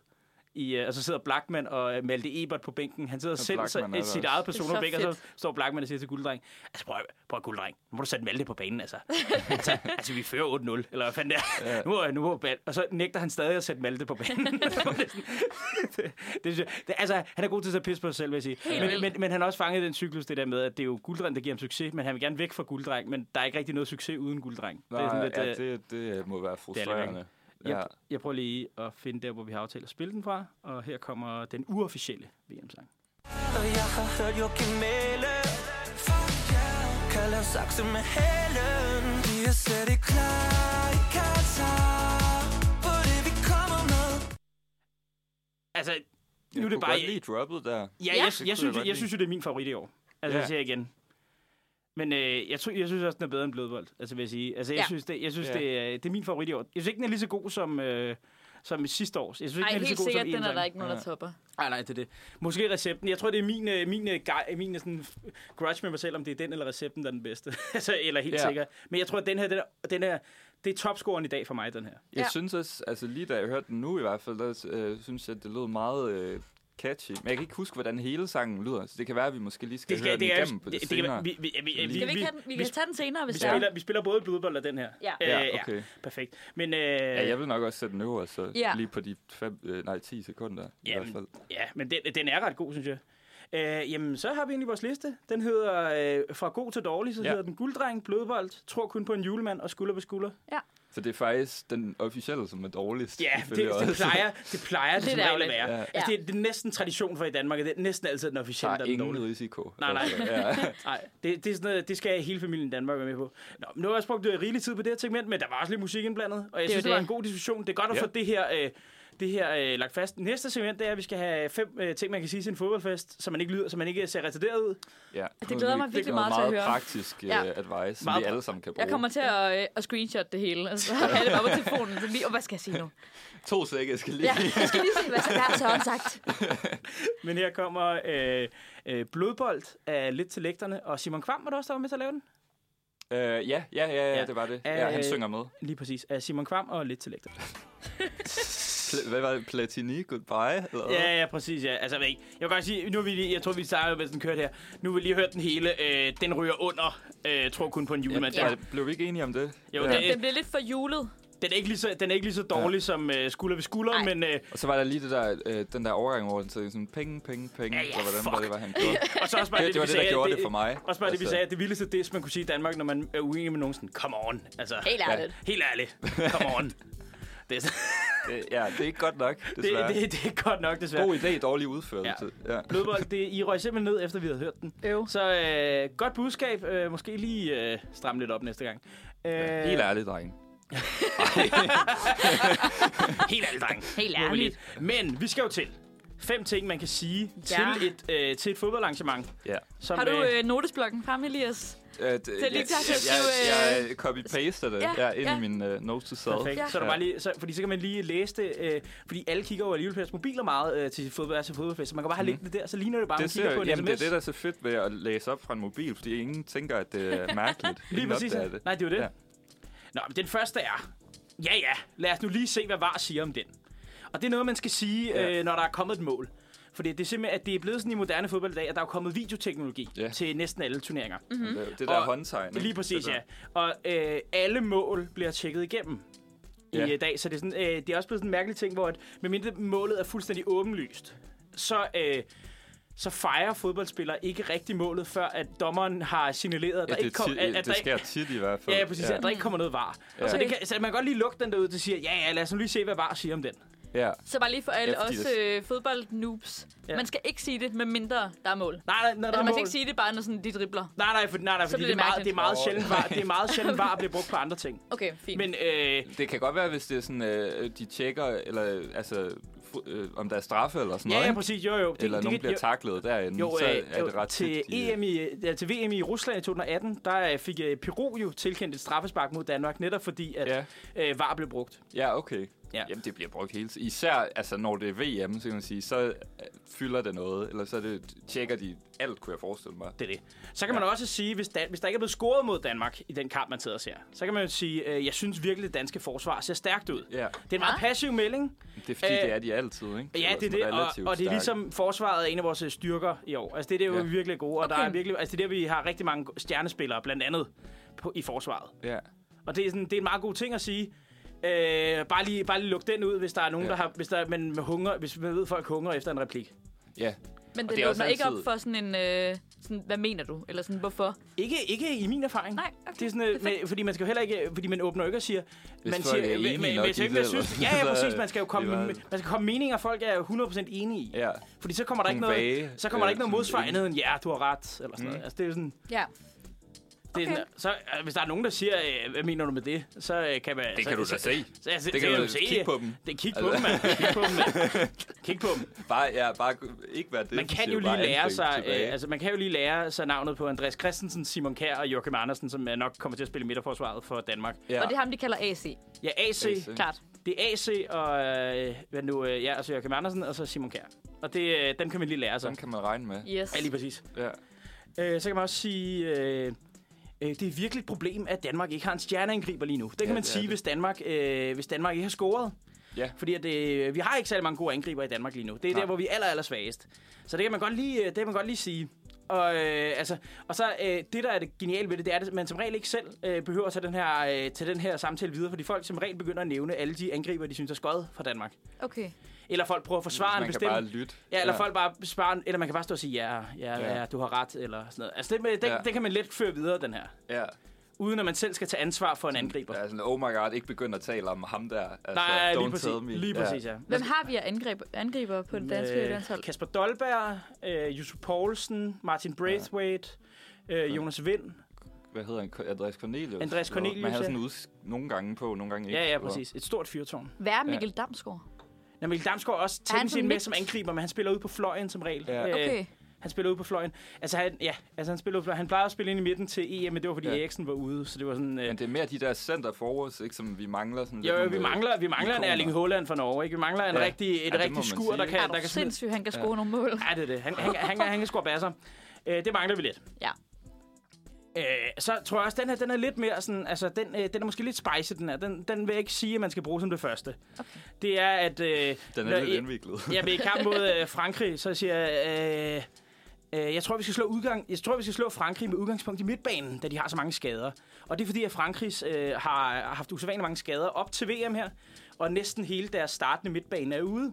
I, øh, og så sidder Blackman og øh, Malte Ebert på bænken. Han sidder selv så, Blachman er der sit også. eget Det person er på så bænken, og så fedt. står Blackman og siger til gulddreng, altså prøv, at- prøv at, gulddreng, nu må du sætte Malte på banen, [LAUGHS] altså. altså, altså vi fører 8-0, eller hvad fanden det er. Ja. Nu, er- nu er Bal- og så nægter han stadig at sætte Malte på [LAUGHS] banen. det, er sådan- det, det, synes jeg- det, altså, han er god til at pisse på sig selv, vil jeg sige. Men, vildt. men, men, han har også fanget den cyklus, det der med, at det er jo gulddreng, der giver ham succes, men han vil gerne væk fra gulddreng, men der er ikke rigtig noget succes uden gulddreng. Nej, det, er sådan lidt, øh, ja, det, det må være lidt frustrerende. jeg, Ja. jeg prøver lige at finde der, hvor vi har aftalt at spille den fra, og her kommer den uofficielle VM-sang. Og jeg har hørt Joachim Mæle Fuck yeah Kan lave sakse med hælen Vi er slet ikke klar i Katar På det vi kommer med Altså, nu Nu er er det bare bare... lige Ja, droppet der. jeg, Ja. jeg, Det kunne jeg, jeg synes, godt jeg, lide. synes jo, det er min favorit i år. Ja. Altså, ja. jeg siger igen. Men øh, jeg, tror, jeg synes også, den er bedre end Blodvold, altså vil jeg sige. Altså, jeg Ja. synes, det, jeg synes Ja. det, er, det er min favorit i år. Jeg synes ikke, den er lige så god som... Øh, som sidste års. Jeg synes ikke, Ej, den er lige helt så god sikkert, som den er EM-sangen. der ikke nogen, der topper. Nej, nej, det er det. Måske recepten. Jeg tror, det er min, øh, min, øh, gej- min øh, sådan, grudge med mig selv, om det er den eller recepten, der er den bedste. [LAUGHS] altså, eller helt Ja. ja. sikkert. Men jeg tror, at den her, den er, den er, det er topscoren i dag for mig, den her. Jeg Ja. synes også, altså lige da jeg hørte den nu i hvert fald, der øh, synes jeg, at det lød meget øh, catchy. Men jeg kan ikke huske, hvordan hele sangen lyder, så det kan være, at vi måske lige skal, høre den er- igennem på det, kan- senere. vi, vi, vi, vi, Skal vi ikke have den? Vi vi, kan tage den senere, vi, hvis det er. spiller, vi spiller både blodbold og den her. Ja. Øh, Ja, okay. Perfekt. Men, øh, Ja, jeg vil nok også sætte den øver, så Ja. lige på de fem, øh, nej, 10 sekunder i hvert jamen, fald. ja, men den, den er ret god, synes jeg. Øh, jamen, så har vi egentlig vores liste. Den hedder øh, Fra god til dårlig, så Ja. hedder den Gulddreng, Blodbold, Tror kun på en julemand og Skulder ved skulder. Så det er faktisk den officielle, som er dårligst. Ja, det, ifølge det, os. plejer, det plejer det Lidt som regel at ærgerligt. være. Ja. Ja. Altså, det, er, det er næsten tradition for i Danmark, at det er næsten altid den Der officielle, er der er den dårlige. ingen risiko. Nej, nej. Altså, ja. [LAUGHS] Nej, det, det, er sådan noget, det skal hele familien i Danmark være med på. Nå, men nu har jeg også brugt øh, rigelig tid på det her segment, men der var også lidt musik indblandet, og jeg er synes, jo det var det. en god diskussion. Det er godt at Ja. få det her, øh, det her øh, lagt fast. Næste segment, det er, at vi skal have fem øh, ting, man kan sige til en fodboldfest, så man ikke lyder, så man ikke ser retarderet ud. Ja. Det glæder mig virkelig meget til at meget høre. praktisk ja. Ja. advice, som Meget vi pra- alle sammen kan bruge. Jeg kommer til at, øh, at screenshot det hele, og så har jeg det bare på telefonen. Så lige, og hvad skal jeg sige nu? To sække, jeg skal lige... Ja, jeg skal lige sige, hvad jeg har Søren sagt. Men her kommer øh, øh, Blodbold af Lidt til Lægterne, og Simon Kvam var det også, der var med til at lave den? Ja. [LAUGHS] Øh, ja, ja, ja, ja, Ja. det var det. Ja, han Øh, synger med. Lige præcis, af Simon Kvam og Lidt til Lægterne. Pl- hvad var det? Platini, goodbye? Eller hvad? Ja, ja, præcis, ja. Altså, jeg, ved ikke. jeg vil godt sige, nu er vi lige, jeg tror, vi starter med sådan kørt her. Nu har vi lige hørt den hele, øh, den ryger under, øh, tror kun på en julemand. ja. Ja. var- Blev vi ikke enige om det? Jo, ja. det- [LAUGHS] Den bliver lidt for julet. Den, er ikke lige så, den er ikke lige så dårlig ja. som øh, skulder ved skulder, Ej. men... Øh, Og så var der lige det der, øh, den der overgang, hvor han sagde sådan, penge, penge, penge, Ja, ja, og hvordan var fuck. det, hvad han gjorde. og så [LAUGHS] også bare Det- det var vi det, der sagde, gjorde at det for mig. Også bare det, vi Altså. sagde, at det vildeste det, man kunne sige i Danmark, når man er uenig med nogen sådan, come on. Altså, Helt ærligt. [LAUGHS] helt ærligt, come on. Det er sådan, Det, ja, det er ikke godt nok, Det, desværre. Det, det, det er godt nok, desværre. God idé, dårlig udførelse. Ja. ja. Blødbold, det, I røg simpelthen ned, efter vi havde hørt den. Øv. Så øh, godt budskab. Øh, måske lige øh, stramme lidt op næste gang. Øh, Helt ærligt, dreng. Helt ærligt, dreng. Helt Nu er vi ærligt. lidt. Men vi skal jo til fem ting, man kan sige ja. til, et, øh, til et fodboldarrangement. Ja. Som, Har du øh, øh, notesblokken frem, Elias? Øh, det, er lige til at skrive, jeg, jeg, jeg copy-paster det Ja, ja, ja, ind ja. i min uh, notes to self. Perfekt. Ja. Ja. Så, er der bare lige, så, fordi så kan man lige læse det, øh, fordi alle kigger jo alligevel på deres mobiler meget øh, til fodbold, til fodboldfest, så man kan bare have liggende der, så ligner det bare, at man Mhm. Det, ser, kigger på en jamen, det er sms. det, der er så fedt ved at læse op fra en mobil, fordi ingen tænker, at det [LAUGHS] er mærkeligt. Lige Ingen præcis. opdager Det. Nej, det er jo det. Ja. Ja. Nå, men den første er... Ja, ja. Lad os nu lige se, hvad VAR siger om den. Og det er noget, man skal sige, ja. Ja. øh, når der er kommet et mål. Fordi det er simpelthen, at det er blevet sådan i moderne fodbold i dag, at der er jo kommet videoteknologi ja. Ja. til næsten alle turneringer. Mm-hmm. Det, det der Og- håndtegn. ikke? Lige præcis, Det ja. der. Og øh, alle mål bliver tjekket igennem Ja. i øh, dag, så det er, sådan, øh, det er også blevet sådan en mærkelig ting, hvor at, medmindre målet er fuldstændig åbenlyst, så, øh, så fejrer fodboldspillere ikke rigtig målet, før at dommeren har signaleret, at Ja, der det, ikke kom, ti- at, at der det ikke- sker tit i hvert fald. Ja, ja præcis. Ja. At der ikke kommer noget var. Ja. Ja. Så, det kan, så man kan godt lige lukke den derude, der siger, ja, ja, lad os nu lige se, hvad var siger om den. Ja. Så bare lige for alle Ja, fordi os det- øh, fodboldnoobs. Ja. Ja. Man skal ikke sige det, med mindre der er mål. Nej, nej, nej, der Altså, er man skal mål. ikke sige det bare, når sådan, de dribler. Nej, nej, for, nej, nej, fordi det bliver er, meget, det det mærkeligt. er meget sjældent var, det er meget sjældent var at blive brugt på andre ting. Okay, fint. Men øh, Det kan godt være, hvis det er sådan, øh, de tjekker, eller øh, altså, fu- øh, om der er straffe eller sådan ja, noget. ja, ikke? præcis, jo, jo. Det, Eller det, nogen kan- bliver taklet derinde, jo, så øh, er jo, det ret til, E tit, de- EM i, ja, til VM i Rusland i 2018, der øh, fik øh, Peru jo tilkendt et straffespark mod Danmark, netop fordi, at Ja. øh, VAR blev brugt. Ja, okay. Ja. Ja. Jamen, det bliver brugt hele tiden. Især altså, når det er VM, så kan man sige, så øh, fylder det noget. Eller så er det, tjekker de alt, kunne jeg forestille mig. Det er det. Så kan man også sige, hvis, Dan- hvis der ikke er blevet scoret mod Danmark i den kamp, man sidder og ser, så kan man jo sige, øh, jeg synes virkelig, det danske forsvar ser stærkt ud. Ja. Det er en meget passiv melding, Det er fordi, Øh, det er de altid, ikke? Ja, Eller det er sådan det, og, relativt og det er stærke. ligesom forsvaret er en af vores øh, styrker i år. Altså, det er det jo Ja. ja. virkelig gode, og okay. der Okay. er virkelig, altså, det er der, vi har rigtig mange stjernespillere, blandt andet på, i forsvaret. Ja. Og det er, sådan, det er en meget god ting at sige. Øh, bare lige, bare lige luk den ud, hvis der er nogen, ja. Ja. der har... Hvis der, men med hunger, hvis man ved, folk hungrer efter en replik. ja. Men det det, er det også åbner ikke op altid- for sådan en, øh, sådan, hvad mener du? Eller sådan, hvorfor? Ikke, ikke i min erfaring. Nej, okay. Det er sådan, øh, med, fordi man skal jo heller ikke, øh, fordi man åbner jo ikke og siger, Hvis man folk er siger, enige nok hvis i ikke det, man synes, ja, eller- [LAUGHS] ja, så, præcis, man skal jo øh, komme, det er med, bare- man skal komme med meninger, folk er 100% enige i. ja. Fordi så kommer der ikke Nogle noget, vage, så kommer der øh, ikke noget sådan modsvar en- andet end, ja, du har ret, eller sådan Mm. noget. Altså, det er jo sådan, Ja. det er Okay. sådan så øh, hvis der er nogen, der siger, øh, hvad mener du med det, så øh, kan man... Det så, kan du så, da se. Så, så, Det kan du da kigge på dem. Det, kig på Altså. dem, mand. [LAUGHS] Kig på dem, mand. Kig på dem. Bare, ja, bare ikke være det. Man kan jo lige lære sig, øh, altså man kan jo lige lære sig navnet på Andreas Christensen, Simon Kjær og Joachim Andersen, som øh, nok kommer til at spille i midterforsvaret for Danmark. ja. Og det er ham, de kalder AC. Ja, AC, AC. AC. Klart. det er AC og øh, hvad nu, øh, ja, altså Joachim Andersen og så Simon Kjær. Og det, øh, dem kan man lige lære sig. Sådan kan man regne med. Yes. Ja, lige præcis. Ja. Øh, så kan man også sige, øh, øh, det er virkelig et problem, at Danmark ikke har en stjerneangriber lige nu. Det kan man det er sige, det. hvis Danmark, øh, hvis Danmark ikke har scoret. Ja. Fordi at, øh, vi har ikke særlig mange gode angriber i Danmark lige nu. Det er Nej. Nej. der, hvor vi er aller, aller svagest. Så det kan man godt lige, øh, det kan man godt lige sige. Og, øh, altså, og så øh, det, der er det geniale ved det, det er, at man som regel ikke selv øh, behøver at tage den, her, øh, tage den her samtale videre, fordi folk som regel begynder at nævne alle de angriber, de synes er skøjet fra Danmark. Okay. Eller folk prøver at forsvare en Man kan bestemt... bare lytte. Ja, eller ja. folk bare sparer, eller man kan bare stå og sige, ja, ja, ja, Ja. ja du har ret, eller sådan noget. Altså, det, med, det, ja. Ja. det kan man let føre videre, den her. Ja. Uden at man selv skal tage ansvar for en angriber. Ja, Ja, sådan, oh my god, ikke begynde at tale om ham der. Altså, Nej, don't lige tell me. præcis, lige præcis, ja. Hvem har vi af angriber, angriber på det danske øh, landshold? Kasper Dolberg, øh, Jusuf Poulsen, Martin Braithwaite, øh, Jonas Vind. Hvad hedder han? Ko- Andreas Cornelius. Andreas Jo, Cornelius, Man havde ja. sådan ud nogle gange på, nogle gange ikke. Ja, ja, Hvor- præcis. Et stort fyrtårn. Hvad er Mikkel Damsgaard? Nå, Mikkel Damsgaard er også Er han teknisk set sådan med lidt- som angriber, men han spiller ud på fløjen som regel. Ja. Øh, Okay. Han spiller ud på fløjen. Altså, han, ja, altså, han, spiller ud på fløjen. han plejede at spille ind i midten til EM, men det var, fordi Ja. ja. Eriksen var ude, så det var sådan... Øh, Men det er mere de der center forwards, ikke, som vi mangler. Sådan Jo, jo, nogle, vi øh, mangler, vi mangler en ikoner. Erling Haaland fra Norge, ikke? Vi mangler en Ja. ja. rigtig, Ja, et det må rigtig man skur, sige, der ikke? kan... Er Der du kan smide- sindssyg, han kan score nogle mål? Ja, det er det. Han, han, han, han, han kan score basser. Øh, det mangler vi lidt. Ja. Øh, så tror jeg også, den her, den er lidt mere sådan, altså den, øh, den er måske lidt spicy, den her. Den, den vil jeg ikke sige, at man skal bruge som det første. Okay. Det er, at... Øh, Den når er lidt I- [LAUGHS] indviklet. Jamen, i kamp mod øh, Frankrig, så siger jeg... Øh, øh, jeg tror, vi skal slå udgang. Jeg tror, vi skal slå Frankrig med udgangspunkt i midtbanen, da de har så mange skader. Og det er fordi, at Frankrig øh, har har haft usædvanligt mange skader op til VM her, og næsten hele deres startende midtbane er ude.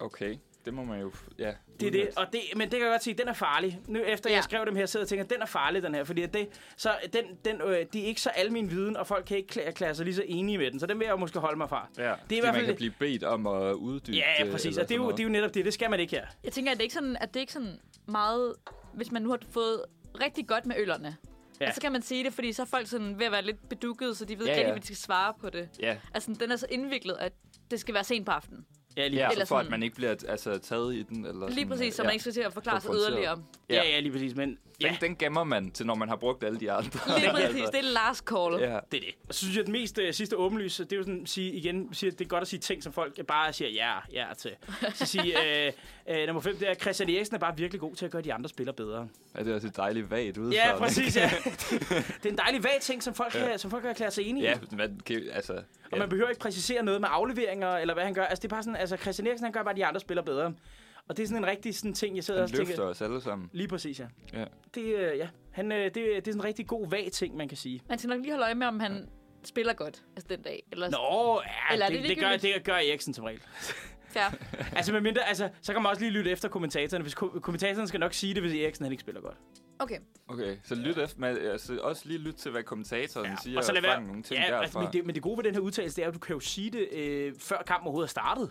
Okay. det må man jo... Ja, Det er det, og det, men det kan jeg godt sige, den er farlig. Nu efter ja. Ja. jeg skrev dem her, sidder jeg og tænker, den er farlig, den her. Fordi at det, så den, den, øh, det er ikke så al min viden, og folk kan ikke klæ- erklære sig lige så enige med den. Så den vil jeg jo måske holde mig fra. Ja, det er i man hvert fald... kan blive bedt om at uddybe ja, det, præcis. eller Og det er, sådan jo, det er jo netop det. Det skal man ikke her. Jeg tænker, at det ikke sådan, at det ikke sådan meget... Hvis man nu har fået rigtig godt med øllerne, Ja. ja. og så kan man sige det, fordi så er folk sådan ved at være lidt bedukket, så de ved Ja, ikke rigtig, ja. hvad de skal svare på det. noget. Ja, Altså, den er så indviklet, at det skal være sent på aftenen. Ja, lige, ja Eller så for at sådan- man ikke bliver altså, taget i den. Eller Lige sådan, præcis, så ja. man ikke skal til at forklare sig Konfronteret. yderligere. ja. ja, ja, lige præcis. Men ja, Den, den gemmer man til, når man har brugt alle de andre. Lige præcis, det er last call. [LAUGHS] Ja. det er det. Og så synes jeg, at den mest øh, sidste åbenlyse, det er jo sådan at sige igen, siger, at det er godt at sige ting, som folk bare siger ja, ja til. Så sige, øh, øh, nummer fem, det er, at Christian Eriksen er bare virkelig god til at gøre de andre spillere bedre. ja, det er også et dejligt vagt udfald. Ja, [LAUGHS] præcis, ja. Det er en dejlig vag ting, som folk, ja. kan, som folk kan erklære sig enige i. Ja, man kan, altså... Ja. Og man behøver ikke præcisere noget med afleveringer, eller hvad han gør. Altså, det er bare sådan, altså, Christian Eriksen, han gør bare, at de andre spiller bedre. Og det er sådan en rigtig sådan ting, jeg sidder og han løfter tænker... os alle sammen. Lige præcis, ja. Ja. Det, øh, ja. Han, øh, det, det er sådan en rigtig god vag ting, man kan sige. Man skal nok lige holde øje med, om han spiller godt altså den dag. Eller Nå, ja, Eller er det, det, det det, gør, ligegyldigt? det gør Eriksen som regel. fair. altså, med mindre, altså, så kan man også lige lytte efter kommentatorerne. Hvis ko- kommentatorerne skal nok sige det, hvis Eriksen han ikke spiller godt. Okay. Okay, så lyt efter, man, altså, også lige lyt til, hvad kommentatoren ja. siger, og, fang lad være- nogle ting ja, derfra. altså, men, det, men det gode ved den her udtalelse, det er, at du kan jo sige det, øh, før kampen overhovedet er startet.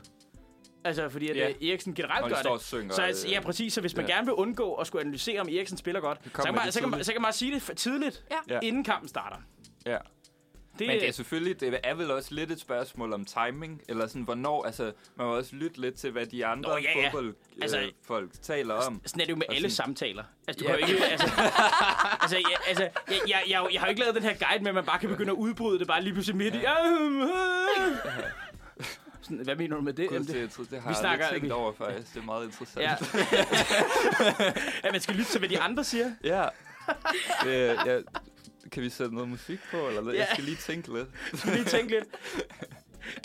Altså, fordi at, Ja. øh, Eriksen generelt Og de gør står og det. synger, så altså, øh, ja, præcis. Så hvis man ja. gerne vil undgå at skulle analysere, om Eriksen spiller godt, så kommer kan, det man, så, kan man, tidligt. så kan man sige det for tidligt, Ja. Ja. inden kampen starter. ja. Det, Men det er selvfølgelig, det er vel også lidt et spørgsmål om timing, eller sådan, hvornår, altså, man må også lytte lidt til, hvad de andre Nå, ja, ja. fodboldfolk Altså- altså, øh, folk taler om. sådan er det jo med alle sådan- samtaler. Altså, du Ja. [LAUGHS] kan jo ikke... Altså, altså, jeg, altså jeg, jeg, jeg, jeg har jo ikke lavet den her guide med, at man bare kan begynde at udbryde det bare lige pludselig midt i. Sådan, hvad mener du med det? Gud, Jamen, det det, det, det har altså, vi jeg snakker- lidt tænkt vi- over, faktisk. Det er meget interessant. ja. [LAUGHS] ja, man skal lytte til, hvad de andre siger. [LAUGHS] ja. Øh, ja. Kan vi sætte noget musik på, eller hvad? Jeg Ja. skal lige tænke lidt. Skal vi lige tænke lidt.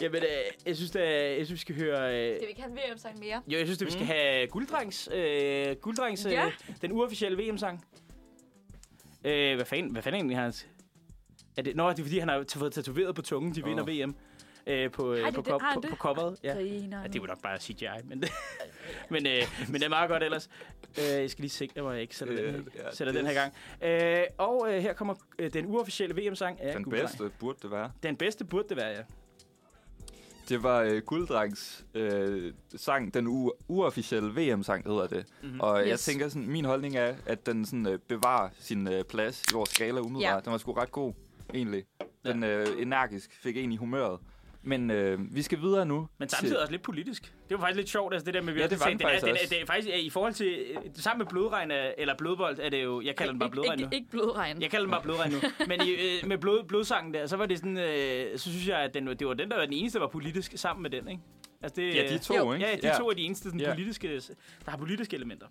Jamen, øh, jeg synes, da, jeg synes, vi skal høre... Øh, Skal vi ikke have en VM-sang mere? jo, jeg synes, at vi skal have Gulddrengs, øh, Gulddrengs øh, Ja. den uofficielle VM-sang. Øh, hvad fanden, hvad fanden egentlig har han... Er det, nå, det er fordi, han har t- fået tatoveret på tungen, de vinder Åh. VM. Øh, på, øh, Har de på, det? kop, Har han på, det? på coveret. Ja. Så I, Ja, det var nok bare CGI, men, [LAUGHS] men, øh, men det er meget godt ellers. Øh, jeg skal lige sikre mig, at jeg ikke sætter, Øh, den, her, ja, sætter det- den her gang. Øh, og øh, her kommer øh, den uofficielle VM-sang af Den Gulddreng. bedste burde det være. Den bedste burde det være, ja. Det var øh, Gulddrengs øh, sang, den u- uofficielle VM-sang hedder det. Mhm. Mm-hmm. Og yes. jeg Yes. tænker, sådan, min holdning er, at den sådan, øh, bevarer sin øh, plads i vores skala umiddelbart. Ja. Den var sgu ret god, egentlig. Den øh, energisk fik en i humøret. Men øh, vi skal videre nu. Men til- samtidig også lidt politisk. Det var faktisk lidt sjovt, altså det der med... Ja, det var den den er, faktisk den er, også. det er faktisk øh, i forhold til... øh, Sammen med blodregn, er- eller blodbold, er det jo... Jeg kalder den bare blodregn ikke, nu. ikke, ikke blodregn. Mm. Jeg kalder den bare blodregn nu. Men i, øh, med blod, blodsangen der, så var det sådan... Øh, så synes jeg, at den, det var den, der var den eneste, der var politisk sammen med den, ikke? Altså det, Ja, de øh, to, Jo. ikke? Ja, de to er de eneste sådan, Ja. politiske, der har politiske elementer.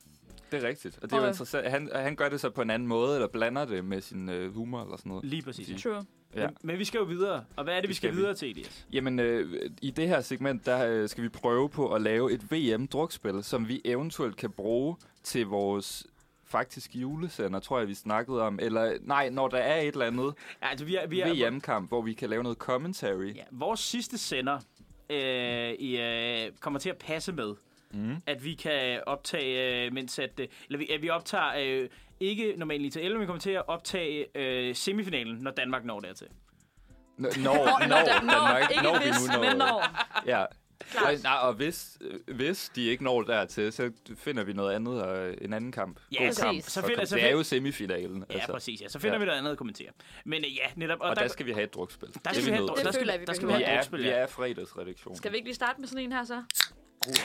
Det er rigtigt. Og det er jo Og- interessant. Han, han gør det så på en anden måde, eller blander det med sin øh, humor eller sådan noget. Lige præcis. Ja. True. Ja. Men, men vi skal jo videre. Og hvad er det, vi Det skal, skal vi. videre til, Elias? Jamen, øh, i det her segment, der øh, skal vi prøve på at lave et VM-drukspil, som vi eventuelt kan bruge til vores faktisk julesender, tror jeg, vi snakkede om. Eller nej, når der er et eller andet Ja, altså, vi er, vi er, VM-kamp, hvor vi kan lave noget commentary. Ja, vores sidste sender øh, i, øh, kommer til at passe med, mm. at vi kan optage, øh, mens at, øh, eller vi, at vi optager øh, ikke normalt til 11, men vi kommer til at optage øh, semifinalen, når Danmark når dertil. N- når, når, Danmark- ikke når vi hvis, nu når. men når. Ja. Og, nej, og hvis, øh, hvis de ikke når dertil, så finder vi noget andet, og en anden kamp. Ja, God præcis. kamp. Så Og finder- kom- så det er find- jo semifinalen. Ja, altså, præcis. Ja. Så finder ja. ja. vi noget andet at kommentere. Men øh, ja, netop. Og der skal vi have et drukspil. der Det skal vi er have nødt et- til. der skal, føler jeg, vi der skal vi behøver. have vi et er, drukspil, vi ja. er fredagsredaktion. Skal vi ikke lige starte med sådan en her så?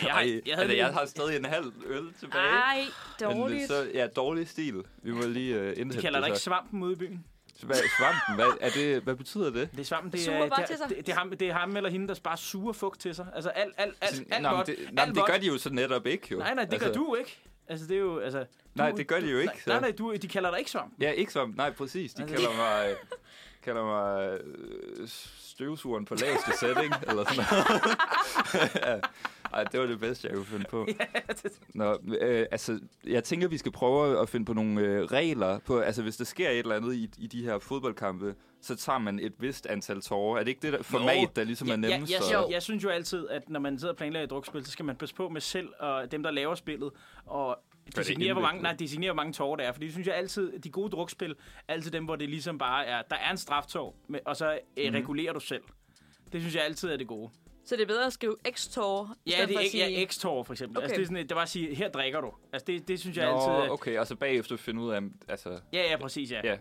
Jeg, Ej, har- jeg havde altså, jeg lige, har stadig en halv øl tilbage. Nej, Men dårligt. det er så, ja, dårlig stil. Vi må lige uh, indhente de kalder dig det ikke så. svampen ude i byen. Hvad, svampen, hvad, er det, hvad betyder det? Det er svampen, det Suger er, bare det, til er, sig. det, det, er ham, det er ham eller hende, der bare suger fugt til sig. Altså alt, alt, alt, alt, Nå, men godt. det, alt nej, men det godt. gør de jo så netop ikke, jo. Nej, nej, det altså, gør du ikke. Altså, det er jo, altså... Du, Nej, det gør de jo ikke, Nej, nej, så. nej du, de kalder dig ikke svamp. Ja, ikke svamp. Nej, præcis. De Altså- kalder mig... øh, kalder mig øh, støvsugeren på laveste setting, eller sådan noget. [LAUGHS] Ja. Ej, det var det bedste, jeg kunne finde på. Nå, øh, altså, jeg tænker, vi skal prøve at finde på nogle øh, regler. På, altså, hvis der sker et eller andet i, i de her fodboldkampe, så tager man et vist antal tårer. Er det ikke det der format, der ligesom er Ja, nemmest? ja, at- jeg, jeg synes jo altid, at når man sidder og planlægger et drukspil, så skal man passe på med selv og dem, der laver spillet, og designere, hvor mange, indviklet? nej, designere, hvor mange tårer der er. Fordi det synes jeg altid, de gode drukspil er altid dem, hvor det ligesom bare er, der er en straftår, men- og så Mhm. øh, regulerer du selv. Det synes jeg altid er det gode. Så det er bedre at skrive X-tår, i Ja, stedet det for er at ikke sige... ja, X-tår, for eksempel. Okay. Altså, Okay. det er sådan, et- det var at sige, her drikker du. Altså, det, det synes jeg Nå, altid... er- okay, og så bagefter finde ud af, altså... Ja, ja, præcis, ja. Ja.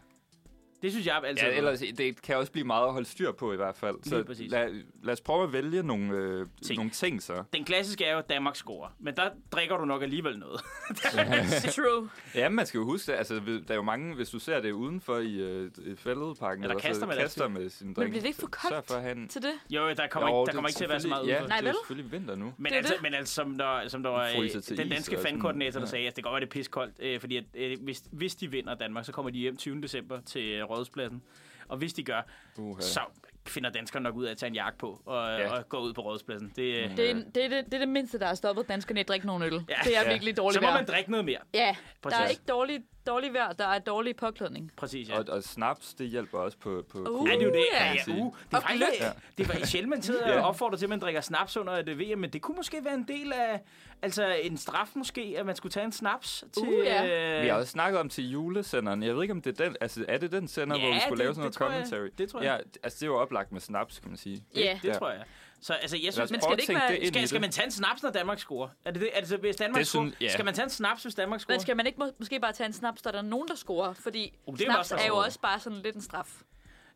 Det synes jeg altid. Ja, ellers, det kan også blive meget at holde styr på i hvert fald. Lige Så præcis. lad, lad os prøve at vælge nogle, øh, ting. Ting. nogle ting så. Den klassiske er jo, at Danmark scorer. Men der drikker du nok alligevel noget. [LAUGHS] [LAUGHS] True. Ja, man skal jo huske, det. altså, ved- der er jo mange, hvis du ser det udenfor i, øh, i fældeparken, Eller kaster med så deres kaster med sin drink. bliver det ikke for koldt Sørg for at han... Til det. Jo, der kommer Jo, ikke, der det kommer ikke til at være så meget selvfølgelig- udenfor. Ja, Nej, det er vel? jo selvfølgelig vinter nu. Men Det er altså, det. men altså, som der, som der var fryser til øh, den is danske og sådan. fankoordinator, der Ja. sagde, at det kan godt være, det er piskoldt, øh, fordi at, øh, hvis, hvis de vinder Danmark, så kommer de hjem 20. december til øh, Rådspladsen. Og hvis de gør, Uha. så finder danskerne nok ud af at tage en jakke på og, Ja. Mm. ja. og gå ud på Rådspladsen. Det, øh, Det er, det, er det, det er det mindste, der har stoppet danskerne i at drikke nogen øl. Ja, det er ja. virkelig dårligt så må vejr. man drikke noget mere. Ja, der er Præcis. ikke dårlig, dårlig vejr, der er dårlig påklædning. Præcis, ja. Og, og snaps, det hjælper også på... på Uh. kulden. Ja, det er jo det. ja. Ja, ja, uh, det er Og faktisk, gløgg. ja. det var sjældent, man sidder Ja. og opfordrer til, at man drikker snaps under et øh, VM, men det kunne måske være en del af, altså en straf måske, at man skulle tage en snaps til... Uh, ja. øh, Vi har også snakket om til julesenderen. Jeg ved ikke, om det er den, altså, er det den sender, Ja, hvor vi skulle det- lave sådan det noget tror jeg. commentary? Det tror jeg. Ja, altså, det er jo oplagt med snaps, kan man sige. Ja. Det Ja. tror jeg. Så altså, jeg Lad synes, os Men prøve skal at det ikke tænke være- det ind i Skal, skal det. man tage en snaps, når Danmark scorer? Er det det? Er det så, hvis Danmark Det scorer? synes- ja. Skal man tage en snaps, hvis Danmark scorer? Men skal man ikke må, måske bare tage en snaps, der er nogen, der scorer? Fordi Uh, det er snaps også der er jo scorer. også bare sådan lidt en straf.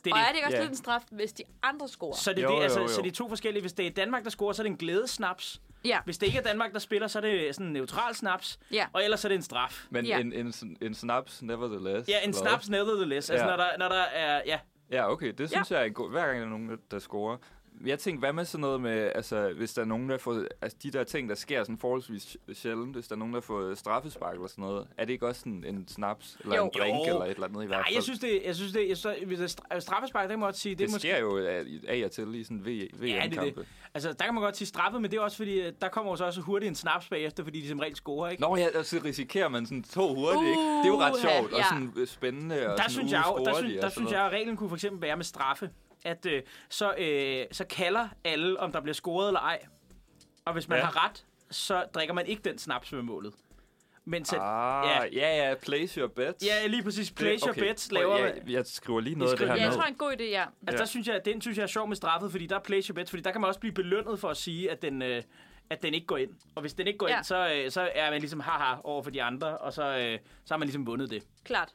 det Og det. er det ikke også Ja. lidt en straf, hvis de andre scorer? Så det, er Jo, det, jo, altså, jo. så det er to forskellige. Hvis det er Danmark, der scorer, så er det en glædesnaps. Ja, Hvis det ikke er Danmark, der spiller, så er det sådan en neutral snaps. Ja. Og ellers er det en straf. Men Ja. en, en, en, en snaps, nevertheless. Ja, en eller snaps nevertheless. Altså, Ja. ja. når, der, når der er... Ja, Ja, okay. Det synes ja. jeg er en god... Hver gang der er nogen, der- der scorer. Jeg tænkte, hvad med sådan noget med, altså, hvis der er nogen, der får... Altså, de der ting, der sker sådan forholdsvis sj- sjældent, hvis der er nogen, der får straffespark eller sådan noget, er det ikke også sådan en snaps eller Jo. en drink Jo. eller et eller andet i hvert Nej, fald? jeg synes det, jeg synes det, jeg synes, hvis det er straffespark, det må jeg godt sige, det, det, er det måske, sker jo af, af og til i sådan v- Ja, det er VM-kampe. det. Altså, der kan man godt sige straffet, men det er også fordi, øh, der kommer jo så også hurtigt en snaps bagefter, fordi de som regel scorer, ikke? Nå ja, og så risikerer man sådan to hurtigt, ikke? Det er jo ret Uha, sjovt og ja. sådan øh, spændende. Og der sådan, synes uh, jeg, scorer jo, der, de synes, og der sådan synes noget. jeg, at reglen kunne for eksempel være med straffe, at øh, så, øh, så kalder alle, om der bliver scoret eller ej. Og hvis man Ja. ja. har ret, så drikker man ikke den snaps med målet. Men så, Ah, ja, ja, place your bets. ja, lige præcis, place okay. your bets laver... Jeg, jeg skriver lige noget af det skriver- her ja jeg ned. tror, en god idé, ja. Altså, Ja. ja. der synes jeg, den synes jeg er sjov med straffet, fordi der er place your bets, fordi der kan man også blive belønnet for at sige, at den, øh, at den ikke går ind. Og hvis den ikke går Ja. ja. ind, så, øh, så er man ligesom haha over for de andre, og så, øh, så har man ligesom vundet det. Klart.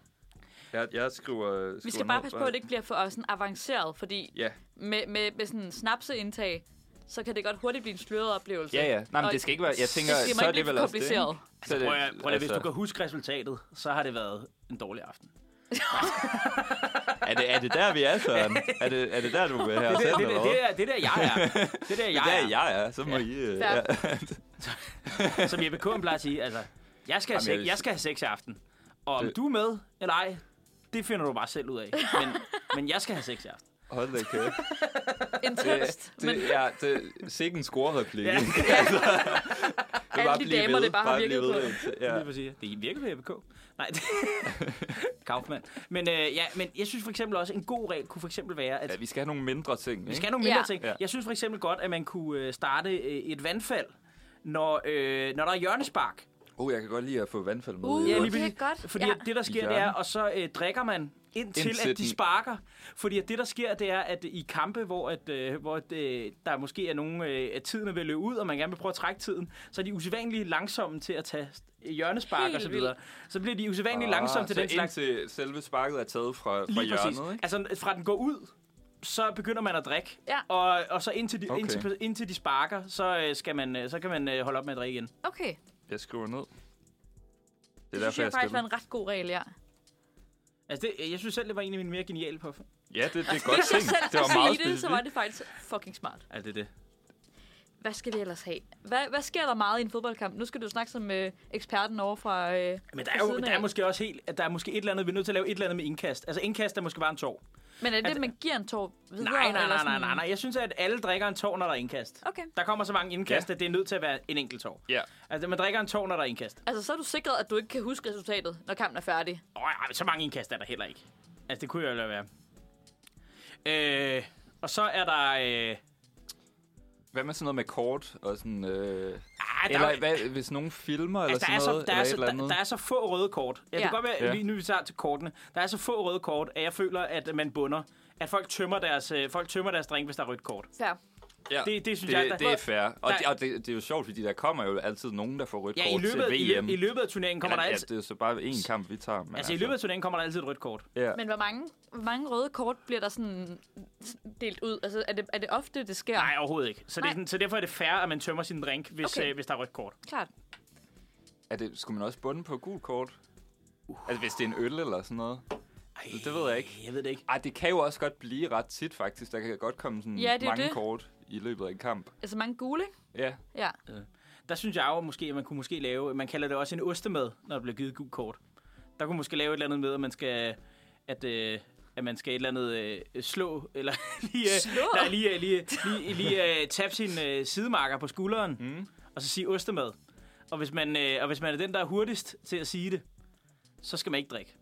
Jeg, jeg skriver, skriver Vi skal bare ned, passe på, hvad- at det ikke bliver for øh, sådan avanceret, fordi Ja, med, med, med sådan en snapseindtag, så kan det godt hurtigt blive en sløret oplevelse. ja, ja. Nej, men Og det skal ikke være... Jeg tænker, det så er det vel vel også det. kompliceret. ikke? Så er det- altså, Prøv at, altså- prøv at, hvis du kan huske resultatet, så har det været en dårlig aften. er, det, er det der, vi er, Søren? Er det, er det der, du vil have os Det, hen, det, det, eller hvad? det, det, er, det er der, jeg er. [LAUGHS] Det er der, Det er jeg jeg er, så må I... øh, Fair. Ja. er. Som Jeppe Kuhn plejer at sige, altså, jeg skal, have Jamen, jeg- sex, jeg skal have sex i aften. Og om Det- du er med eller ej, det finder du bare selv ud af. Men, [LAUGHS] men jeg skal have sex i aften. Hold da kæft. Intenst, Det, men det, ja, det sikke en scorereplik. Ja. [LAUGHS] altså, det er Alle de blive damer, ved, det bare har blive virket ved. Ja. Ja. Det, sige. det virker ved JPK. Nej, det... [LAUGHS] Kaufmann. Men, øh, ja, men jeg synes for eksempel også, en god regel kunne for eksempel være, at ja, vi skal have nogle mindre ting, ikke? Vi skal have nogle mindre Ja. ja. ting. Ja. Jeg synes for eksempel godt, at man kunne øh, starte øh, et vandfald, når, øh, når der er hjørnespark. Oh, jeg kan godt lide at få vandfald med. Uh, i Ja, øvrigt. lige det er præcis. godt. Fordi Ja. ja. det, der sker, Hjørne. det er, og så øh, drikker man indtil, Indtil indtil at den- de sparker. Fordi at det, der sker, det er, at i kampe, hvor, at, øh, hvor at, øh, der måske er nogen, øh, at tiden er ved at løbe ud, og man gerne vil prøve at trække tiden, så er de usædvanligt langsomme til at tage øh, hjørnespark Helt og så videre. Så bliver de usædvanligt Ah, ah, langsomme til så den slags. indtil selve sparket er taget fra, fra Lige præcis. hjørnet, ikke? Altså, fra den går ud, så begynder man at drikke. Ja. Og, og så indtil de, Okay. okay. indtil, indtil de sparker, så, øh, skal man, øh, så kan man øh, holde op med at drikke igen. okay. Jeg skriver ned. Det er Det, synes derfor, jeg jeg faktisk var skriver. en ret god regel, ja. Altså, det, jeg synes selv, det var en af mine mere geniale på. Ja, det, Altså, det er godt Hvis jeg tænkt. selv Det var skulle meget sige det, så var specifikt. det faktisk fucking smart. Er det er det? Hvad skal vi ellers have? Hvad, hvad sker der meget i en fodboldkamp? Nu skal du snakke som øh, eksperten over fra... Øh, Men der fra er jo siden der af. er måske også helt, at der er måske et eller andet, vi er nødt til at lave et eller andet med indkast. Altså indkast er måske bare en tår. Men er det, Altså- man giver en tår videre? Nej, nej, eller nej, sådan- nej, nej, nej. Jeg synes, at alle drikker en tår, når der er indkast. Okay. Der kommer så mange indkast, Ja. at det er nødt til at være en enkelt tår. Ja. Altså, man drikker en tår, når der er indkast. Altså, så er du sikret, at du ikke kan huske resultatet, når kampen er færdig. Åh, oh, så mange indkast er der heller ikke. Altså, det kunne jeg jo lade være. Øh, og så er der... Øh, Hvad med sådan noget med kort og sådan... Øh, ah, der, eller er- hvad, hvis nogen filmer eller altså, der, sådan er så, noget, der, er eller så, et eller der, andet. der er så få røde kort. Ja, ja. Ja. det kan godt være, Ja. lige nu vi tager til kortene. Der er så få røde kort, at jeg føler, at man bunder. At folk tømmer deres, øh, folk tømmer deres drink, hvis der er rødt kort. Fair. ja. det- det synes det, jeg, der- det er fair. Og, der- det, og det, det, er jo sjovt, fordi der kommer jo altid nogen, der får rødt Ja, i kort løbet, til i, VM. løbet- i løbet af turneringen kommer Eller, der ja, altid... det er jo så bare én kamp, vi tager. Men Altså, i løbet af turneringen kommer der altid et rødt kort. ja. Men hvor mange, hvor mange røde kort bliver der sådan delt ud? Altså, er det, er det ofte, det sker? Nej, overhovedet ikke. Så, det er Nej. sådan, så derfor er det fair, at man tømmer sin drink, hvis, Okay. øh, hvis der er rødt kort. Klart. er det, skulle man også bunde på gul kort? Altså, hvis det er en øl eller sådan noget. Altså, Ej, Det ved jeg ikke. Jeg ved det ikke. Ej, det kan jo også godt blive ret tit, faktisk. Der kan godt komme sådan Ja, det er mange det. kort i løbet af en kamp. Altså, mange gule, ikke? Ja, Ja. Der synes jeg jo, måske, at man kunne måske lave... Man kalder det også en ostemad, når der bliver givet gul kort. Der kunne måske lave et eller andet med, at man skal... At, øh, at man skal et eller andet øh, slå, eller [LAUGHS] lige, øh, Slå? Nej, lige, øh, lige, lige, lige øh, tabe sin øh, sidemarker på skulderen, mm. og så sige ostemad. Og hvis, man, øh, og hvis man er den, der er hurtigst til at sige det, så skal man ikke drikke.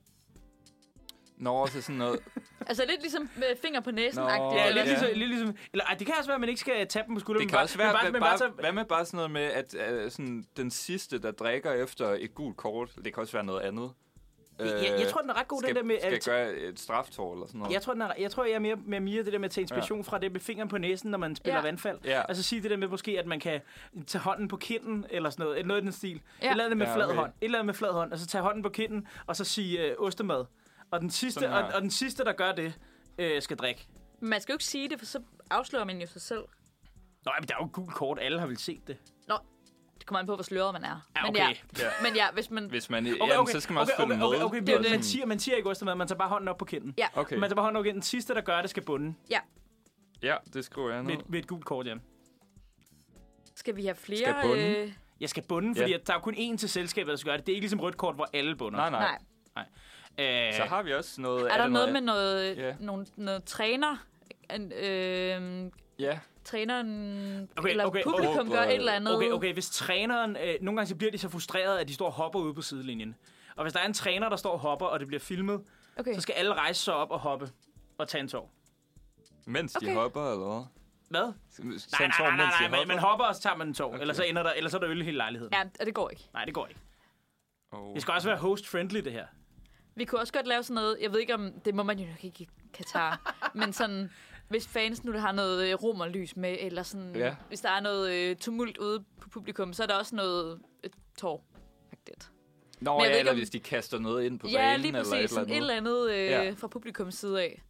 når også sådan noget... Altså, lidt ligesom med finger på næsen-agtigt. Nå, Ja, eller lidt, ja. hvad? Ligesom, lidt ligesom... Eller, ej, det kan også være, at man ikke skal tabe dem på skulderen. Det men kan også men være, bare, men bare, bare, så- hvad med bare sådan noget med, at øh, sådan, den sidste, der drikker efter et gult kort, det kan også være noget andet. Øh, jeg, jeg tror, den er ret god, skal, den der med... Skal at- gøre et straftår eller sådan noget. Jeg tror, den er, jeg tror, jeg er mere med mere det der med at tage inspiration ja. fra det med fingeren på næsen, når man spiller ja. Ja. vandfald. Ja. Altså sige det der med måske, at man kan tage hånden på kinden, eller sådan noget. Noget i den stil. Ja. Ja. Et eller andet med ja, Ja, flad okay. hånd. Et eller andet med flad hånd. Og så tage hånden på kinden, og så sige øh, ostemad. Og den, sidste, Sådan her. og, og den sidste, der gør det, øh, skal drikke. Men Man skal jo ikke sige det, for så afslører man jo sig selv. Nå, men der er jo gul kort. Alle har vel set det. Nå, det kommer an på, hvor sløret man er. Ja, Men okay. ja, men ja hvis man... Hvis man... Okay, okay, jamen, så skal man okay, også følge okay, okay, med. okay, okay, og okay, det. man, siger, man siger ikke ostemad, man tager bare hånden op på kinden. Ja, Okay, Man tager bare hånden op på kinden. Den sidste, der gør det, skal bunde ja. ja, det skriver jeg ned. med, et- med et gult kort, ja. Skal vi have flere... Skal bunden? øh, Jeg skal bunde, fordi Ja. ja. der er kun én til selskabet, der skal gøre det. Det er ikke ligesom rødt kort, hvor alle bunder. Nej, nej. Nej. Øh, Så har vi også noget... Er der det noget med noget, Ja. yeah. nogle, noget træner? En, øh, Ja, træneren Okay, okay, eller okay, okay, publikum okay. gør et eller andet. Okay, okay, hvis træneren... Øh, nogle gange så bliver de så frustrerede, at de står og hopper ude på sidelinjen. Og hvis der er en træner, der står og hopper, og det bliver filmet, okay. så skal alle rejse sig op og hoppe og tage en tår. mens de Okay. hopper eller hvad? Hvad? Så Nej, en tår, nej, nej, mens de nej, nej man, man hopper. hopper, og så tager man en tår. Okay. Eller, så ender der, eller så er der øl i hele lejligheden. Ja. Ja, og det går ikke. Nej, det går ikke. Og- Det skal også være host-friendly, det her. Vi kunne også godt lave sådan noget, jeg ved ikke om, det må man jo nok ikke i [LAUGHS] Katar, men sådan, hvis fans nu har noget øh, romerlys med, eller sådan, Ja. ja. hvis der er noget øh, tumult ude på publikum, så er der også noget øh, tår. Faktisk. Nå Men ja, jeg ved ikke, eller om- hvis de kaster noget ind på Ja, banen lige eller præcis. et Sådan et eller eller andet øh, Ja. ja. fra publikums side af. andet.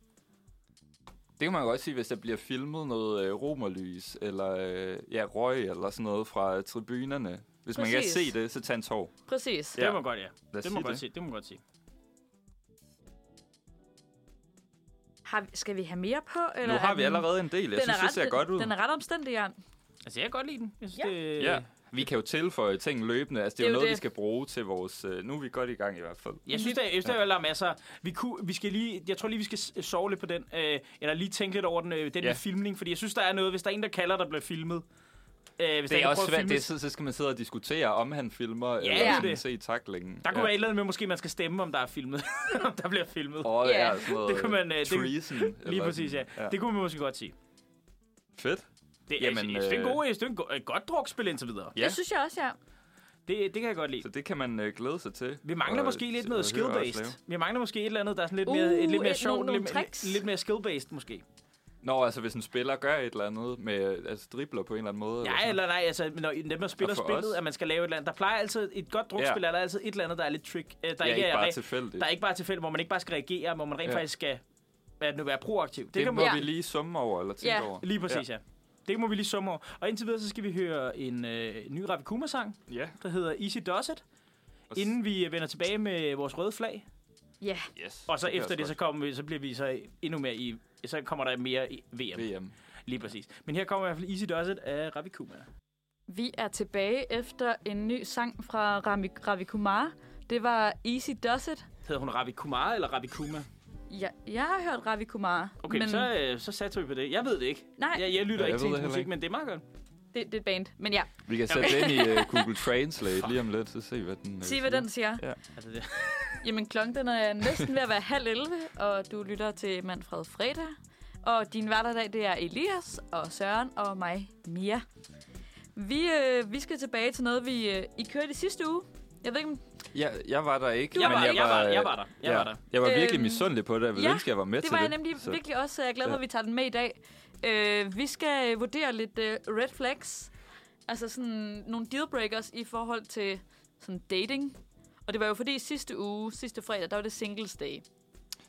Det kan man jo også sige, hvis der bliver filmet noget øh, romerlys, eller øh, ja, røg, eller sådan noget fra øh, tribunerne. Hvis man kan Præcis. se det, så tag en tår. Præcis. Ja. Ja. Det må man godt, ja. Lad os Det må, sige man godt det. sige. det må man godt sige. Har, skal vi have mere på? Eller Nu har er vi den- allerede en del. Jeg synes, det ser godt ud. Den er ret omstændig, Jan. Altså, jeg kan godt lide den. Jeg synes, Ja. det... Ja. Vi kan jo tilføje ting løbende. Altså, det er jo Det er jo noget, vi det. skal bruge til vores... øh, Nu er vi godt i gang i hvert fald. Jeg synes, der, jeg synes, der er masser. Vi kunne, vi skal lige, jeg tror lige, vi skal s- sove lidt på den, øh, eller lige tænke lidt over den, øh, den Ja. ja. filmning, fordi jeg synes, der er noget, hvis der er en, der kalder, der bliver filmet. Øh, hvis der Det er en, der også prøver at svært. filme- Det er, så, så skal man sidde og diskutere, om han filmer, ja, eller det er sådan det. se taklingen. Der kunne ja. ja. være et eller andet med, måske man skal stemme, om der er filmet, [LAUGHS] om der bliver filmet. Oh, Åh, Ja. ja, sådan noget, Det kunne man, øh, det- treason, lige eller præcis, ja. sådan. ja. Det kunne man måske godt sige. Fedt. Det, Jamen, Jamen, jeg, synes, det er en øh, god, jeg synes, det er en go- et godt drukspil indtil videre. Ja. Det synes jeg også, ja. Det, det kan jeg godt lide. Så det kan man øh, glæde sig til. Vi mangler Og måske lidt se- noget og høre os lave. skill-based. Vi mangler måske et eller andet, der er sådan lidt mere, Uh, uh, lidt mere et- sjovt, nogle- nogle lidt, mere- tricks. lidt mere skill-based måske. Nå, altså hvis en spiller gør et eller andet med, altså dribler på en eller anden måde. Ja, sådan. eller nej, altså, når dem, der spiller Og for spillet, os. at man skal lave et eller andet. Der plejer altid, et godt drukspil, Ja. ja. er der altid et eller andet, der er lidt trick. øh, Der, ja, ikke er, bare re- tilfældigt. der er ikke bare tilfælde, hvor man ikke bare skal reagere, hvor man rent Ja. ja. faktisk skal hvad er det nu, være proaktiv. Det, det, kan må man man- vi lige summe over, eller tænke Ja. over. lige præcis, ja. ja. Det må vi lige summe over. Og indtil videre, så skal vi høre en øh, ny Ravi Kuma-sang, Ja. der hedder Easy Does It, Og s- inden vi øh, vender tilbage med vores røde flag. Ja, Yes, Og så kan efter også det, så, kommer vi, så bliver vi så endnu mere i... Så kommer der mere i VM. godt. VM. Lige præcis. Men her kommer i hvert fald Easy Does It af Ravi Kuma. vi er tilbage efter en ny sang fra Rami, Ravi Kumar. Det var Easy Does It. Hedder hun Ravi Kumar eller Ravi Kuma? Ja, jeg har hørt Ravi Kumar. Okay, men... men så, øh, så satser vi på det. Jeg ved det ikke. Nej. Jeg, jeg lytter Ja, jeg ikke ved til hendes det heller musik, ikke. men det er meget godt. det, det er et band. Men ja, Vi kan sætte den i uh, Google Translate lige om lidt, så se hvad den... øh, sig hvad den siger. Altså, det, Jamen, klokken den er næsten ved at være halv 11, og du lytter til Manfred Fredag. Og din hverdag, det er Elias og Søren og mig, Mia. Vi, øh, vi skal tilbage til noget, vi øh, I kørte i sidste uge. Jeg ved ikke, om Ja, jeg var der ikke, jeg, var, men jeg, jeg var, var... jeg var der. Jeg ja, var der. Jeg var virkelig Øhm, misundelig på det. Jeg ville ja, ønske, jeg var med det til var jeg det. nemlig så- virkelig også. så Jeg er glad for, Ja. at vi tager den med i dag. Øh, vi skal øh, vurdere lidt øh, red flags. Altså sådan nogle dealbreakers i forhold til sådan dating. Og det var jo fordi sidste uge, sidste fredag, der var det singles day.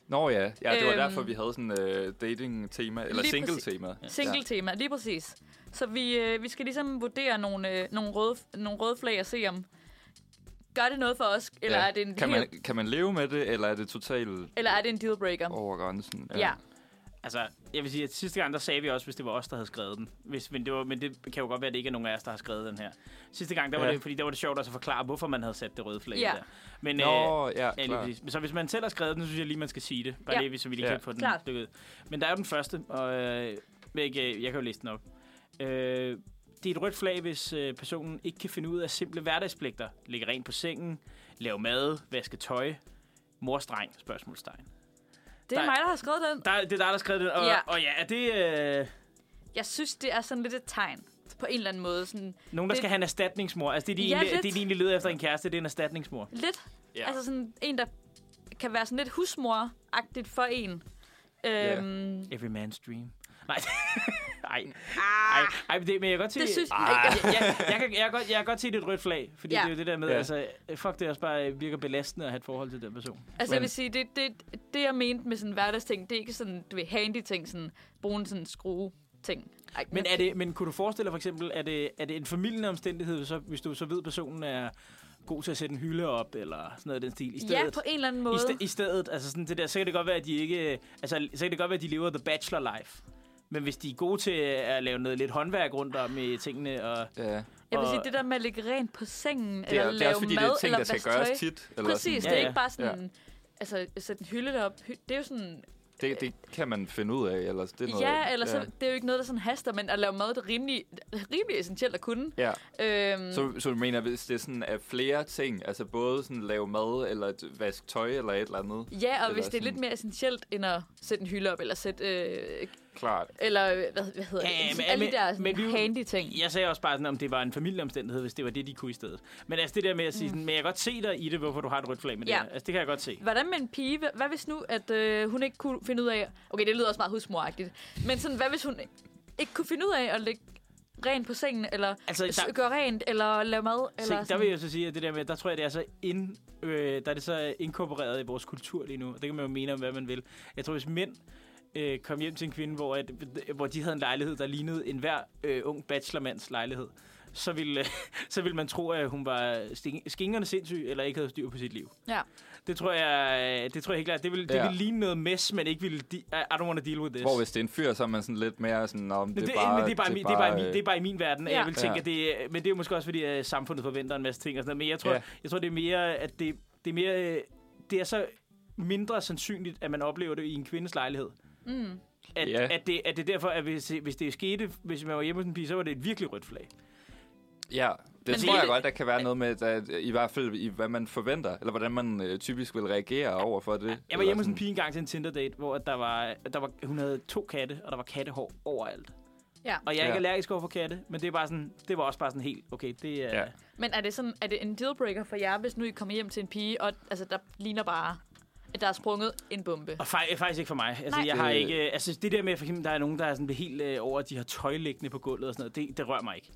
Nå ja, ja det var Øhm, derfor, vi havde sådan uh, dating-tema, eller lige single-tema. Single tema, lige præcis. Så vi, øh, vi skal ligesom vurdere nogle, øh, nogle, røde, nogle røde flag og se om, gør det noget for os, eller, ja. er, det en kan, helt, man, kan man leve med det, eller er det totalt eller er det en dealbreaker? over grænsen? ja. Altså, jeg vil sige, at sidste gang, der sagde vi også, hvis det var os, der havde skrevet den. Hvis, men, det var, men det kan jo godt være, at det ikke er nogen af os, der har skrevet den her. Sidste gang, der var Ja. ja. det, fordi der var det sjovt også at forklare, hvorfor man havde sat det røde flag Ja. der. Men, øh, Nå, ja, ja, lige klar. præcis. Men Så hvis man selv har skrevet den, så synes jeg lige, man skal sige det. Bare Ja. ja. lige, så vi lige Ja. kan få den Klart. dykket. ud. Men der er jo den første, og øh, ikke, øh, jeg kan jo læse den op. Øh, det er et rødt flag, hvis øh, personen ikke kan finde ud af simple hverdagspligter. Ligge rent på sengen, lave mad, vaske tøj, morstreng, spørgsmålstegn. Det er Der- mig, der har skrevet den. Der, er- det er dig, der har skrevet den, og Ja. ja, og ja er det... Øh, Jeg synes, det er sådan lidt et tegn på en eller anden måde. Sådan, Nogen, der Det- skal have en erstatningsmor. Altså, det er de, Ja, ja, egentlig, lidt. det er de egentlig leder efter en kæreste, det er en erstatningsmor. lidt, ja. Ja. altså sådan en, der kan være sådan lidt husmor-agtigt for en. Øhm, Every man's dream. Nej. [LAUGHS] Ej. Ej. Ej, men, det, men jeg kan godt se... Ah. Det synes- Altså, jeg, jeg, jeg, kan, jeg, kan godt, jeg kan godt se, det er et rødt flag. Fordi Ja. ja. det er jo det der med, Ja. ja. altså, fuck, det er også bare øh, virker belastende at have et forhold til den person. Altså, jeg Men- vil sige, det, det, det jeg mente med sådan hverdagsting, det er ikke sådan, du ved, handy ting, sådan bruge en sådan skrue ting. Men, er det, men kunne du forestille dig for eksempel, er det, er det en familiende omstændighed, så, hvis du så ved, at personen er god til at sætte en hylde op, eller sådan noget af den stil, i stedet? Ja, på en eller anden måde. I, st- I stedet, altså sådan det der, så kan det godt være, at de ikke, altså så kan det godt være, at de lever the bachelor life. Men hvis de er gode til at lave noget lidt håndværk rundt om i tingene, og Ja. Jeg vil Og- sige, det der med at ligge rent på sengen, Det, eller er, lave det er også fordi, mad, det er ting, eller der skal vaske tøj. gøres tit. Eller Præcis, sådan. det er Ja, ikke bare sådan, altså sætte en hylde derop. Hy- Det er jo sådan, Det, det kan man finde ud af, eller det er noget... ja, eller så, det er jo ikke noget, der sådan haster, men at lave mad, det er rimelig, rimelig essentielt at kunne. Ja, Øhm, så, så du mener, hvis det sådan er flere ting, altså både sådan lave mad, eller et- vaske tøj, eller et eller andet, ja, og eller hvis det er sådan- lidt mere essentielt, end at sætte en hylde op, eller sætte, øh, klart. eller øh, hvad, hvad hedder Ja, det, men- alle de men- der sådan men vi- handy ting. jeg sagde også bare sådan, om det var en familieomstændighed, hvis det var det, de kunne i stedet. Men altså det der med at sige sådan, men jeg kan godt se dig i det, hvorfor du har et rødt flag med Mm. Ja. det her. Altså det kan jeg godt se. Hvordan med en pige? Hva- Hvad hvis nu, at øh, hun ikke kunne finde ud af... Okay, det lyder også meget husmoragtigt. Men sådan, hvad hvis hun ikke kunne finde ud af at lægge rent på sengen, eller Altså, altså, der- der... gøre rent, eller lave mad, Se, eller der vil sådan. jeg så sige, at det der med, der tror jeg, det er så ind, øh, der er det så inkorporeret i vores kultur lige nu. Og det kan man jo mene om, hvad man vil. Jeg tror, hvis mænd øh, kom hjem til en kvinde, hvor, at, hvor de havde en lejlighed, der lignede enhver øh, ung bachelormands lejlighed, så ville, øh, [LAUGHS] så ville man tro, at hun var sting- skingerne sindssyg, eller ikke havde styr på sit liv. Ja. Det tror jeg, øh, det tror jeg helt klart. Det ville, det Ja. ville ligne noget mess, men ikke ville... De- I I don't want to deal with this. Hvor hvis det er en fyr, så er man sådan lidt mere sådan, om Men det, det, er bare... men det, er bare, min- det, er bare, min- det er øh, bare i min verden, at Ja. jeg vil tænke, Ja. at det er, men det er jo måske også, fordi at samfundet forventer en masse ting og sådan noget. Men jeg tror, Ja. jeg tror det er mere, at det, det er mere, øh, det er så mindre sandsynligt, at man oplever det i en kvindes lejlighed. Mm. At, Ja. at, det, at det er derfor, at hvis, hvis det skete, hvis man var hjemme hos en pige, så var det et virkelig rødt flag. Ja, det Men tror jeg hele- godt, der kan være noget med, at, i hvert fald i hvad man forventer, eller hvordan man øh, typisk vil reagere over for det. Jeg var hjemme hos en pige engang til en Tinder-date, hvor at der var, der var, hun havde to katte, og der var kattehår overalt. Ja. Og jeg er ikke Ja. allergisk over for katte, men det, er bare sådan, det var også bare sådan helt, okay, det er... Ja. Ja. Men er det, sådan, er det en dealbreaker for jer, hvis nu I kommer hjem til en pige, og altså, der ligner bare, at der er sprunget en bombe? Og fej, faktisk ikke for mig. Altså, Nej. Nej. jeg har Det- ikke... øh, Altså, det der med, for eksempel, der er nogen, der er sådan helt øh, over, at de har tøj liggende på gulvet og sådan noget, det, det rører mig ikke.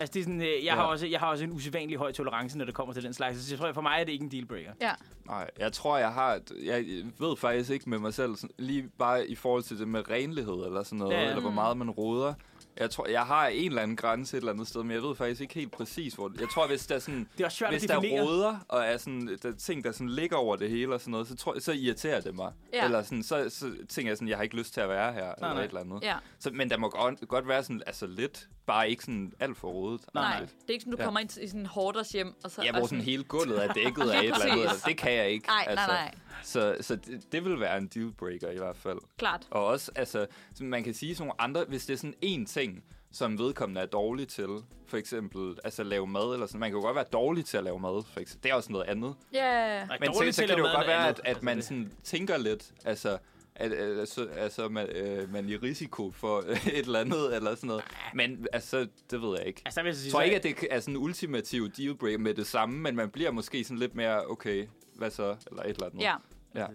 Altså, det er sådan, øh, jeg, ja. har Ja. også, jeg har også en usædvanlig høj tolerance, når det kommer til den slags. Så jeg tror, for mig er det ikke en dealbreaker. Ja. Nej, jeg tror, jeg har... et- Jeg ved faktisk ikke med mig selv, sådan, lige bare i forhold til det med renlighed eller sådan noget, Ja, ja, ja. eller hvor meget man roder. Jeg tror, jeg har en eller anden grænse et eller andet sted, men jeg ved faktisk ikke helt præcis, hvor... Jeg tror, hvis der er sådan... Det er også svært Hvis at der definere. råder, og er sådan, der er ting, der sådan ligger over det hele og sådan noget, så, tror, jeg- så irriterer det mig. Ja. Eller sådan, så, så tænker jeg sådan, jeg har ikke lyst til at være her, eller nej. et eller andet. Ja. Så, men der må godt, godt være sådan, altså lidt, bare ikke sådan alt for rodet. hovedet. Nej, Agtigt. det er ikke sådan, du Ja. kommer ind i sådan en hårders hjem. Og så, Ja, og hvor [LAUGHS] sådan hele gulvet er dækket af et Lige eller andet. præcis. Det kan jeg ikke. altså. Nej, nej, nej. Så, så det, det vil være en dealbreaker i hvert fald. Klart. Og også, altså, sådan, man kan sige sådan nogle andre, hvis det er sådan en ting, som vedkommende er dårlig til, for eksempel altså lave mad eller sådan. Man kan jo godt være dårlig til at lave mad, for eksempel. Det er også noget andet. Ja, Nej, Men dårlig så, til så at kan det lave jo mad godt er være, andet. at, at Altså, man det- sådan tænker lidt, altså, at, øh, altså, altså man, øh, man er i risiko for [LAUGHS] et eller andet, eller sådan noget. Men altså, det ved jeg ikke. Altså, der vil jeg så sige, Jeg tror så- ikke, at det er sådan en ultimativ dealbreaker med det samme, men man bliver måske sådan lidt mere, okay, hvad så? Eller et eller andet. ja. ja.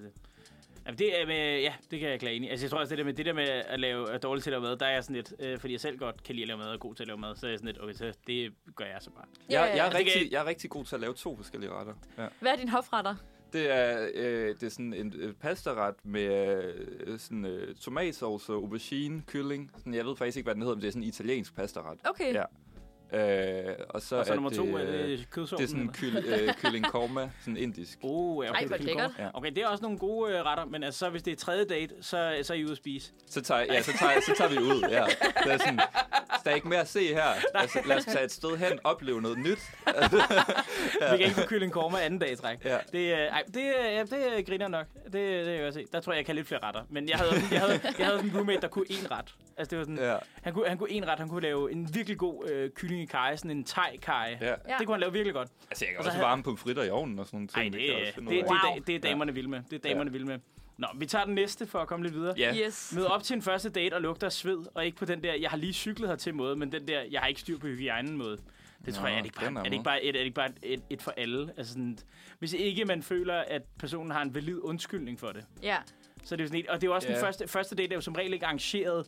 Jamen, det er med, ja, det kan jeg klare ind i. Altså, jeg tror også, det der med, det der med at lave at dårligt til at lave mad, der er jeg sådan lidt, øh, fordi jeg selv godt kan lide at lave mad og er god til at lave mad, så er jeg sådan lidt, okay, så det gør jeg så bare. Jeg, jeg, er det kan- rigtig, jeg er rigtig god til at lave to forskellige retter. Ja. Øh, Hvad er din hofretter? Det er, øh, det er sådan en øh, pastaret med øh, sådan, øh, tomatsauce, aubergine, kylling. Sådan, jeg ved faktisk ikke, hvad den hedder, men det er sådan en italiensk pastaret. Okay. Ja. Øh, og så, Og så er nummer to, det, er øh, det kødsovsen. det er sådan en eller? kyl, øh, kylling korma, sådan indisk. Oh, ja, okay, Ej, hvor det er lækkert. godt. Okay, det er også nogle gode øh, retter, men altså, så hvis det er tredje date, så, så er I ude at spise. Så tager, ja, så tager, så tager vi ud, ja. Det er sådan, der er ikke mere at se her. Altså, lad os tage et sted hen, opleve noget nyt. Ja. Vi kan ikke få kylling korma anden dag i træk. Ja. Det, øh, ej, det, øh, ja, det øh, griner nok. Det, det kan jeg se. Der tror jeg, jeg kan lidt flere retter. Men jeg havde, også- jeg havde, jeg havde sådan en roommate, der kunne én ret. Altså, det var sådan, Ja. han, kunne, han kunne én ret. Han kunne lave en virkelig god øh, kylling i kaj, sådan en thai-kaj. Ja. Ja. Det kunne han lave virkelig godt. Altså, jeg kan så også havde- varme pomfritter i ovnen og sådan nogle Ej, ting. det, kan jeg det, også det, finde det, ud af. er da- det er damerne vilde med. Det er damerne Ja. vilde med. Nå, vi tager den næste for at komme lidt videre. Ja, Yes. Mød op til en første date og lugter af sved, og ikke på den der, jeg har lige cyklet hertil måde, men den der, jeg har ikke styr på hygiejnen måde. Det tror Nå, jeg, er det ikke den bare, er er det måde. ikke bare, et, er det ikke bare et, et, et for alle? Altså sådan, hvis ikke man føler, at personen har en valid undskyldning for det, Ja. så er det jo sådan et, og det er jo også yeah. Ja. den første, første date, der er jo som regel ikke arrangeret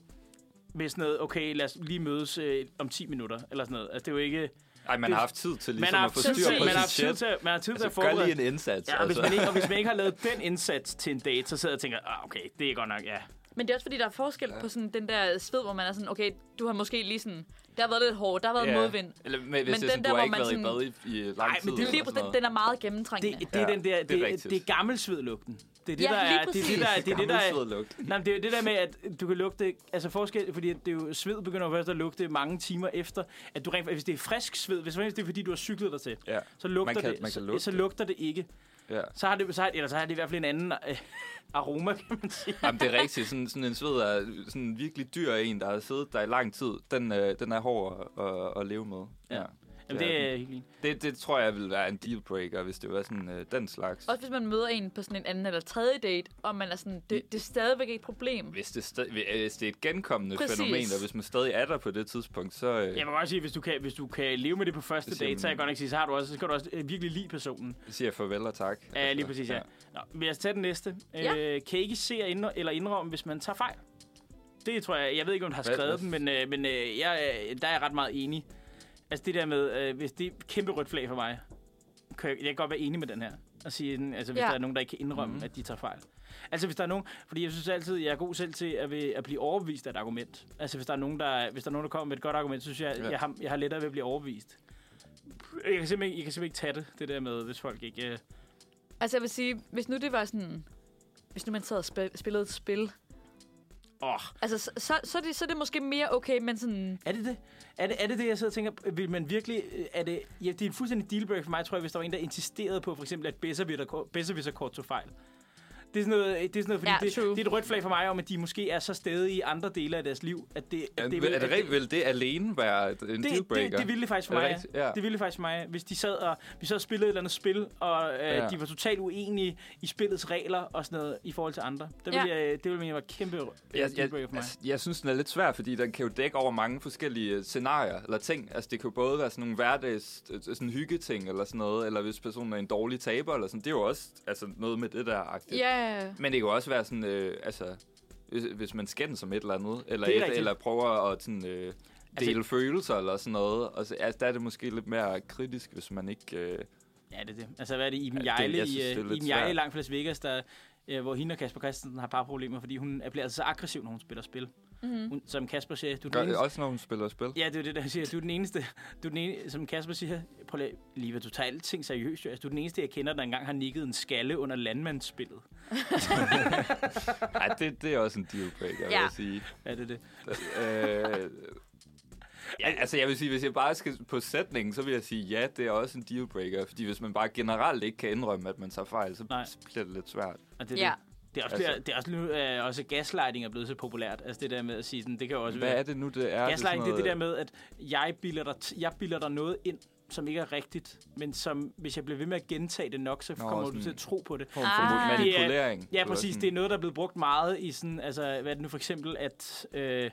med sådan noget, okay, lad os lige mødes øh, om 10 minutter, eller sådan noget. Altså, det er jo ikke... Ej, man Det- har haft tid til Man ligesom har at haft få tid styr til, på man har haft sit tid shit. til, man har haft tid til at Altså, gør forberede. lige en indsats. altså. Ja, og, hvis man ikke, og hvis man ikke har lavet den indsats til en date, så sidder jeg og tænker, ah, okay, det er godt nok, ja. Men det er også fordi, der er forskel på sådan den der sved, hvor man er sådan, okay, du har måske lige sådan, der har været lidt hårdt, der har været yeah. modvind. Eller, men hvis men Men det er den sådan, der, du har hvor ikke man været sådan- i bad i, i lang Ej, Ej, men tid. det er Lige eller på sådan den, noget. den er meget Det, gennemtrængende. det er den der, det, det er det, rigtigt. det er gammelsvedlugten. Det er det, Ja, der lige er, det, er det, der, er- det, er det, der er, Gammel sød lugt. nej, men det er jo det der med, at du kan lugte, altså forskel, fordi at det er jo, sved begynder jo først at lugte mange timer efter, at du rent, hvis det er frisk sved, hvis det er fordi, du har cyklet dig til, Ja. så lugter, Man kan- det, man kan så, lugte så, det. lugter det ikke. Ja. Så har det, så har, eller så har det i hvert fald en anden øh, aroma, kan man sige. Jamen, det er rigtigt. Sådan, sådan en sved er sådan en virkelig dyr en, der har siddet der i lang tid. Den, øh, den er hård at, at, at leve med. Ja. ja. Jamen, det, det er er den. helt det, det tror jeg vil være en dealbreaker, hvis det var sådan øh, den slags. Også hvis man møder en på sådan en anden eller tredje date, og man er sådan, det, det er stadigvæk et problem. Hvis det, stad, hvis det er et genkommende Præcis. Præcis. fænomen, og hvis man stadig er der på det tidspunkt, så... Øh, Jeg må godt sige, hvis du kan, hvis du kan leve med det på første Det siger date, så man. kan jeg godt nok sige, så, har du også, så skal du også øh, virkelig lide personen. siger jeg farvel og tak. Ja, lige præcis, ja. Nå, men lad os tage den næste. Ja. Ja. Øh, kan I ikke se og indr- eller indrømme, hvis man tager fejl? Det tror jeg, jeg ved ikke, om du har Hvad- skrevet den, hvad- men, øh, men øh, jeg, øh, der er jeg ret meget enig. Altså det der med, øh, hvis det er et kæmpe rødt flag for mig, kan jeg, jeg kan godt være enig med den her. Og sige, den, altså, hvis Ja. ja. der er nogen, der ikke kan indrømme, mm. at de tager fejl. Altså hvis der er nogen, fordi jeg synes altid, jeg er god selv til at, ved- at blive overbevist af et argument. Altså hvis der er nogen, der, hvis der, er nogen, der kommer med et godt argument, så synes jeg, Ja. ja. jeg, har, jeg har lettere ved at blive overbevist. Jeg kan simpelthen, jeg kan simpelthen ikke tage det, det der med, hvis folk ikke... Øh, Altså jeg vil sige, hvis nu det var sådan, hvis nu man sad og spil- spillede et spil, åh, altså så, så, så, er det, så er det måske mere okay, men sådan, Er det det? Er det, er det det, jeg sidder og tænker? Vil man virkelig... øh, Er det, ja, det er en fuldstændig dealbreaker for mig, tror jeg, hvis der var en, der insisterede på, for eksempel, at Besserwisser-kort tog fejl. Det er sådan noget, det er sådan noget fordi Ja, ja, det, true. det, er et rødt flag for mig om, at de måske er så stedige i andre dele af deres liv, at det, Ja, at det vil, vil, er det at rigtigt? Vil det alene være et- en det, det, det, dealbreaker? det, ville det faktisk for Er det mig. rigtigt? Ja. Ja. Det ville det faktisk for mig, hvis de sad og vi sad og spillede et eller andet spil, og øh, Ja. ja. de var totalt uenige i spillets regler og sådan noget i forhold til andre. Det ville, Ja. ja. jeg, det ville jeg var et kæmpe øh, Jeg, jeg, dealbreaker for mig. altså, jeg synes, den er lidt svær, fordi den kan jo dække over mange forskellige øh, scenarier eller ting. Altså, det kan jo både være sådan nogle hverdags øh, sådan hyggeting eller sådan noget, eller hvis personen er en dårlig taber eller sådan. Det er jo også altså, noget med det der agtigt. ja, yeah. Men det kan jo også være sådan, øh, altså, hvis, hvis man skændes som et eller andet, eller, Det er et, rigtigt. eller prøver at sådan, øh, dele altså, følelser eller sådan noget. Og så, altså, der er det måske lidt mere kritisk, hvis man ikke... Øh, Ja, det er det. Altså, hvad er det, Iben Ja, det- Jejle, jeg i, synes, det er øh, lidt Iben Jejle i svært. langt Las Vegas, der, øh, hvor hende og Kasper Christensen har parproblemer, fordi hun er- bliver altså så aggressiv, når hun spiller spil. Mm-hmm. Hun, som Kasper siger, du er den gør, eneste... også når hun spiller spil. Ja, det er jo det, der han siger. Du er den eneste, du er den ene, som Kasper siger, prøv lige, lige at du tager alting seriøst. jo. Altså, du er den eneste, jeg kender, der engang har nikket en skalle under landmandsspillet. Ej, det, det er også en dealbreaker, ja. vil Ja. jeg sige. Ja, det er det. Øh, Ja, altså jeg vil sige, hvis jeg bare skal på sætningen, så vil jeg sige, ja, det er også en dealbreaker. Fordi hvis man bare generelt ikke kan indrømme, at man tager fejl, så Nej. bliver det lidt svært. Og det, er Ja. det. det er også, Altså- altså. det er også, nu, øh, også gaslighting er blevet så populært. Altså det der med at sige sådan, det kan jo også Hvad være... er det nu, det er? Gaslighting, det er sådan det der noget- med, at jeg bilder, dig t- jeg bilder dig noget ind, som ikke er rigtigt, men som, hvis jeg bliver ved med at gentage det nok, så Nå, kommer du sådan- til at tro på det. form for Ah. manipulering. Ja, eller præcis. sådan. Det er noget, der er blevet brugt meget i sådan, altså, hvad er det nu for eksempel, at... Øh,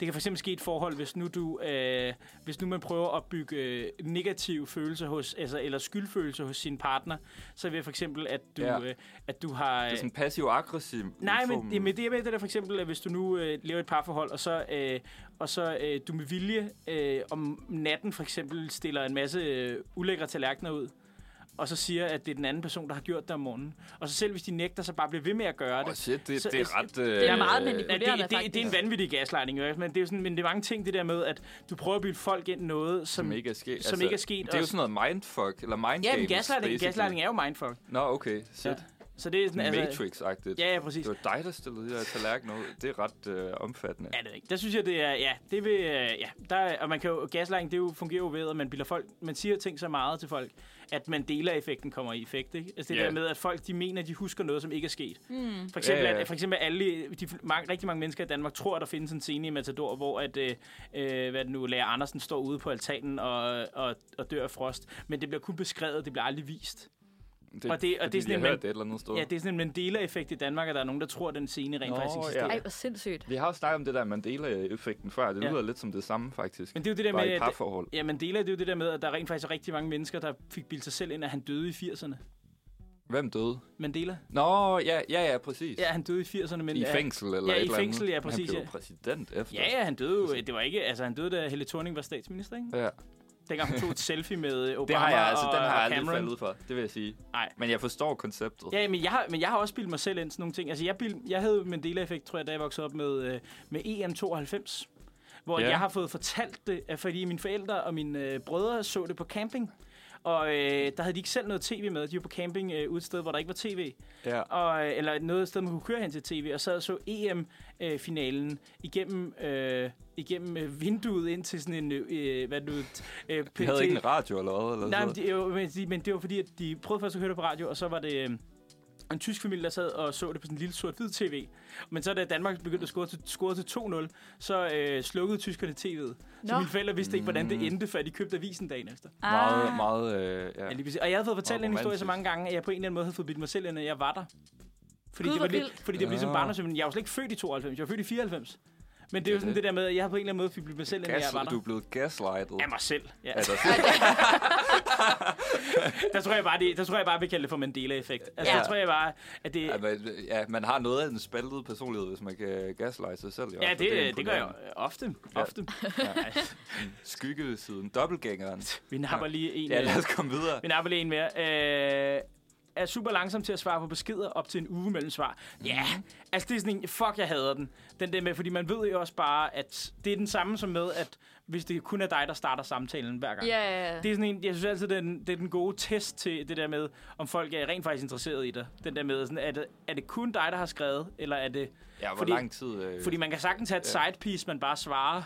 det kan for eksempel ske i et forhold, hvis nu, du, øh, hvis nu man prøver at bygge øh, negative følelser hos, altså, eller skyldfølelser hos sin partner, så ved for eksempel, at du, Ja. ja. øh, at du har... Det er sådan passiv-aggressiv. Nej, form. men, det- men det er med det der for eksempel, at hvis du nu øh, lever i et parforhold, og så, øh, og så øh, du med vilje øh, om natten for eksempel stiller en masse øh, ulækre tallerkener ud, og så siger, at det er den anden person, der har gjort det om morgenen. Og så selv hvis de nægter, så bare bliver ved med at gøre det. Åh, shit, det, Så- det er ret... øh, Det er meget Ja, det, Imponerende, det, det, det er en faktisk. vanvittig gaslighting, ikke? men det er jo sådan, men det er mange ting, det der med, at du prøver at bilde folk ind noget, som, som ikke er sket. som ikke er sket, Det er jo og- sådan noget mindfuck, eller mind Ja, men games, gaslighting, basically. gaslighting er jo mindfuck. Nå, okay. Ja. Shit. Så det er sådan, Ja. altså, Matrix-agtigt. Ja, ja, præcis. Det var dig, der stillede de her tallerkener ud. Det er ret øh, omfattende. Ja, det er ikke. Der synes jeg, det er, ja, det vil, øh, ja, der, er- og man kan jo, gaslighting, det jo fungerer jo ved, at man bilder folk, man siger ting så meget til folk, at man deler effekten kommer i effekt, ikke? Altså det Ja. der med, at folk, de mener, at de husker noget, som ikke er sket. Mm. For eksempel, Ja, ja. At, for eksempel alle, de, mange, rigtig mange mennesker i Danmark tror, at der findes en scene i Matador, hvor at, øh, øh, hvad er det nu, Lærer Andersen står ude på altanen og, og, og dør af frost, men det bliver kun beskrevet, det bliver aldrig vist. det og det- og det er fordi, sådan jeg en hørte man- det et eller andet sted. Ja, det er sådan en Mandela-effekt i Danmark, at der er nogen, der tror, at den scene rent Nå, faktisk ja. eksisterer. Ej, hvor sindssygt. Vi har jo snakket om det der Mandela-effekten før. Det Ja. lyder lidt som det samme, faktisk. Men det er jo det der Bare med, i at- parforhold. Ja, Mandela, det er jo det der med, at der rent faktisk er rigtig mange mennesker, der fik bildt sig selv ind, at han døde i 80'erne. Hvem døde? Mandela? Nå, ja, ja, ja, præcis. Ja, han døde i 80'erne, men... I ja, fængsel eller Ja, et i eller fængsel, andet. ja, præcis, Han blev ja. præsident efter. Ja, ja, han døde jo. Det var ikke... Altså, han døde, da Helle Thorning var statsminister, ikke? ja. Dengang hun tog et selfie med øh, Obama [LAUGHS] Det har jeg, altså, og, den har jeg og aldrig Cameron. faldet for, det vil jeg sige. Nej. Men jeg forstår konceptet. Ja, men jeg, har, men jeg har også bildt mig selv ind sådan nogle ting. Altså, jeg, bild, jeg havde jo Mandela-effekt, tror jeg, da jeg voksede op med, øh, med EM92. Hvor Ja. jeg har fået fortalt det, at fordi mine forældre og mine øh, brødre så det på camping. Og øh, der havde de ikke selv noget tv med. De var på camping øh, ude et sted, hvor der ikke var tv. ja. og, eller noget sted, man kunne køre hen til tv, og sad og så E EM-finalen igennem, øh, igennem øh, vinduet ind til sådan en, øh, hvad nu, øh, Vi havde ikke en radio eller hvad? Eller Nej, sådan men, de, jo, men, de, men det var fordi, at de prøvede først at høre det på radio, og så var det øh, en tysk familie, der sad og så det på sådan en lille sort-hvid tv. Men så da Danmark begyndte at score til, score til 2-0, så øh, slukkede tyskerne tv'et. Så Nå. mine forældre vidste ikke, hvordan Mm. det endte, før de købte avisen dagen efter. Meget, meget, øh, ja. Ah. Ja, lige præcis. Og jeg havde fået fortalt Meget en historie så romantisk. mange gange, at jeg på en eller anden måde havde fået bildt mig selv ind, at jeg var der. Fordi Gud, det var hvor lidt, vildt. fordi det var ligesom Ja. barndomshjemmen. Jeg var slet ikke født i 92, jeg var født i 94. Men det er Ja, jo sådan det. det der med, at jeg har på en eller anden måde fået bildt mig selv ind, at jeg var Gas, du der. er blevet gaslightet. Af mig selv. Ja. Altså, Der tror jeg bare, det, der tror jeg bare vi kalder det for Mandela-effekt. Altså, Ja. ja. der tror jeg bare, at det... ja, man, ja, man har noget af en spaltet personlighed, hvis man kan gaslighte sig selv. i hvert Ja, fald. det, det, det gør jeg imponerende. jo ofte. Ja. ofte. Skyggesiden, dobbeltgængeren. Vi napper lige en, øh, Ja, ja, lad os komme videre. vi napper lige en mere. Øh, er super langsom til at svare på beskeder op til en uge mellem svar. Ja, yeah. Mhm. altså det er sådan en, fuck jeg hader den. Den der med, fordi man ved jo også bare, at det er den samme som med, at hvis det kun er dig, der starter samtalen hver gang. Ja, ja, ja. Det er sådan en, jeg synes altid, det er, den, det er den gode test til det der med, om folk er rent faktisk interesseret i dig. Den der med, sådan, er, det, er det kun dig, der har skrevet, eller er det... Ja, hvor fordi- lang tid... Øh, Fordi man kan sagtens have et Ja. side piece, man bare svarer,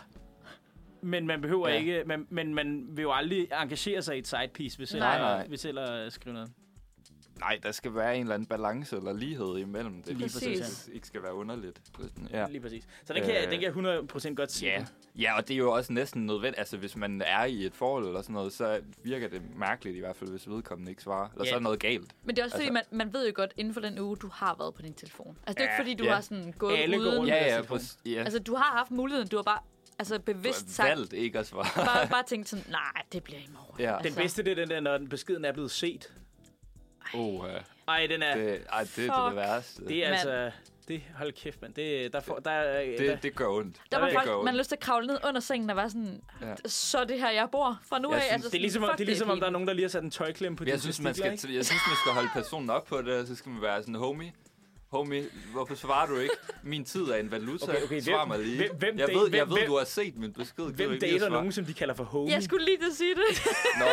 men man behøver Ja. ja. ikke, man, men man vil jo aldrig engagere sig i et side piece, hvis Nej. Nej. eller, hvis eller øh, skrive noget. Nej, der skal være en eller anden balance eller lighed imellem det. Lige præcis. Det skal ikke skal være underligt. Ja. Ja. Lige præcis. Så den kan, Øh. øh. den kan jeg 100% godt sige. Ja. ja, og det er jo også næsten nødvendigt. Altså, hvis man er i et forhold eller sådan noget, så virker det mærkeligt i hvert fald, hvis vedkommende ikke svarer. Eller Ja. så er der noget galt. Men det er også fordi, Altså- man, man ved jo godt, inden for den uge, du har været på din telefon. Altså, det er jo Ja, ikke fordi, du ja. har sådan gået Alle går uden. rundt. Ja, ja, telefon. præcis. Ja. Altså, du har haft muligheden, du har bare altså, bevidst Du har sagt, valgt ikke at [LAUGHS] svare. bare, bare tænkt sådan, nej, det bliver i morgen. Altså, Ja. Den bedste, det er den der, når den beskeden er blevet set. Oh, uh, Ej, den er... Det, det, ej, det, det er det Fuck. værste. Det, det er Mand. altså... Det, hold kæft, mand. Det, der får, der, det, der, det, det gør ondt. Der var det folk, man har lyst til at kravle ned under sengen og være sådan, Ja. så er det her, jeg bor fra nu Jeg af. synes- altså, det er sådan, ligesom, om, fuck, det er ligesom om, der er fint. nogen, der lige har sat en tøjklemme på jeg dine synes, man testikler, skal, ikke? jeg synes, man skal holde personen op på det, og så skal man være sådan, homie, Homie, hvorfor svarer du ikke? Min tid er en valuta. Okay, okay, Svar hvem- mig lige. hvem- hvem jeg date- ved, jeg hvem- ved hvem- du har set min besked. Gider du Hvem ikke lige at dater svare? nogen, som de kalder for homie? Jeg skulle lige til at [LAUGHS] sige det. Nå,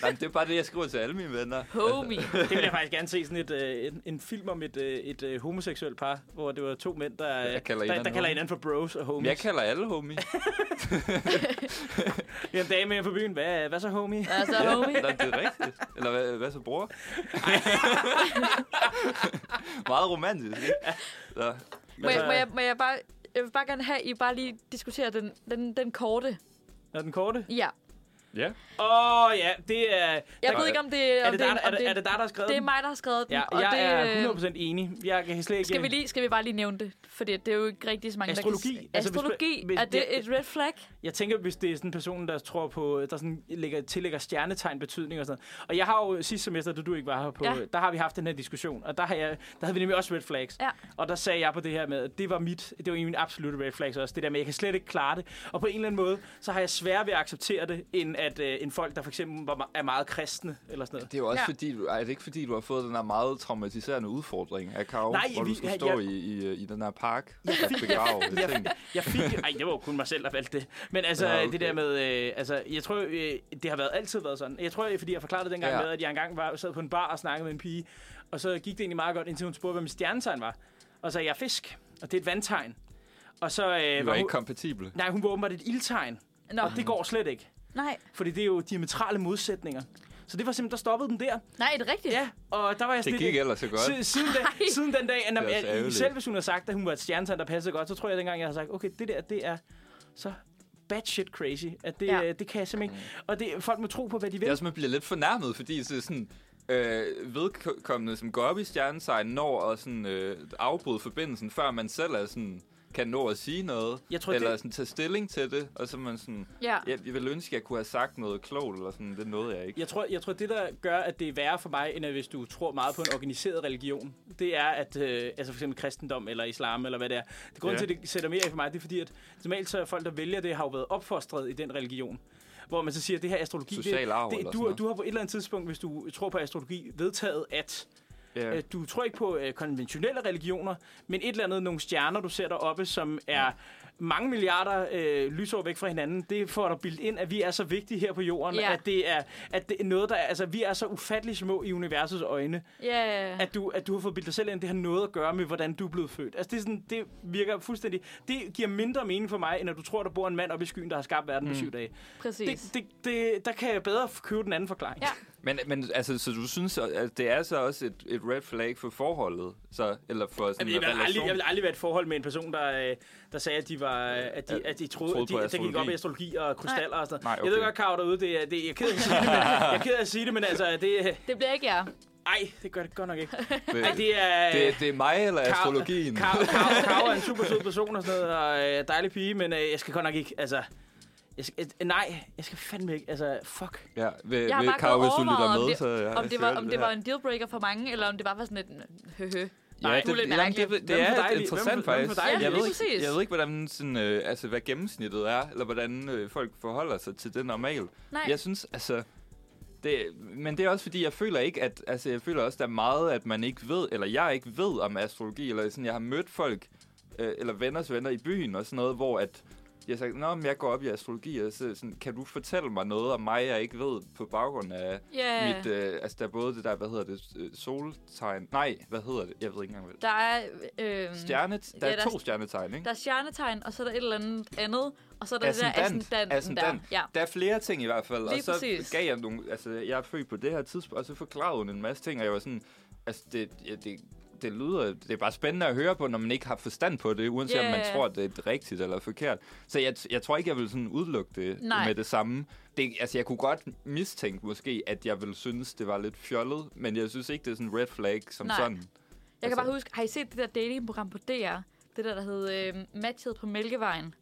nej, men det er bare det, jeg skriver til alle mine venner. Homie. Det vil jeg faktisk gerne se sådan et, øh, en, en film om et, øh, et øh, homoseksuelt par, hvor det var to mænd, der, øh, Jeg kalder der, der hinanden kalder homie. hinanden for bros og Men jeg homies. kalder alle homie. Vi har en dame med på byen. Hvad, hvad så, homie? Altså, homie. Nå, det er rigtigt. Eller hvad, hvad så, [LAUGHS] bror? Meget romantisk, ikke? Nå. Må jeg, må jeg, må jeg bare... Jeg vil bare gerne have, at I bare lige diskuterer den, den, den korte. Nå, den korte. Ja. Ja. Åh, oh, ja, det er... Jeg der, ved ikke, om det er om det, dig, om der, er, det, er det dig, der har skrevet det er den? mig, der har skrevet den. Ja, og det, jeg øh, er 100% enig. Jeg kan slet ikke... skal vi, lige, skal vi bare lige nævne det? For det er jo ikke rigtig så mange, Astrologi. der kan... Altså, hvis- Astrologi. hvis- er det ja, et red flag? Jeg tænker, hvis det er sådan en person, der tror på, der sådan lægger, tillægger stjernetegn betydning og sådan noget. Og jeg har jo sidste semester, da du ikke var her på, Ja. ja. der har vi haft den her diskussion, og der, har jeg, der havde vi nemlig også red flags. Ja. Og der sagde jeg på det her med, at det var mit, det var en af mine absolutte red flags også, det der med, at jeg kan slet ikke klare det. Og på en eller anden måde, så har jeg sværere ved at acceptere det, end at øh, en folk, der for eksempel var, er meget kristne eller sådan noget. Det er jo også Ja. ja. fordi, du, ej, det er ikke fordi, du har fået den her meget traumatiserende udfordring af Karo, Nej, hvor vi- du skulle ja, stå jeg- i, i, i den her park og begrave det ting. Jeg fik... Ej, det var jo kun mig selv, der valgte det. Men altså, Nå, ja, okay. okay. det der med... Øh, altså, jeg tror, øh, det har været, altid været sådan. Jeg tror, fordi jeg forklarede det dengang Ja. ja. med, at jeg engang var, sad på en bar og snakkede med en pige. Og så gik det egentlig meget godt, indtil hun spurgte, hvad mit stjernetegn var. Og så sagde jeg er fisk, og det er et vandtegn. Og så øh, Vi var var ikke hun... kompatible. Nej, hun var åbenbart et ildtegn. Nå, Og det går slet ikke. nej. Fordi det er jo diametrale modsætninger. Så det var simpelthen, der stoppede den der. Nej, er det rigtigt? Ja, og der var jeg Det lidt- gik ellers så godt. Si- Siden, da, siden den dag, når, Det er også jeg, ærgerligt. selv hvis hun havde sagt, at hun var et stjernetegn, der passede godt, så tror jeg dengang, jeg havde sagt, okay, det der, det er så bad shit crazy, at det, Ja. ja. det kan jeg simpelthen ikke. Og det, folk må tro på, hvad de Det vil. er også, man bliver lidt fornærmet, fordi så sådan, øh, vedkommende, som går op i stjernetegn, når at sådan, øh, afbryde forbindelsen, før man selv er sådan, kan nå at sige noget, Jeg tror, eller det- sådan, tage stilling til det, og så er man sådan, Ja. jeg, jeg ville ønske, jeg kunne have sagt noget klogt, eller sådan, det nåede jeg ikke. Jeg tror, jeg tror, det der gør, at det er værre for mig, end at hvis du tror meget på en organiseret religion, det er, at øh, altså for eksempel kristendom eller islam eller hvad det er. Det grund Ja. ja. til, at det sætter mere af for mig, det er fordi, at normalt så er folk, der vælger det, har jo været opfostret i den religion. Hvor man så siger, at det her astrologi, Social arv det, eller det, sådan du, noget. du har på et eller andet tidspunkt, hvis du tror på astrologi, vedtaget, at Ja. Øh, Du tror ikke på øh, konventionelle religioner, men et eller andet, nogle stjerner, du ser deroppe, som er mange milliarder øh, lysår væk fra hinanden, det får dig bildt ind, at vi er så vigtige her på jorden, Ja. at det er at det er noget, der er, altså, vi er så ufattelig små i universets øjne, Ja. at du, at du har fået bildt dig selv ind, det har noget at gøre med, hvordan du er blevet født. Altså, det, er sådan, det virker fuldstændig... Det giver mindre mening for mig, end at du tror, der bor en mand oppe i skyen, der har skabt verden på syv dage. Mm. Præcis. Det, det, det, der kan jeg bedre købe den anden forklaring. Ja. Men, men altså, så du synes, at det er så også et, et red flag for forholdet? Så, eller for sådan Jamen, jeg, en vil aldrig, relation? jeg vil aldrig være i et forhold med en person, der, øh, der sagde, at de, var, øh, at de, at de troede, Troede at de, på at de gik op astrologi. i astrologi og krystaller og sådan noget. Nej, Jeg ved okay. godt, Karo, derude, det, er- det, jeg, er ked af at sige det, men, jeg er ked af at sige det, men altså, det, øh, Det bliver ikke jer. ej, det gør det godt nok ikke. det, Ej, det er... det, det er mig eller Karo- astrologien? Karo, Karo, Karo er en super sød person og sådan noget, og øh, dejlig pige, men øh, jeg skal godt nok ikke, altså... Jeg skal, øh, nej, jeg skal fandme ikke, altså, fuck. Ja, ved, Jeg har ved bare Karo, gået hvis du lytter overvejet, om med, det, så... Ja, om det var, om det var en dealbreaker for mange, eller om det bare var sådan et... Høhø. Ja, du er lidt det, jamen, mærkelig. det, det, Hvem det for er dig dig, lige- interessant hvem for- hvem faktisk. for dig Ja, lige? jeg, ved præcis. ikke, jeg ved ikke, hvordan sådan, øh, altså, hvad gennemsnittet er, eller hvordan øh, folk forholder sig til det normalt. Nej. Jeg synes, altså... Det, men det er også fordi, jeg føler ikke, at altså, jeg føler også, der er meget, at man ikke ved, eller jeg ikke ved om astrologi, eller sådan, jeg har mødt folk, øh, eller venners venner i byen og sådan noget, hvor at jeg har sagt, Nå, men jeg går op i astrologi, og så sådan, kan du fortælle mig noget om mig, jeg ikke ved på baggrund af Ja. mit, øh, altså der er både det der, hvad hedder det, øh, soltegn, nej, hvad hedder det, jeg ved ikke engang, hvad det Der er... Øh, Stjerne, der Ja, er der- to stjernetegn, ikke? Der er stjernetegn, og så er der et eller andet andet, og så er der det der ascendanten ascendant. der. Ja. Der er flere ting i hvert fald, Lige og så præcis. gav jeg nogle, altså jeg er født på det her tidspunkt, og så forklarede hun en masse ting, og jeg var sådan, altså det, ja, det, det lyder, det er bare spændende at høre på, når man ikke har forstand på det, uanset Ja, om ja, man ja. tror, at det er rigtigt eller forkert. Så jeg, jeg tror ikke, jeg vil sådan udelukke det Nej. med det samme. Det, altså jeg kunne godt mistænke måske, at jeg ville synes, det var lidt fjollet, men jeg synes ikke, det er sådan en red flag som Nej. sådan. Jeg kan Altså- bare huske, har I set det der datingprogram på DR? Det der, der hed øh, Matchet på Mælkevejen.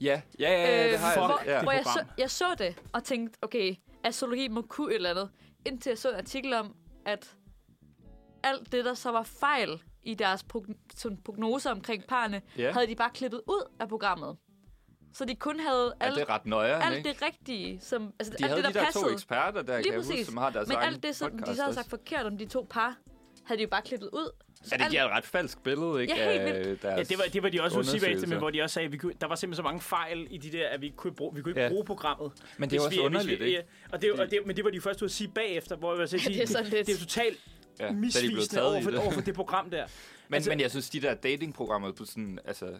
Ja, ja, ja, ja Øh, det har jeg. Øh, hvor, ja. hvor jeg, så, program. jeg så det og tænkte, okay, astrologi må kunne et eller andet. Indtil jeg så en artikel om, at alt det, der så var fejl i deres progn- sådan prognoser omkring parne, Ja. havde de bare klippet ud af programmet. Så de kun havde Ja, alt, det er ret nøjeren, alt ikke? det rigtige, som, altså De alt havde det, der de der passede. to eksperter der, Lige kan jeg præcis. huske, som har deres Men egen alt det, som de podcast så havde også. sagt forkert om de to par, havde de jo bare klippet ud. Så Ja, det alt- giver et ret falsk bede, ikke? Ja, helt af vildt. Deres... Ja, det var, det var de også ude undersøgelser. bagefter med, hvor de også sagde, at vi kunne, der var simpelthen så mange fejl i de der, at vi ikke kunne bruge, vi kunne ikke Ja. ja. bruge programmet. Men det er jo Hvis også hvis underligt, ikke? ja, Og det, og det, men det var de først ude at sige bagefter, hvor jeg vil sige, Ja, det er sådan lidt- det er jo totalt Ja, da ja, de blev misvisende taget i over for, det. over for det program [LAUGHS] der. Men, altså, Altså- men jeg synes, de der datingprogrammer på sådan, altså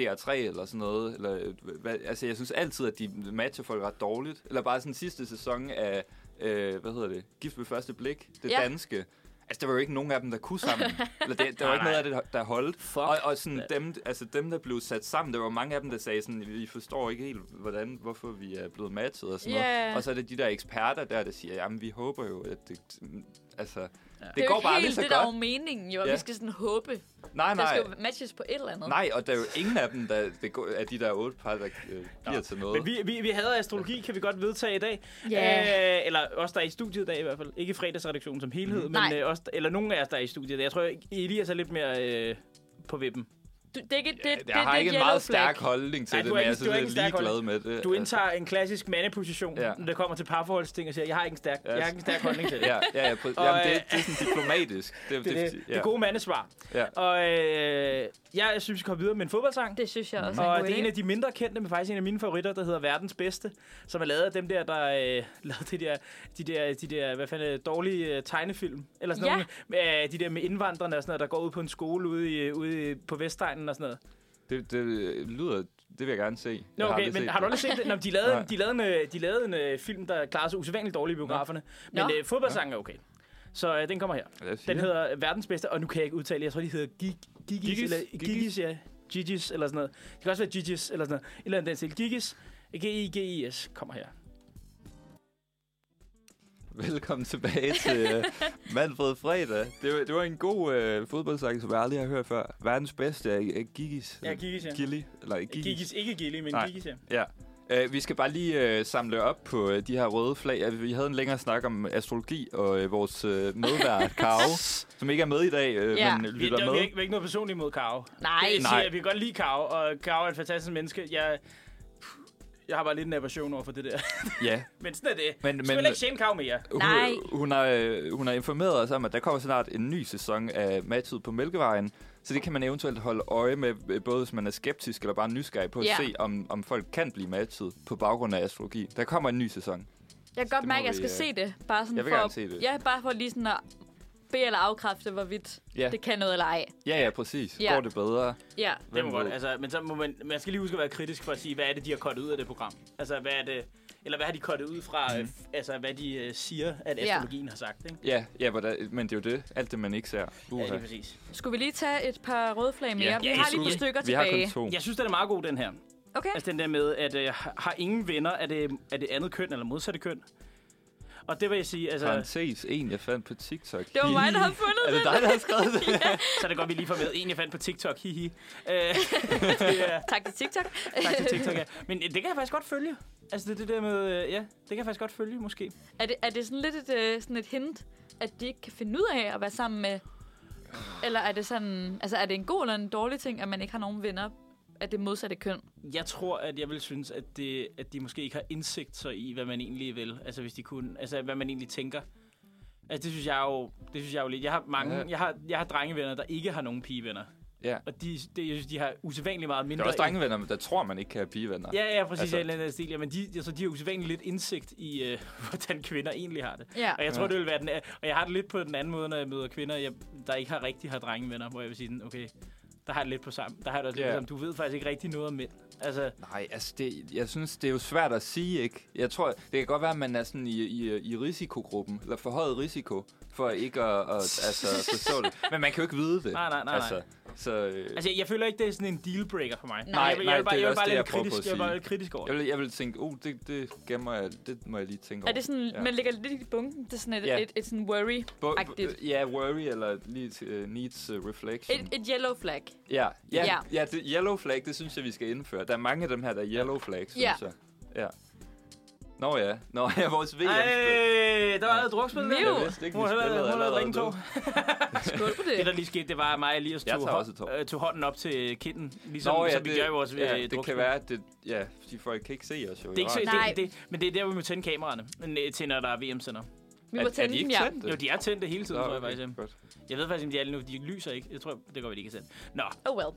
DR3 eller sådan noget, eller, øh, hvad, altså jeg synes altid, at de matcher folk ret dårligt. Eller bare sådan sidste sæson af, øh, hvad hedder det, Gift ved første blik, det Ja. ja. danske. Altså, der var jo ikke nogen af dem, der kunne [LAUGHS] sammen. Eller det, der var ikke noget af det, der- der holdt. Fuck. Og, og sådan dem, altså dem, der blev sat sammen, der var mange af dem, der sagde sådan, vi forstår ikke helt, hvordan, hvorfor vi er blevet matchet og sådan Ja. noget. Og så er det de der eksperter der, der siger, jamen, vi håber jo, at det, altså, det, det, er jo går ikke bare helt lige så det, godt. der er jo meningen, jo. Ja. Ja. Vi skal sådan håbe. Nej, Der nej. skal jo matches på et eller andet. Nej, og der er jo ingen af dem, der, det går, af de der otte par, der øh, bliver til noget. Men vi, vi, vi havde astrologi, kan vi godt vedtage i dag. Ja. Øh, eller os, der er i studiet i dag i hvert fald. Ikke fredagsredaktionen som helhed, men Mm. Nej. øh, os, eller nogen af os, der er i studiet i dag. Jeg tror, Elias er lidt mere øh, på vippen. Du, det er ikke det, det, det, jeg har det ikke en yellow meget flag. stærk holdning til Nej, det, du er men jeg ikke- du synes, er jeg er ikke en stærk ligeglad med det. Du altså. indtager en klassisk mandeposition, Ja. ja. når det kommer til parforholdsting, og siger, jeg har ikke en stærk, jeg har ikke en stærk holdning til [LAUGHS] det. Ja, ja, ja. Prøv, Og, jamen, det, øh, det er sådan diplomatisk. Det, [LAUGHS] Det, er det, ja. det gode mandesvar. Ja. Og øh, jeg synes, vi skal komme videre med en fodboldsang. Det synes jeg også er en Og god det er en idé. af de mindre kendte, men faktisk en af mine favoritter, der hedder Verdens Bedste, som er lavet af dem der, der øh, [LAUGHS] lavede de der, de der, de der, hvad fanden, er det, dårlige øh, tegnefilm, eller sådan Ja. noget, med, øh, de der med indvandrerne og sådan noget, der går ud på en skole ude, i, ude i- på Vestegnen og sådan noget. Det, det lyder... Det vil jeg gerne se. Nå, Jeg okay, aldrig men set har du det. aldrig set det? Nå, men de lavede, Nej. de lavede, en, øh, de lavede en øh, film, der klarede sig usædvanligt dårligt i biograferne, men Nå. øh, fodboldsangen er okay. Så øh, den kommer her. Lad os sige Den det. hedder Verdens Bedste, og nu kan jeg ikke udtale det. Jeg tror, de hedder Gig, Gigis, Gigis? Gigis, eller Gigis? Gigis, ja. Gigis, eller sådan noget. Det kan også være Gigis, eller sådan noget. Et eller andet den stil. Gigis, G-I-G-I-S, kommer her. [LAUGHS] Velkommen tilbage til uh, Manfred Fredag. Det, var- det var en god uh, fodboldsang, som jeg aldrig har hørt før. Verdens bedste er uh, Gigis. Ja, Gigis, ja. Gilly, eller Gigis. Gigis, ikke Gilly, men Nej. Gigis, ja. Ja. Øh, vi skal bare lige øh, samle op på øh, de her røde flag. Ja, Vi havde en længere snak om astrologi og øh, vores øh, medvært, [LAUGHS] Karo, som ikke er med i dag, øh, Ja. men Vi, lytter der, vi, med. er ikke, vi er ikke noget personligt mod Karo. Nej. Det, jeg Nej. siger, vi kan godt lide Karo, og Karo er et fantastisk menneske. Jeg, jeg har bare lidt en aversion over for det der. Ja. men sådan er det. Men- Men, men, men- Skal ikke tjene Karo mere? Hun, Nej. hun, har, øh, hun har informeret os om, at der kommer snart en ny sæson af Matchet på Mælkevejen, så det kan man eventuelt holde øje med, øh, både hvis man er skeptisk eller bare nysgerrig på at Ja. se, om, om folk kan blive matchet på baggrund af astrologi. Der kommer en ny sæson. Jeg kan godt Det må mærke, at jeg vi, skal øh, se det. Bare sådan jeg vil for, gerne se det. Ja, bare for lige sådan at bede eller afkræfte, hvorvidt Ja. det kan noget eller ej. Ja, ja, præcis. Ja. Går det bedre? Ja. Det Hvem må godt, ved? altså, men så må man, man skal lige huske at være kritisk for at sige, hvad er det, de har kottet ud af det program? Altså, hvad er det, eller hvad har de kottet ud fra, mm. altså, hvad de øh, siger, at astrologien har sagt, ikke? Ja, ja hvordan, men det er jo det. Alt det, man ikke ser. Ja, Uha. lige præcis. Skulle vi lige tage et par røde flag mere? vi ja, har lige et absolut. par stykker Vi har tilbage. kun to. Jeg synes, den er meget god, den her. Okay. Altså den der med, at øh, har ingen venner, er det, er det andet køn eller modsatte køn? Og det vil jeg sige, altså, så Parenthes, en jeg fandt på TikTok. Det var mig, der [LAUGHS] havde fundet Er det. det dig, der har skrevet det? er det godt, vi lige får med. En, jeg fandt på TikTok, hihi. Øh, det er, Tak til TikTok. tak [LAUGHS] til TikTok, ja. Men øh, det kan jeg faktisk godt følge. Altså det, det der med, øh, ja, det kan jeg faktisk godt følge, måske. er, det, er det sådan lidt et, øh, sådan et hint, at de ikke kan finde ud af at være sammen med... Eller er det sådan... Altså, er det en god eller en dårlig ting, at man ikke har nogen venner af det modsatte køn? Jeg tror, at jeg vil synes, at, det, at de måske ikke har indsigt så i, hvad man egentlig vil. Altså, hvis de kunne, altså hvad man egentlig tænker. Altså, det synes jeg jo, det synes jeg jo lidt. Jeg har mange, Ja. jeg har, jeg har drengevenner, der ikke har nogen pigevenner. Ja. Og de, det, jeg synes, de har usædvanligt meget Der mindre... er også drengevenner, men der tror man ikke kan have pigevenner. Ja, ja, præcis. Altså- Altså, eller andet stil. Ja, men de, altså, de har usædvanligt lidt indsigt i, øh, [LAUGHS] hvordan kvinder egentlig har det. Ja. Og jeg tror, Ja. det vil være den... Og jeg har det lidt på den anden måde, når jeg møder kvinder, jeg, der ikke har rigtig har drengevenner, hvor jeg vil sige sådan, okay, der har jeg det lidt på sammen. Der har jeg det også lidt Ja. på sammen. Du ved faktisk ikke rigtig noget om mænd. Altså, Nej, altså, det, jeg synes, det er jo svært at sige, ikke? Jeg tror, det kan godt være, at man er sådan i, i, i risikogruppen, eller forhøjet risiko, for ikke at, at altså, forstå det. Men man kan jo ikke vide det. Nej, nej, nej, altså, nej. Så, øh, Altså, jeg føler ikke, det er sådan en dealbreaker for mig. Nej, jeg, vil- nej, jeg, vil bare, det er jeg vil også bare det, lidt jeg prøver på at kritisk, jeg vil bare sige. lidt kritisk over jeg, det. vil, jeg vil tænke, oh, det, det gemmer jeg, det må jeg lige tænke over. Er det sådan, Ja. ja. man ligger lidt i bunken? Det er sådan et, Ja. yeah. et, et sådan øh, worry-agtigt. Bo- ja, worry eller lige, uh, needs uh, reflection. Et, et yellow flag. Ja, ja, ja. Ja. ja det, yellow flag, det synes jeg, vi skal indføre. Der er mange af dem her, der er yellow flag, synes Ja. jeg. Ja. Nå ja, Nå, ja vores VM. -spil. Ej, der var noget drukspil der. Miu. Jeg vidste ikke, Hun vi har spillede lavet- hun har allerede lavet ringen to. det. Skål på [LAUGHS] Det, der det. lige skete, det var, at mig og Elias Jeg tog, tager også et tår. øh, tog hånden op til kinden, ligesom Nå ja, som vi gør i vores det, ja, øh, det drukspil. kan være, at det, ja, de folk kan ikke se os jo. Det er ikke så, Nej. det, det, men det er der, vi må tænde kameraerne, men, øh, til når der er VM-sender. Vi er, må er tænde de den, ikke ja. tændte? Jo, de er tændte hele tiden, Nå, tror jeg okay, faktisk. Em. godt. Jeg ved faktisk, om de alle nu, de lyser ikke. Jeg tror, det går vi ikke kan tænde. Nå, Oh well.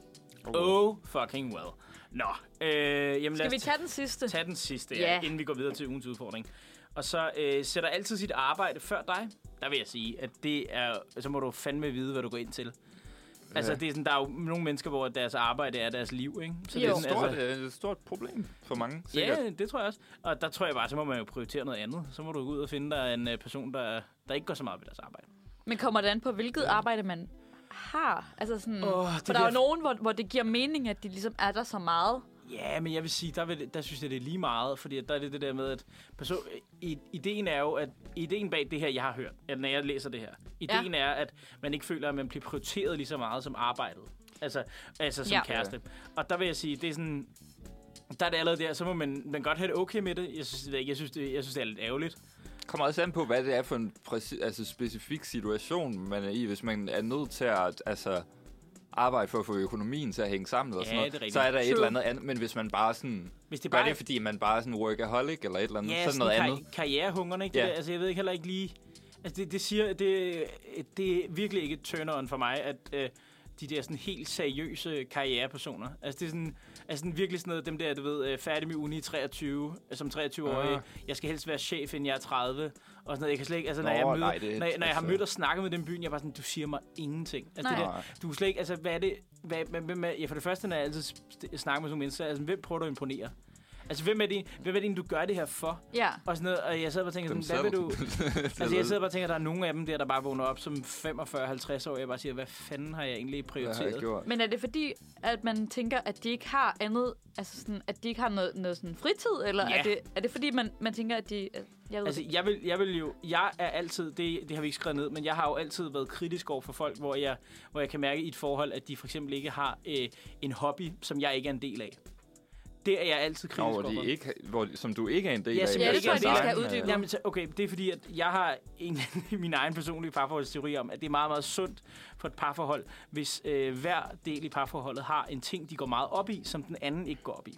oh fucking well. Nå, øh, jamen lad Skal os vi tage den sidste? tage den sidste, ja, Ja. inden vi går videre til ugens udfordring. Og så øh, sætter altid sit arbejde før dig. Der vil jeg sige, at det er, så må du fandme vide, hvad du går ind til. Altså, det er sådan, der er jo nogle mennesker, hvor deres arbejde er deres liv, ikke? Så Jo. det er Det sådan, er altså, stort, øh, et stort problem for mange, sikkert. Ja, det tror jeg også. Og der tror jeg bare, så må man jo prioritere noget andet. Så må du gå ud og finde dig en øh, person, der, der ikke går så meget ved deres arbejde. Men kommer det an på, hvilket arbejde man har? Altså sådan, Åh, oh, det for der er jo der- nogen, hvor, hvor det giver mening, at de ligesom er der så meget. Ja, men jeg vil sige, der, vil, der synes jeg, det er lige meget, fordi at der er det det der med, at person, i, ideen er jo, at ideen bag det her, jeg har hørt, at når jeg læser det her, ideen ja. er, at man ikke føler, at man bliver prioriteret lige så meget som arbejdet. Altså, altså som ja. Ja. kæreste. Og der vil jeg sige, det er sådan, der er det allerede der, så må man, man godt have det okay med det. Jeg synes, jeg, synes, det, jeg synes, det er lidt ærgerligt. kommer også an på, hvad det er for en præcis, altså, specifik situation, man er i. Hvis man er nødt til at altså, arbejde for at få økonomien til at hænge sammen, eller Ja, sådan noget, det er rigtigt. så er der et True. eller andet andet. Men hvis man bare sådan... Hvis det Gør bare det, fordi man bare er sådan workaholic eller et eller andet, så Ja, er noget kar- andet. karrierehungerne, ikke? Ja. Det der, altså, jeg ved ikke heller ikke lige... Altså, det, det siger... Det, det er virkelig ikke et turn-on for mig, at øh, de der sådan helt seriøse karrierepersoner. Altså, det er sådan, altså, sådan virkelig sådan noget, dem der, du ved, øh, færdig med uni i 23, øh, som 23-årig. Ah. Jeg skal helst være chef, inden jeg er 30. Og sådan noget. Jeg kan slet ikke... Altså, når, Nå, jeg, møder, nej, det er- når, jeg- når jeg har altså- mødt og snakket med dem i byen, jeg er bare sådan, du siger mig ingenting. Altså, det Nej. der, du er slet ikke... Altså, hvad er det... Hvad, hvad, hvem er, ja, for det første, når jeg altid st- snakker med sådan nogle mennesker, altså, hvem prøver du at imponere? Altså, hvem er, det, hvem er det, egentlig, du gør det her for? Ja. Og sådan noget, og jeg sad bare og tænkte, Dem sådan, hvad vil du... selv. [LAUGHS] altså, jeg sidder bare og tænker, at der er nogle af dem der, der bare vågner op som 45-50 år, og jeg bare siger, hvad fanden har jeg egentlig Hvad har jeg prioriteret? gjort? Men er det fordi, at man tænker, at de ikke har andet, altså sådan, at de ikke har noget, noget sådan fritid, eller Ja. er, det, er det fordi, man, man tænker, at de... Jeg ved Altså, altså, jeg vil, jeg vil jo... Jeg er altid... Det, det har vi ikke skrevet ned, men jeg har jo altid været kritisk over for folk, hvor jeg, hvor jeg kan mærke i et forhold, at de for eksempel ikke har øh, en hobby, som jeg ikke er en del af. Det er jeg altid kritisk Nå, hvor over for. de ikke, hvor, de- som du ikke er en del Ja, af. som jeg men ikke er en del af. design, Ja, det tror jeg, de skal øh, uddybe. Jamen, så- okay, det er fordi, at jeg har en min egen personlige parforholdsteori om, at det er meget, meget sundt for et parforhold, hvis øh, hver del i parforholdet har en ting, de går meget op i, som den anden ikke går op i.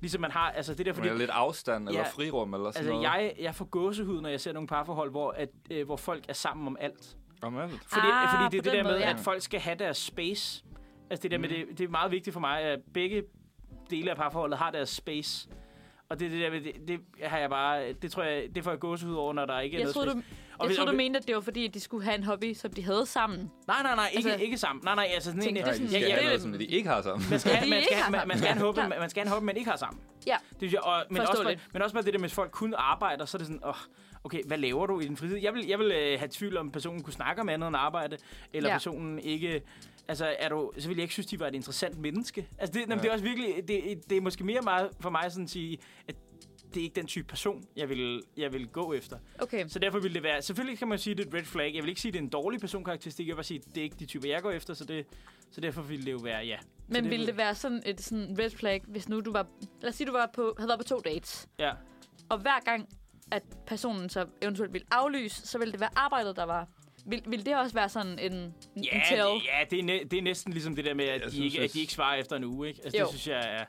Ligesom man har, altså det der, fordi... Fordi, lidt afstand eller Ja, frirum eller sådan Altså, noget. jeg, jeg får gåsehud, når jeg ser nogle parforhold, hvor, at, øh, hvor folk er sammen om alt. Om alt. Fordi, Ah, fordi det på er det den der med, måde, ja. at folk skal have deres space. Altså, det, der med, det, det er meget vigtigt for mig, at begge dele af parforholdet har deres space. Og det, er det der med, det, det har jeg bare, det tror jeg, det får jeg gåsehud over, når der ikke er Jeg noget troede, space. du, Og jeg hvis- troede, og- du mente, at det var fordi, at de skulle have en hobby, som de havde sammen. Nej, nej, nej, ikke, altså, Altså- ikke sammen. Nej, nej, altså sådan en... Ja, Tænker du Nej, ja, de sådan- skal ja, have det- noget, som de ikke har sammen. man skal, de have- man, ikke skal, har have- man, man, skal have en håb, sammen. man, man skal have en håb, man ikke har sammen. Ja. Det synes jeg, og, men, også bare, Forståeligt. men også bare det der med, at folk kun arbejder, så er det sådan, åh, okay, hvad laver du i din fritid? Jeg vil, jeg vil øh, have tvivl om, personen kunne snakke om andet end arbejde, eller ja. Ja. personen ikke... Altså, er du, så vil jeg ikke synes, de var et interessant menneske. Altså, det, jamen, det er også virkelig... Det, det er måske mere meget for mig sådan at sige, at det er ikke den type person, jeg vil, jeg vil gå efter. Okay. Så derfor ville det være... Selvfølgelig kan man sige, det er et red flag. Jeg vil ikke sige, det er en dårlig personkarakteristik. Jeg vil bare sige, det er ikke de typer, jeg går efter, så, det, så derfor ville det jo være ja. Men det ville ved- det være sådan et sådan red flag, hvis nu du var... Lad os sige, du var på, havde været på to dates. Ja. Og hver gang, at personen så eventuelt ville aflyse, så ville det være arbejdet, der var... Vil, vil det også være sådan en, en Ja, tell? det, ja det, er næ- det er næsten ligesom det der med, at, de, synes, ikke, at at- de ikke svarer efter en uge. Ikke? Altså, det Jo. synes jeg er...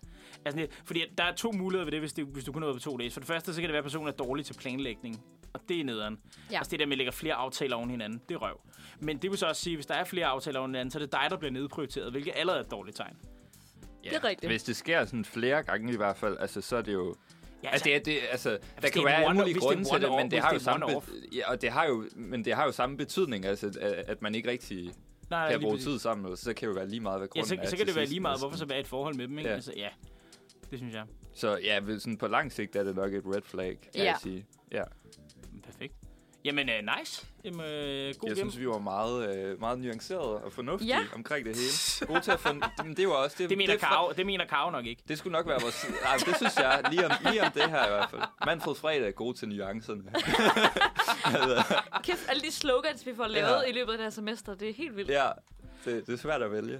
Altså, det, fordi at der er to muligheder ved det, hvis, det, hvis du kun har været på to dage. For det første, så kan det være, at personen er dårlig til planlægning. Og det er nederen. Ja. Ja. Altså det der med, at lægger flere aftaler oven hinanden, det er røv. Men det vil så også sige, at hvis der er flere aftaler oven hinanden, så er det dig, der bliver nedprioriteret, hvilket allerede er et dårligt tegn. [LAUGHS] Det er rigtigt. Hvis det sker sådan flere gange i hvert fald, altså, så er det jo... Ja, Altså, det er, det, altså, der det kan er jo være en alle one- mulige hvis det grunde er til one det, off, men det hvis har det jo er samme, one be- ja, og det har jo, men det har jo samme betydning, altså, at, at man ikke rigtig Nej, kan lige bruge præcis. tid sammen, eller så kan det jo være lige meget, hvad Ja, grunden så, er så til kan det være sidst, altså. lige meget, næsten. hvorfor så være i et forhold med dem, ikke? Ja. Ja. Altså, ja, det synes jeg. Så ja, ved- sådan på lang sigt er det nok et red flag, kan Ja. jeg sige. Ja. Perfekt. Jamen, uh, nice. Jamen, uh, god Jeg game. synes, vi var meget, øh, meget nuancerede og fornuftige Ja. omkring det hele. Gode til at [LAUGHS] fund... Men det var også... det, mener det, Karo, det mener Karo nok ikke. det skulle nok være vores... Ej, det synes jeg, lige om, lige om det her i hvert fald. Manfred Fredag er god til nuancerne. Kæft, alle de slogans, vi får lavet Ja. ja. i løbet af det her semester, det er helt vildt. Ja. Ja, det, det er svært at vælge.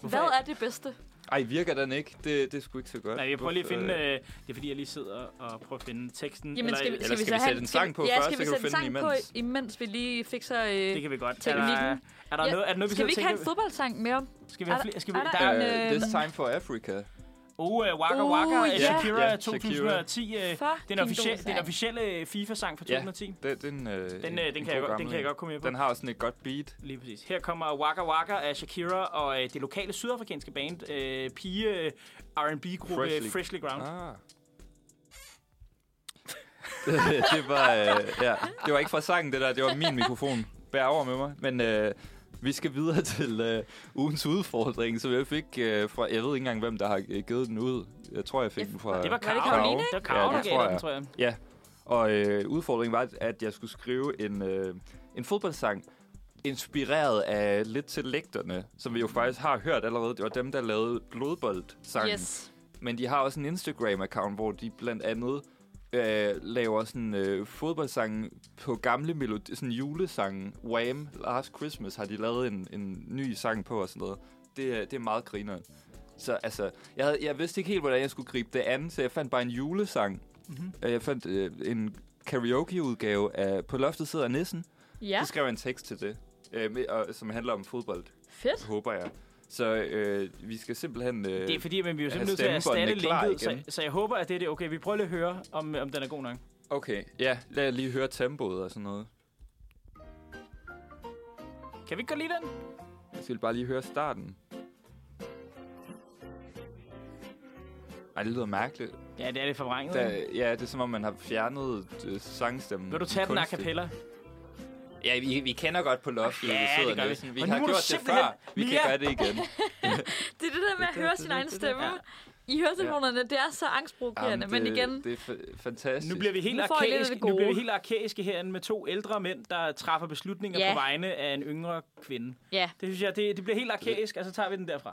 Hvad er det bedste? Ej, virker den ikke? Det, det er sgu ikke så godt. Nej, jeg prøver lige at Hvorfor, finde... øh, Øh, det er fordi, jeg lige sidder og prøver at finde teksten. Jamen, skal vi, eller, skal vi så sætte have- en skal sang vi- på ja, først, skal så vi kan du sætte en finde sang den på, imens? imens vi lige fikser... Øh, det kan vi godt. Er der, teknikken. er der, Ja, noget, er der noget, vi skal vi sidder ikke og have en tænker? fodboldsang mere? Skal vi have er flere? der- Skal vi, er der der- er, en, Øh, øh, This Time for Africa. Oh, uh, Waka Uh, Waka af ja. Shakira Ja, 2010 øh, Fucking den, officielle, god sang. den officielle øh, FIFA-sang fra Ja. 2010. Den, den, øh, Den, øh, den, kan jeg, godt- den kan jeg godt komme med på. Den har sådan et godt beat. Lige præcis. Her kommer Waka Waka af Shakira og øh, det lokale sydafrikanske band, øh, pige øh, R&B-gruppe Freshly. Freshly. Freshly Ground. Ah. Ah. [LAUGHS] det, var, øh, ja. det var ikke fra sangen, det der. Det var min mikrofon. Bær over med mig. Men øh, vi skal videre til øh, ugens udfordring, som jeg fik øh, fra... Jeg ved ikke engang, hvem der har øh, givet den ud. Jeg tror, jeg fik Ja, den fra... Det var Var det Karo. Karoline? Det var Karo, Ja, der det gav tror dig den, jeg. tror jeg. Ja, og øh, udfordringen var, at jeg skulle skrive en, øh, en fodboldsang, inspireret af lidt til lægterne, som vi jo faktisk har hørt allerede. Det var dem, der lavede blodboldsangen. Yes. Men de har også en Instagram-account, hvor de blandt andet øh, laver sådan øh, fodboldsange på gamle melodi, sådan julesange. Wham! Last Christmas har de lavet en, en ny sang på og sådan noget. Det, er- det er meget grineren. Så altså, jeg, havde, jeg vidste ikke helt, hvordan jeg skulle gribe det an, så jeg fandt bare en julesang. Mhm. Mm-hmm. Jeg fandt øh, en karaoke-udgave af På loftet sidder nissen. Ja, Så skrev jeg en tekst til det, øh, med, og, som handler om fodbold, fedt. håber jeg. Så øh, vi skal simpelthen... Øh, Det er fordi, men vi er jo Ja, simpelthen nødt til at erstatte stemmebåndene klar linket, så, igen. så jeg håber, at det er det. Okay, vi prøver lige at høre, om, om den er god nok. Okay, ja, lad lige høre tempoet og sådan noget. Kan vi ikke godt lide den? Jeg skal bare lige høre starten. Ej, det lyder mærkeligt. Ja, det er lidt forvrænget. Da, ikke? ja, det er som om, man har fjernet øh, sangstemmen. Vil du tage den a Kunstigt. cappella? Ja, vi, vi kender godt på Loft. Ja, det gør vi. Vi Og har nu må gjort du det simpelthen- før. Vi kan Mia! gøre det [LAUGHS] igen. Det er det der med at høre sin egen stemme. I høretelefonerne, det er så angstprovokerende. Jamen, Men det, igen, Det er fa- fantastisk. Nu bliver vi helt Nu får I lidt af arkæiske, det nu bliver vi gode. helt arkæiske herinde med to ældre mænd, der træffer beslutninger Ja. på vegne af en yngre kvinde. ja. Det synes jeg, det, det bliver helt arkæisk, og så tager vi den derfra.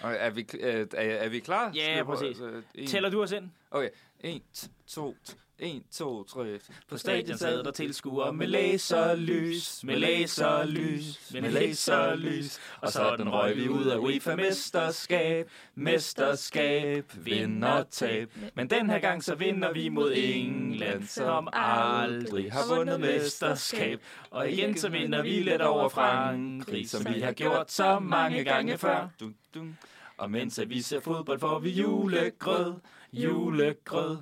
Og er, vi, øh, er, er vi klar? Ja, Skal vi prøve- præcis. altså, [LAUGHS] en- Tæller du os ind? Okay, 1, 2, 1, 2, 3. På stadion sad der tilskuere med laserlys, med laserlys, med laserlys. Og sådan røg vi ud af UEFA mesterskab, mesterskab, vinder tab. Men den her gang så vinder vi mod England, som aldrig har vundet mesterskab. Og igen så vinder vi let over Frankrig, som vi har gjort så mange gange før. Dun, dun. Og mens at vi ser fodbold, får vi julegrød, julegrød,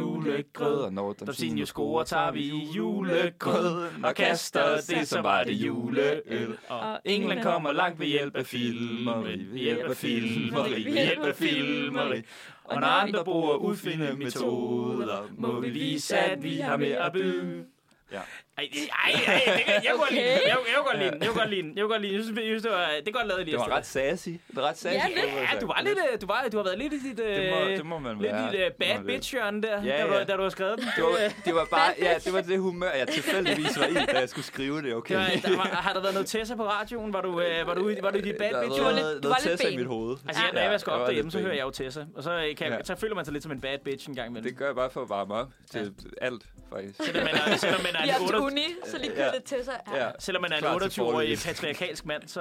julegrød. Og når Dopsinio scorer, tager vi julegrød og kaster det, så var det juleøl. Og England kommer langt ved hjælp af filmeri, ved hjælp af filmeri, ved hjælp af filmeri. Og når andre bruger udfinde metoder, må vi vise, at vi har mere at byde. Ja. Ej, ej, ej, det kan- jeg kunne godt lide den. Jeg jeg kunne godt lide den. Jeg kunne godt lide den. Jeg kunne godt lide den. Jeg synes, jeg synes, det var det er godt lavet lige. Det var ret sassy. Det var ret sassy. Ja, lidt. Ja, du var lidt, øh, du var, du har været lidt i dit, øh, Det må, det må man lidt være. i dit øh, Det må bad man være. bitch hjørne der, Ja, da, ja. du, da du har [LAUGHS] skrevet den. Det var, det var bare, ja, det var det humør, jeg tilfældigvis var i, da jeg skulle skrive det, okay? Det var, der var, har der været noget Tessa på radioen? Var du, øh, var du, i- var du i dit bad Der bitch? var hjørne? noget, du var noget lidt tæs i ben. mit hoved. Altså, ja, når jeg vasker jeg op var derhjemme, lidt så hører ben. jeg jo Tessa. Og så, øh, kan, Ja. jeg, så føler man sig lidt som en bad bitch en gang imellem. Det gør jeg bare for at varme op til alt, faktisk. Selvom man [LAUGHS] er, selvom man er Vi er en til 8, uni, så lige kører Ja. lidt til sig. Ja. selvom man er en Klar til 28-årig forlæs. patriarkalsk mand, så,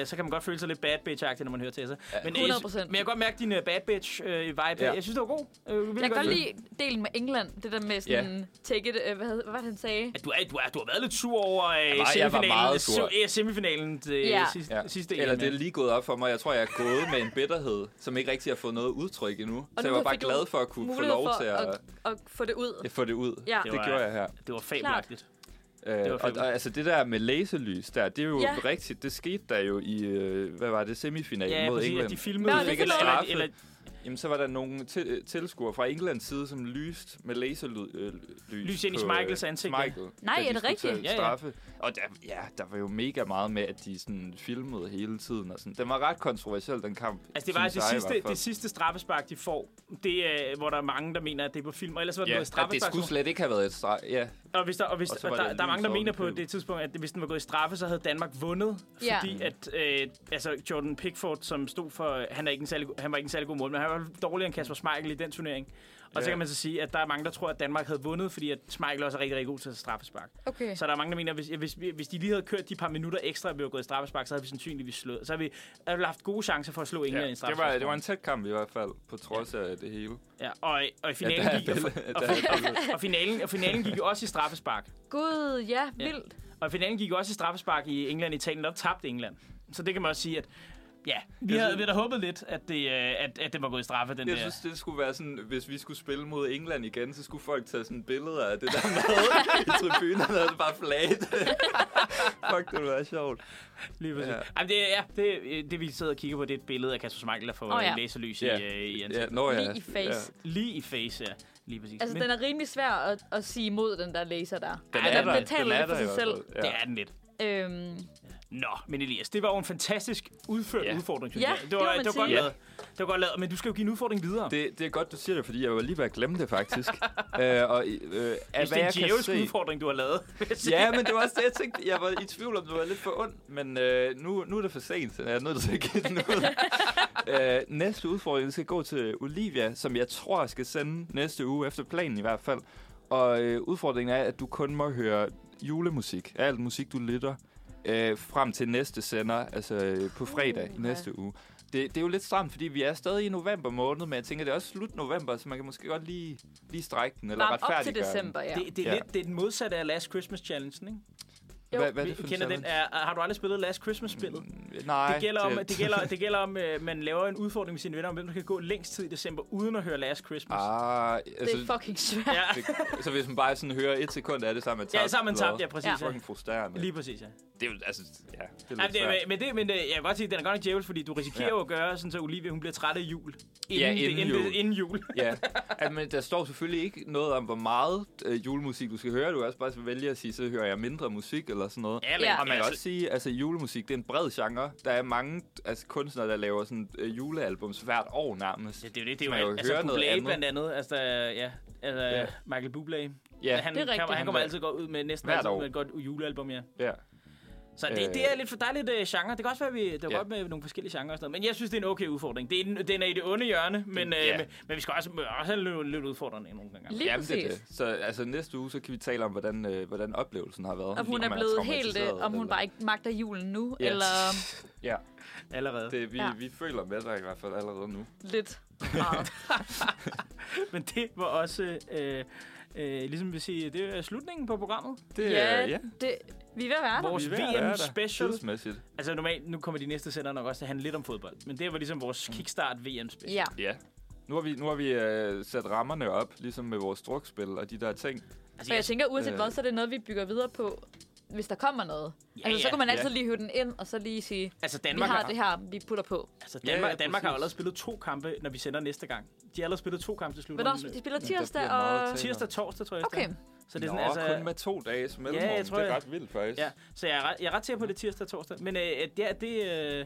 øh, så kan man godt føle sig lidt bad bitch-agtig, når man hører Tessa. Men, øh, 100%. men jeg kan godt mærke din øh, bad bitch-vibe. Øh, vibe. Ja. Jeg synes, det var god. Øh, virkelig Jeg kan godt. godt lide delen med England. Det der med sådan, take it, øh, hvad, hed- hvad var det, han sagde? At du, er, du, er, du har været lidt sur over øh, var- jeg var semifinalen, meget sur. se- øh, semifinalen øh, Ja. sidste, Ja. sidste Eller EM, det er ja. lige gået op for mig. Jeg tror, jeg er gået med en bitterhed, som ikke rigtig har fået noget udtryk endnu. så jeg nu var bare fik du glad for at kunne få mulighed lov for til at, at, at få det ud. at få det ud. Ja. Det, Det var- gjorde jeg her. Det var fabelagtigt. Øh, var og, fedt. og altså det der med laserlys der, det er jo Ja. ja. rigtigt. Det skete der jo i, øh, hvad var det, semifinalen Ja, mod præcis, England. at de filmede. Hvad var det Fik for et noget? straffe. Eller- Jamen så var der nogle til, øh, tilskuere fra Englands side, som lyste med laserlys øh, Lys ind i på, Michaels ansigt, ja. Michael, Nej, da de er det skulle rigtigt? tage Ja, ja. Straffe. Og der, ja, der var jo mega meget med, at de sådan filmede hele tiden. Og sådan. Den var ret kontroversiel, den kamp. Altså, det var synes det jeg i sidste, hvert fald. det sidste straffespark, de får. Det er, hvor der er mange, der mener, at det er på film. Og ellers var det noget Ja, at det straffespark. skulle som- slet ikke have været et straf. Ja, Og, hvis der, og, hvis, Og og så var der, det der er mange, der lys mener oven i på købet. det tidspunkt, at hvis den var gået i straffe, så havde Danmark vundet. Ja. Fordi at øh, altså Jordan Pickford, som stod for... Han, er ikke en særlig, go- han var ikke en særlig god mål, men han var dårligere end Kasper Schmeichel i den turnering. Og så Ja. kan man så sige, at der er mange, der tror, at Danmark havde vundet, fordi at Schmeichel også er rigtig, rigtig god til straffespark. Okay. Så der er mange, der mener, at hvis, hvis, hvis de lige havde kørt de par minutter ekstra, at vi var gået i straffespark, så havde vi sandsynligvis slået. Så havde vi, havde vi haft gode chancer for at slå England ja. ja, i en Det, var, straffespark. det var en tæt kamp i hvert fald, på trods af det hele. Ja, og, og, i finalen der er gik, og, billede- [LAUGHS] og, der er og, og, finalen, og finalen gik jo også i straffespark. Gud, ja, vildt. Og i finalen gik jo også i straffespark i England og Italien, og der tabte England. Så det kan man også sige, at Ja, vi havde, vi havde da håbet lidt, at det, øh, at, at det var gået i straffe, den Jeg der. synes, det skulle være sådan, hvis vi skulle spille mod England igen, så skulle folk tage sådan billeder af det der [LAUGHS] med i tribunerne, og det bare [LAUGHS] flaget. Fuck, det ville være sjovt. Lige præcis. Ja. Jamen, det, ja, det, det, vi sidder og kigger på, det er et billede af Kasper Schmeichel, der får Åh, oh, ja. ja. laserlys Ja. i, øh, i Ja, ansigtet. nå ja. Lige i face. Lige i face, ja. Lige præcis. Altså, Men den er rimelig svær at, at sige imod, den der laser der. Den Ej, er der. den betaler Den er lidt for der i sig hvert selv. fald. det er den lidt. Øhm, Nå, men Elias, det var jo en fantastisk udført Ja. udfordring, synes Ja, jeg. det må man det var godt sige. lavet. Det var godt lavet, men du skal jo give en udfordring videre. Det, Det, det er godt, du siger det, fordi jeg var lige ved at glemme det, [LAUGHS] faktisk. øh, og, øh, af Hvis det hvad er en jeg kan djævelsk se... udfordring, du har lavet. vil jeg sige. Ja, men det var også det, jeg tænkte. Jeg var i tvivl om, det var lidt for ondt, men øh, nu, nu er det for sent, så jeg er nødt til at give den [LAUGHS] ud. øh, næste udfordring skal gå til Olivia, som jeg tror, jeg skal sende næste uge, efter planen i hvert fald. Og øh, udfordringen er, at du kun må høre julemusik, alt musik, du lytter, øh, frem til næste sender, altså øh, på fredag i Uha. næste uge. Det, det er jo lidt stramt, fordi vi er stadig i november måned, men jeg tænker, det er også slut november, så man kan måske godt lige, lige strække den, eller varm op til retfærdiggøre den. december, ja. Det, det, er Ja. lidt, det er den modsatte af Last Christmas Challenge, ikke? Hvad, hvad er Vi det for en kender den. challenge? Mm, Er, har du aldrig spillet Last Christmas-spillet? Nej. Det gælder om, det [LAUGHS] gælder, det gælder om øh, man laver en udfordring med sine venner om, hvem der kan gå længst tid i december, uden at høre Last Christmas. Ah, Det altså, er fucking svært. Ja, det, så hvis man bare sådan hører et sekund af det, så er man tabt. ja så har man eller tabt, ja, hvad? præcis. Det er Ja. fucking frustrerende. Lige præcis, ja. Det er jo, altså, ja, det er Jamen, lidt det, svært. men- men, det, men øh, jeg kan godt sige, at den er godt nok djævel, fordi du risikerer Ja. jo at gøre sådan, så Olivia hun bliver træt af jul. Ja, inden det, jul. Det, inden jul. Ja, altså, men der står selvfølgelig ikke noget om, hvor meget øh, julemusik du skal høre. Du kan også bare vælge at sige, så hører jeg mindre musik eller sådan noget. Ja, men- Ja. Og man kan altså- også sige, altså julemusik, det er en bred genre. Der er mange altså, kunstnere, der laver sådan øh, julealbums hvert år nærmest. Ja, det er jo det, det er Man kan jo, jo altså, høre noget Bublé andet. blandt andet, altså, ja, altså, Ja. ja. Michael Bublé. Ja, han, Det er rigtigt. kommer, han kommer Han- altid godt ud med næsten Hvert altid år. ud med et godt julealbum, ja. ja. Så det, Øh. det er lidt for dejligt uh, genre. Det kan også være, vi, det var Ja. godt med nogle forskellige genrer og sådan noget. Men jeg synes, det er en okay udfordring. Det er, den- den er i det onde hjørne, men, uh, ja. men, men vi skal også, også have lidt, lidt udfordrende nogle gange. Lige Jamen, det er præcis. det. Så altså, næste uge, så kan vi tale om, hvordan, øh, hvordan oplevelsen har været. Om hun Om er man blevet helt... øh, traumatiseret Om hun eller- bare ikke magter julen nu, Ja. eller Ja. Allerede. Det, vi, Ja. ja. vi føler med dig i hvert fald allerede nu. lidt meget. Men det var også, øh, øh, ligesom vi siger, det er slutningen på programmet. Det, Ja, det, vi er ved at være der. Vores Vi er ved at være der. VM-special. Tidsmæssigt. Altså normalt, nu kommer de næste sender nok også til at handle lidt om fodbold. Men det var ligesom vores Mm. kickstart VM-special. Ja. Ja. Nu har vi, nu har vi øh, sat rammerne op, ligesom med vores drukspil og de der ting. Altså, Og jeg tænker, uanset Øh. hvad, så er det noget, vi bygger videre på, hvis der kommer noget. ja, Altså, så kan man ja. altid lige hive den ind, og så lige sige, altså vi Danmark, har det her, vi putter på. altså, Ja, ja, Danmark, Danmark har præcis. allerede spillet to kampe, når vi sender næste gang. De har allerede spillet to kampe til slut. Hvornår de spiller tirsdag bliver meget og... tæt. Tirsdag og torsdag, tror jeg. Okay, Så det er Nå, sådan, altså, kun med to dages mellemrum. jeg tror, det er jeg- ret vildt, faktisk. Ja, så jeg er, ret- jeg er ret sikker på, at det er tirsdag og torsdag. Men øh, at det, er- det, øh, det, bl-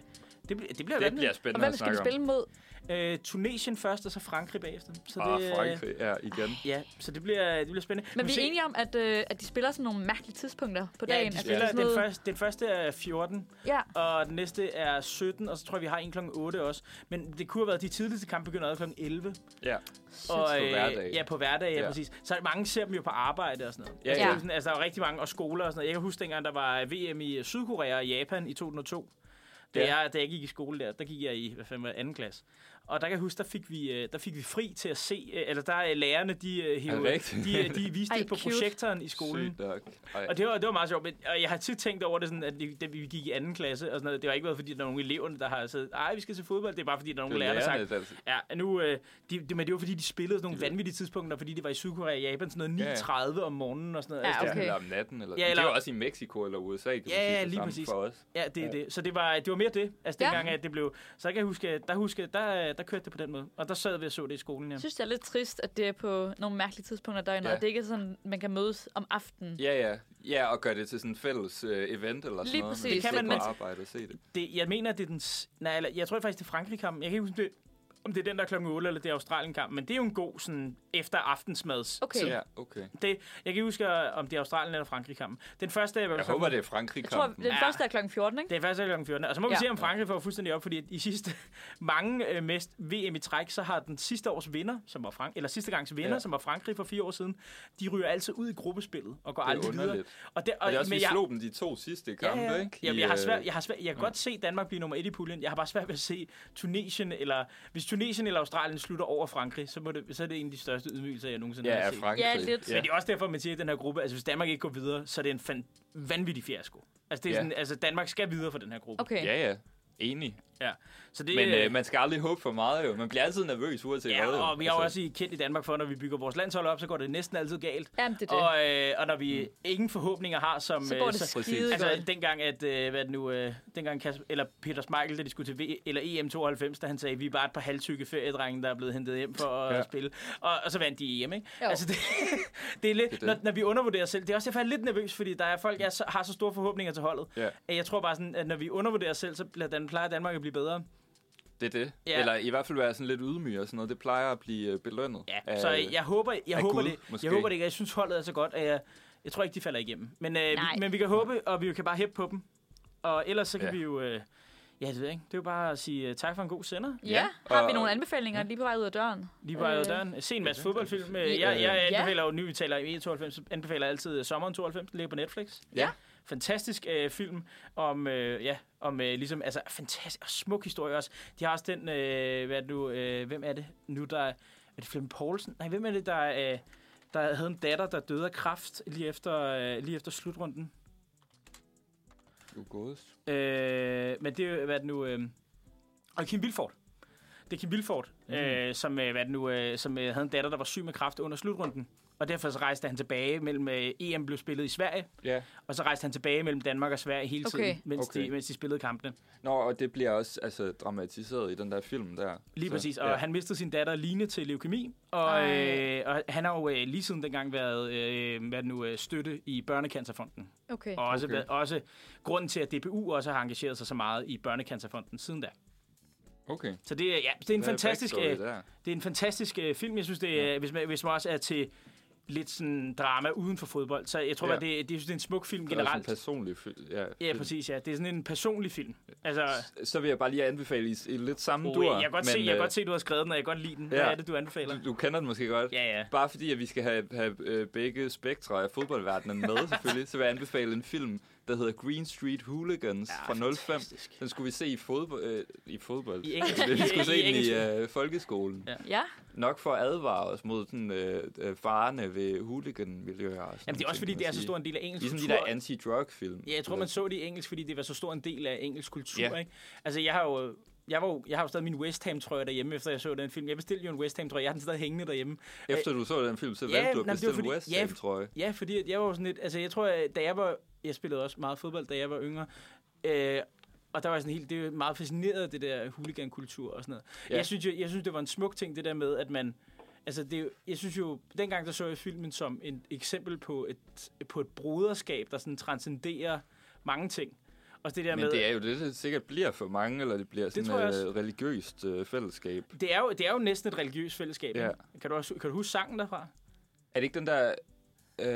det bliver Det bliver vanvittigt. og spændende hvem at skal vi snakke spille mod? Bliver... Øh, Tunesien først, og så Frankrig bagefter. Så om. det, Ah, øh, Frankrig. Ja, igen. Ja, så det bliver, det bliver spændende. Men Nu vi er se- enige om, at, øh, at de spiller sådan nogle mærkelige tidspunkter på Ja, dagen. de at spiller, det er sådan den, noget- første, den første er 14, Ja, og den næste er 17, og så tror jeg, vi har en kl. 8 også. Men det kunne have været, at de tidligste kampe begynder allerede kl. 11. Ja. Og, øh, På hverdage. Ja, på hverdag, ja, Ja. ja, præcis. Så mange ser dem jo på arbejde og sådan noget. Ja, altså, det er ja. jo Sådan, altså, der er jo rigtig mange, og skoler og sådan noget. Jeg kan huske dengang, der var VM i Sydkorea og Japan i 2002. Da, Ja. ja. jeg, da jeg gik i skole der, der gik jeg i, hvad fanden var det, anden klasse. Og der kan jeg huske, der fik vi, øh, der fik vi fri til at se, øh, eller der øh, lærerne, de, øh, hævde, rigtigt? de, øh, de viste [LAUGHS] Ej, det på cute. projektoren i skolen. Sygt nok. Ej. Og det var, det var meget sjovt, men og jeg har tit tænkt over det, sådan, at det, da vi gik i anden klasse, og sådan noget, det har ikke været, fordi der er nogle elever, der har sagt, ej, vi skal se fodbold, det er bare, fordi der er nogle lærere, der har sagt, lærerne, der- ja, nu, øh, de, det, men det var, fordi de spillede sådan nogle vanvittige tidspunkter, fordi det var i Sydkorea og Japan, sådan Ja, ja. noget 9.30 om morgenen og sådan noget. Ja, Altså, det- okay. Eller om natten. Eller, Ja, ja, eller... eller- Det er jo også i Mexico eller USA, kan man Ja, ja, sige, det lige samme præcis. for os. Ja, det er det. Så det var, det var mere det, altså Ja. dengang, at det blev, så jeg kan huske, at der, huske, der, der kørte det på den måde, og der sad vi og så det i skolen, ja. jeg synes, det er lidt trist, at det er på nogle mærkelige tidspunkter af døgnet, Ja. og det ikke er sådan, man kan mødes om aftenen. Ja, ja. Ja, og gøre det til sådan en fælles øh, event eller sådan Lige noget. præcis. Det kan kan man man, ikke men- på arbejde og se det. det, jeg mener, det er den... s- Nej, eller, jeg tror faktisk, det er Frankrig-kampen. Jeg kan ikke huske, om det, om det er den, der er klokken 8, eller det er Australien-kampen. Men det er jo en god sådan, efter aftensmads. Okay. tid. Ja, okay. Det, jeg kan ikke huske, om det er Australien eller Frankrig-kampen. Den første er... Jeg håber, det er Frankrig Jeg tror, den Ja. første er klokken 14, ikke? Det er faktisk kl. 14. Og så må vi Ja. se, om Frankrig får fuldstændig op, fordi at i sidste [LAUGHS] mange øh, mest VM i træk, så har den sidste års vinder, som var Frank eller sidste gangs vinder, Ja. ja. som var Frankrig for fire år siden, de ryger altid ud i gruppespillet og går Det er aldrig videre. underligt. Og, det, Og det er også, men vi jeg- slog dem de to sidste kampe, ja, ja. ikke? Jamen, I, jeg, har øh, svært, jeg, har svært, jeg kan godt se Danmark blive nummer et i puljen. Jeg har bare svært ved at se Tunesien eller... Hvis Tunesien eller Australien slutter over Frankrig, så, må det, så er det en af de største ydmygelser, jeg nogensinde Ja, har af set. Frankrig. Ja, lidt. Men det er også derfor, man siger, at den her gruppe... Altså, hvis Danmark ikke går videre, så er det en fan, vanvittig fiasko. Altså, det er Ja. sådan, altså, Danmark skal videre for den her gruppe. Okay. Ja, ja. Enig. Ja. Så det, Men øh, man skal aldrig håbe for meget, jo. Man bliver altid nervøs, uanset Ja, hvad. jo. og vi er jo Altså, også i- kendt i Danmark for, at når vi bygger vores landshold op, så går det næsten altid galt. Jamen, det er det. Og, øh, og når vi ingen forhåbninger har, som... Så går øh, det skide Altså, godt. dengang, at, øh, hvad er det nu, øh, dengang Kasper, eller Peter Smeichel, da de skulle til v- eller EM92, da han sagde, vi er bare et par halvtykke feriedrenge, der er blevet hentet hjem for at ja. Ja. spille. Og, og, så vandt de EM, ikke? Altså, det, [LAUGHS] det er lidt, det Det er er det. Når, når, vi undervurderer os selv, det er også derfor, jeg er lidt nervøs, fordi der er folk, jeg så, har så store forhåbninger til holdet. Ja. At Jeg tror bare sådan, at når vi undervurderer os selv, så bliver Dan, plejer Danmark at blive bedre. Det er det. Ja. Ja. Eller i hvert fald være sådan lidt ydmyg og sådan noget. Det plejer at blive øh, belønnet. Ja, så jeg håber, jeg af håber, Gud, det, jeg måske. håber det ikke. Jeg synes, holdet er så godt, at jeg, jeg tror ikke, de falder igennem. Men, øh, vi, men vi kan håbe, og vi kan bare hæppe på dem. Og ellers så kan ja. Ja. vi jo... Øh, ja, det ved jeg ikke. Det er jo bare at sige øh, tak for en god sender. Ja, har vi og- nogle anbefalinger lige på vej ud af døren? Lige bare øh, Øh, døren. Se en masse fodboldfilm. vi- Øh, Jeg, jeg Ja. anbefaler jo, nu vi taler i 92, så anbefaler jeg altid øh, Sommeren 92, den ligger på Netflix. Ja. Fantastisk øh, film om, øh, ja, om øh, ligesom, altså fantastisk og smuk historie også. De har også den, øh, hvad er det nu, øh, hvem er det nu, der, er det Flemming Poulsen? Nej, hvem er det, der, øh, der havde en datter, der døde af kræft lige efter, øh, lige efter slutrunden? Du godest. Øh, men det er jo, hvad er det nu... Øh, og Kim Vilfort. Det er Kim Vilfort, mm. øh, som, øh, hvad er det nu, øh, som øh, havde en datter, der var syg med kræft under slutrunden. Og derfor så rejste han tilbage mellem øh, EM blev spillet i Sverige, Ja. og så rejste han tilbage mellem Danmark og Sverige hele Okay. tiden, mens, Okay. de, mens de spillede kampene. Nå, og det bliver også altså, dramatiseret i den der film der. Lige så, så, præcis. Og ja. han mistede sin datter Line til leukemi, og, øh, og han har jo øh, lige siden dengang været øh, hvad er det nu, øh, støtte i Børnecancerfonden. Okay. Og også, Okay. okay. også grunden til, at DBU også har engageret sig så meget i Børnecancerfonden siden da. Okay. Så det, er- ja, det er en Hvad er fantastisk, backstory øh, der? det er en fantastisk øh, film. Jeg synes, det er, hvis, man, hvis man også er til lidt sådan drama uden for fodbold, så jeg tror, Ja. ja. at det, det, jeg synes, det er en smuk film Det er også en generelt. personlig film. Ja, Ja, præcis, ja. Det er sådan en personlig film. Altså, Så vil jeg bare lige anbefale i, i lidt samme oh, dur. jeg kan godt, se, jeg kan øh, godt se, du har skrevet den, og jeg kan godt lide den. Hvad ja. er det, du anbefaler? Du, du kender den måske godt. Ja, ja. Bare fordi, at vi skal have, have øh, begge spektre af fodboldverdenen [LAUGHS] med, selvfølgelig, så vil jeg anbefale en film, der hedder Green Street Hooligans Ja, ja, fra 05. fantastisk. Den skulle vi se i fodbold. Øh, I fodbold. [LAUGHS] I [LAUGHS] engelsk. Vi skulle I se den engelsk. i øh, folkeskolen. Ja. Ja. Ja, Nok for at advare os mod sådan, øh, øh, farerne ved hooligan-miljøer. og sådan Jamen, det er nogle også, ting, fordi kan det er man så sige. stor en del af engelsk Ligesom de kultur. der anti-drug-film. Ja, jeg tror, man så det i engelsk, fordi det var så stor en del af engelsk kultur, Ja. ikke? Altså, jeg har jo... Jeg, var jo, jeg har jo stadig min West Ham-trøje derhjemme, efter jeg så den film. Jeg bestilte jo en West Ham-trøje. Jeg har den stadig hængende derhjemme. Efter du så den film, så Ja, valgte du nej, at men det var bestille fordi- West ja, Ham-trøje. Ja, fordi at jeg var jo sådan lidt... Altså, jeg tror, at da jeg var... Jeg spillede også meget fodbold, da jeg var yngre. Øh, og der var jeg sådan helt... Det er jo meget fascineret af det der huligankultur og sådan noget. Ja. Ja. Jeg, synes, jeg, jeg synes, det var en smuk ting, det der med, at man... Altså, det, er jo- jeg synes jo, dengang der så jeg filmen som et eksempel på et, på et broderskab, der sådan transcenderer mange ting. Og det der Men med, det er jo det, det sikkert bliver for mange, eller det bliver sådan tror jeg et også. øh, religiøst øh, fællesskab. Det er jo, det er jo næsten et religiøst fællesskab. Ja. Ja. Kan, du også, kan du huske sangen derfra? Er det ikke den der... Øh,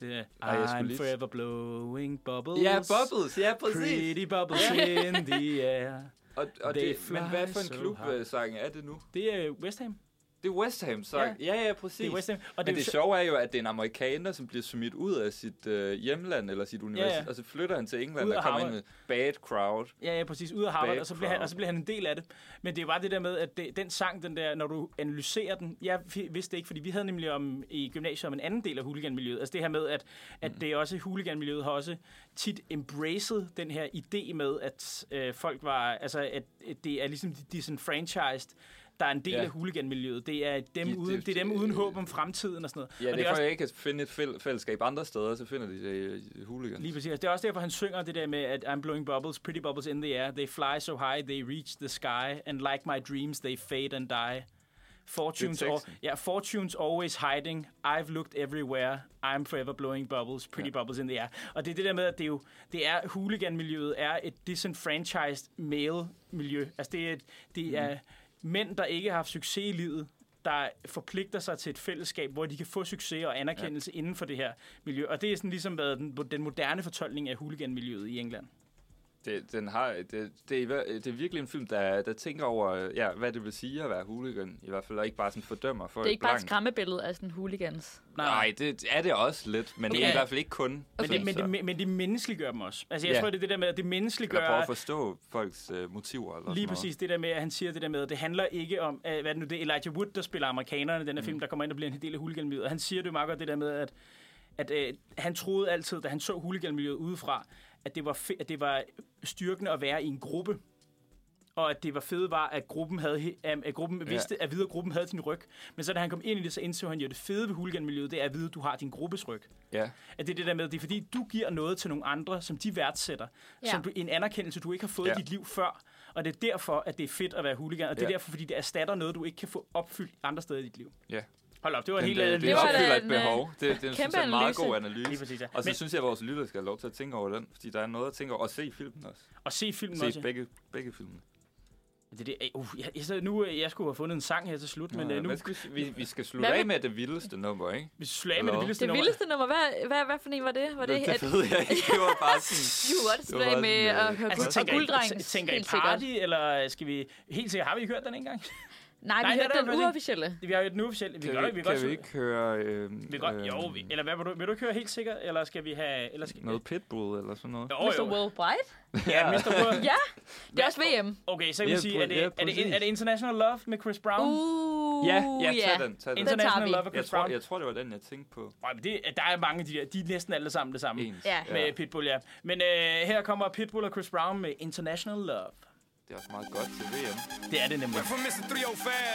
Det er, Ej, jeg skulle I'm lige- forever blowing bubbles. ja, Bubbles, ja, præcis. Pretty bubbles in the air. Og, og They det, men fly hvad for so en klubsang er det nu? Det er West Ham. Det er West Ham sang. Ja, ja, præcis. Det er West Ham. Og Men jo det så- sjove er jo, at det er en amerikaner, som bliver smidt ud af sit øh, hjemland eller sit univers, Ja, ja. og så flytter han til England Ud af og kommer ind med Harvard. Bad Crowd. Ja, ja, præcis. Ud af Harvard, Bad og så, bliver han, crowd. og så bliver han en del af det. Men det er jo bare det der med, at det, den sang, den der, når du analyserer den, jeg fi- vidste det ikke, fordi vi havde nemlig om, i gymnasiet om en anden del af huliganmiljøet. Altså det her med, at, at Mm. det er også, huliganmiljøet har også tit embraced den her idé med, at øh, folk var, altså at, at det er ligesom de disenfranchised, der er en del Ja. af huliganmiljøet. Det er dem, De- de- uden, det, er dem uden øh, håb om fremtiden og sådan noget. Ja, og det, det er også- for, jeg ikke kan finde et fæl- fællesskab andre steder, så finder de det i- i hooligans. Lige præcis. Altså, Det er også derfor, han synger det der med, at I'm blowing bubbles, pretty bubbles in the air. They fly so high, they reach the sky. And like my dreams, they fade and die. Fortunes, Det er al- teksten. yeah, fortunes always hiding. I've looked everywhere. I'm forever blowing bubbles, pretty ja. bubbles in the air. Og det er det der med, at det, er jo, det er, hooligan-miljøet er et disenfranchised male-miljø. Altså det er, et- Mm. det er mænd, der ikke har haft succes i livet, der forpligter sig til et fællesskab, hvor de kan få succes og anerkendelse ja. inden for det her miljø. Og det er sådan ligesom været den, den moderne fortolkning af hooliganmiljøet i England. Det, den har, det, det, er, i hver- det er virkelig en film, der, der tænker over, øh, ja, hvad det vil sige at være hooligan. I hvert fald, og ikke bare sådan fordømmer folk det er ikke bare et blankt. skræmmebillede af sådan hooligans. Nej, det er det også lidt, men okay. det er Okay. i hvert fald ikke kun. Altså, Men, det, synes men, jeg. det, men- men det menneskeliggør dem også. Altså jeg Ja. tror, det er det der med, at det Eller prøve menneskeliggør... at forstå folks øh, motiver. Eller Lige sådan præcis det der med, at han siger det der med, at det handler ikke om, øh, hvad er det nu, det er Elijah Wood, der spiller amerikanerne, i den her mm. film, der kommer ind og bliver en del af hooliganmiljøet. Og han siger det jo meget godt, det der med, at, at øh, han troede altid, da han så hooliganmiljøet udefra, at det var, fe- at det var styrkende at være i en gruppe. og at det var fede var, at gruppen, havde, he- at at gruppen Ja. vidste, at videre gruppen havde sin ryg. Men så da han kom ind i det, så indså han jo, at det fede ved hooliganmiljøet, det er at vide, at du har din gruppes ryg. Ja. At det er det der med, det er fordi, du giver noget til nogle andre, som de værdsætter. Ja. Ja. Som du, en anerkendelse, du ikke har fået Ja. ja. i dit liv før. Og det er derfor, at det er fedt at være hooligan. Og det er Ja. derfor, fordi det erstatter noget, du ikke kan få opfyldt andre steder i dit liv. Ja. Hold op, det var Den, helt... øh, øh, det var opfylder da et en, øh, behov. Det, det, det synes jeg er en meget god analyse. Lige præcis, ja. Og så Men- Men... synes jeg, at vores lytter skal have lov til at tænke over den, fordi der er noget at tænke over. Og se filmen også. Og se filmen se også, ja. Begge, begge filmene. Det, er det, øh, uh, jeg, jeg, sad- nu, øh, jeg skulle have fundet en sang her til slut, men Nå, øh, nu... hvad skal, vi, vi skal slutte Hvad med- af med det vildeste nummer, ikke? Vi slutter af med det vildeste Det vildeste nummer, hvad, hvad, hvad for en var det? Var Det, det ved jeg ikke. Det var bare sådan... You are Det var bare slag med sådan, øh, at høre Altså, altså, tænker, I, gulddreng. t- tænker I party, eller skal vi... Helt sikkert, har vi ikke hørt den engang? [LAUGHS] Nej, vi Nej, det er hørte der den faktisk ikke. uofficielle. Vi har jo den uofficielle. [LAUGHS] Vi Kan gør vi, ikke, vi kan godt vi ikke høre øh, Vi kan godt, øh, jo, vi, eller hvad vil du, vil du ikke høre helt sikkert, eller skal vi have... Eller skal, noget Pitbull eller sådan noget? Jo, Mr. jo. Worldwide? Ja, Mr. World. Ja, det er også VM. Okay, så kan vi Ja, sige, er det, ja, er, det, præcis. er det International Love med Chris Brown? Uh, Ja, ja, tag den, tag den. tager International vi. Love med Jeg Chris tror, Brown. jeg tror, det var den, jeg tænkte på. Nej, men det, der er mange af de der. De er næsten alle sammen det samme. Ens. Ja. Med Pitbull, ja. Men øh, her kommer Pitbull og Chris Brown med International Love. Det er også meget godt til VM. Det er det nemlig. We're from Mr. 305.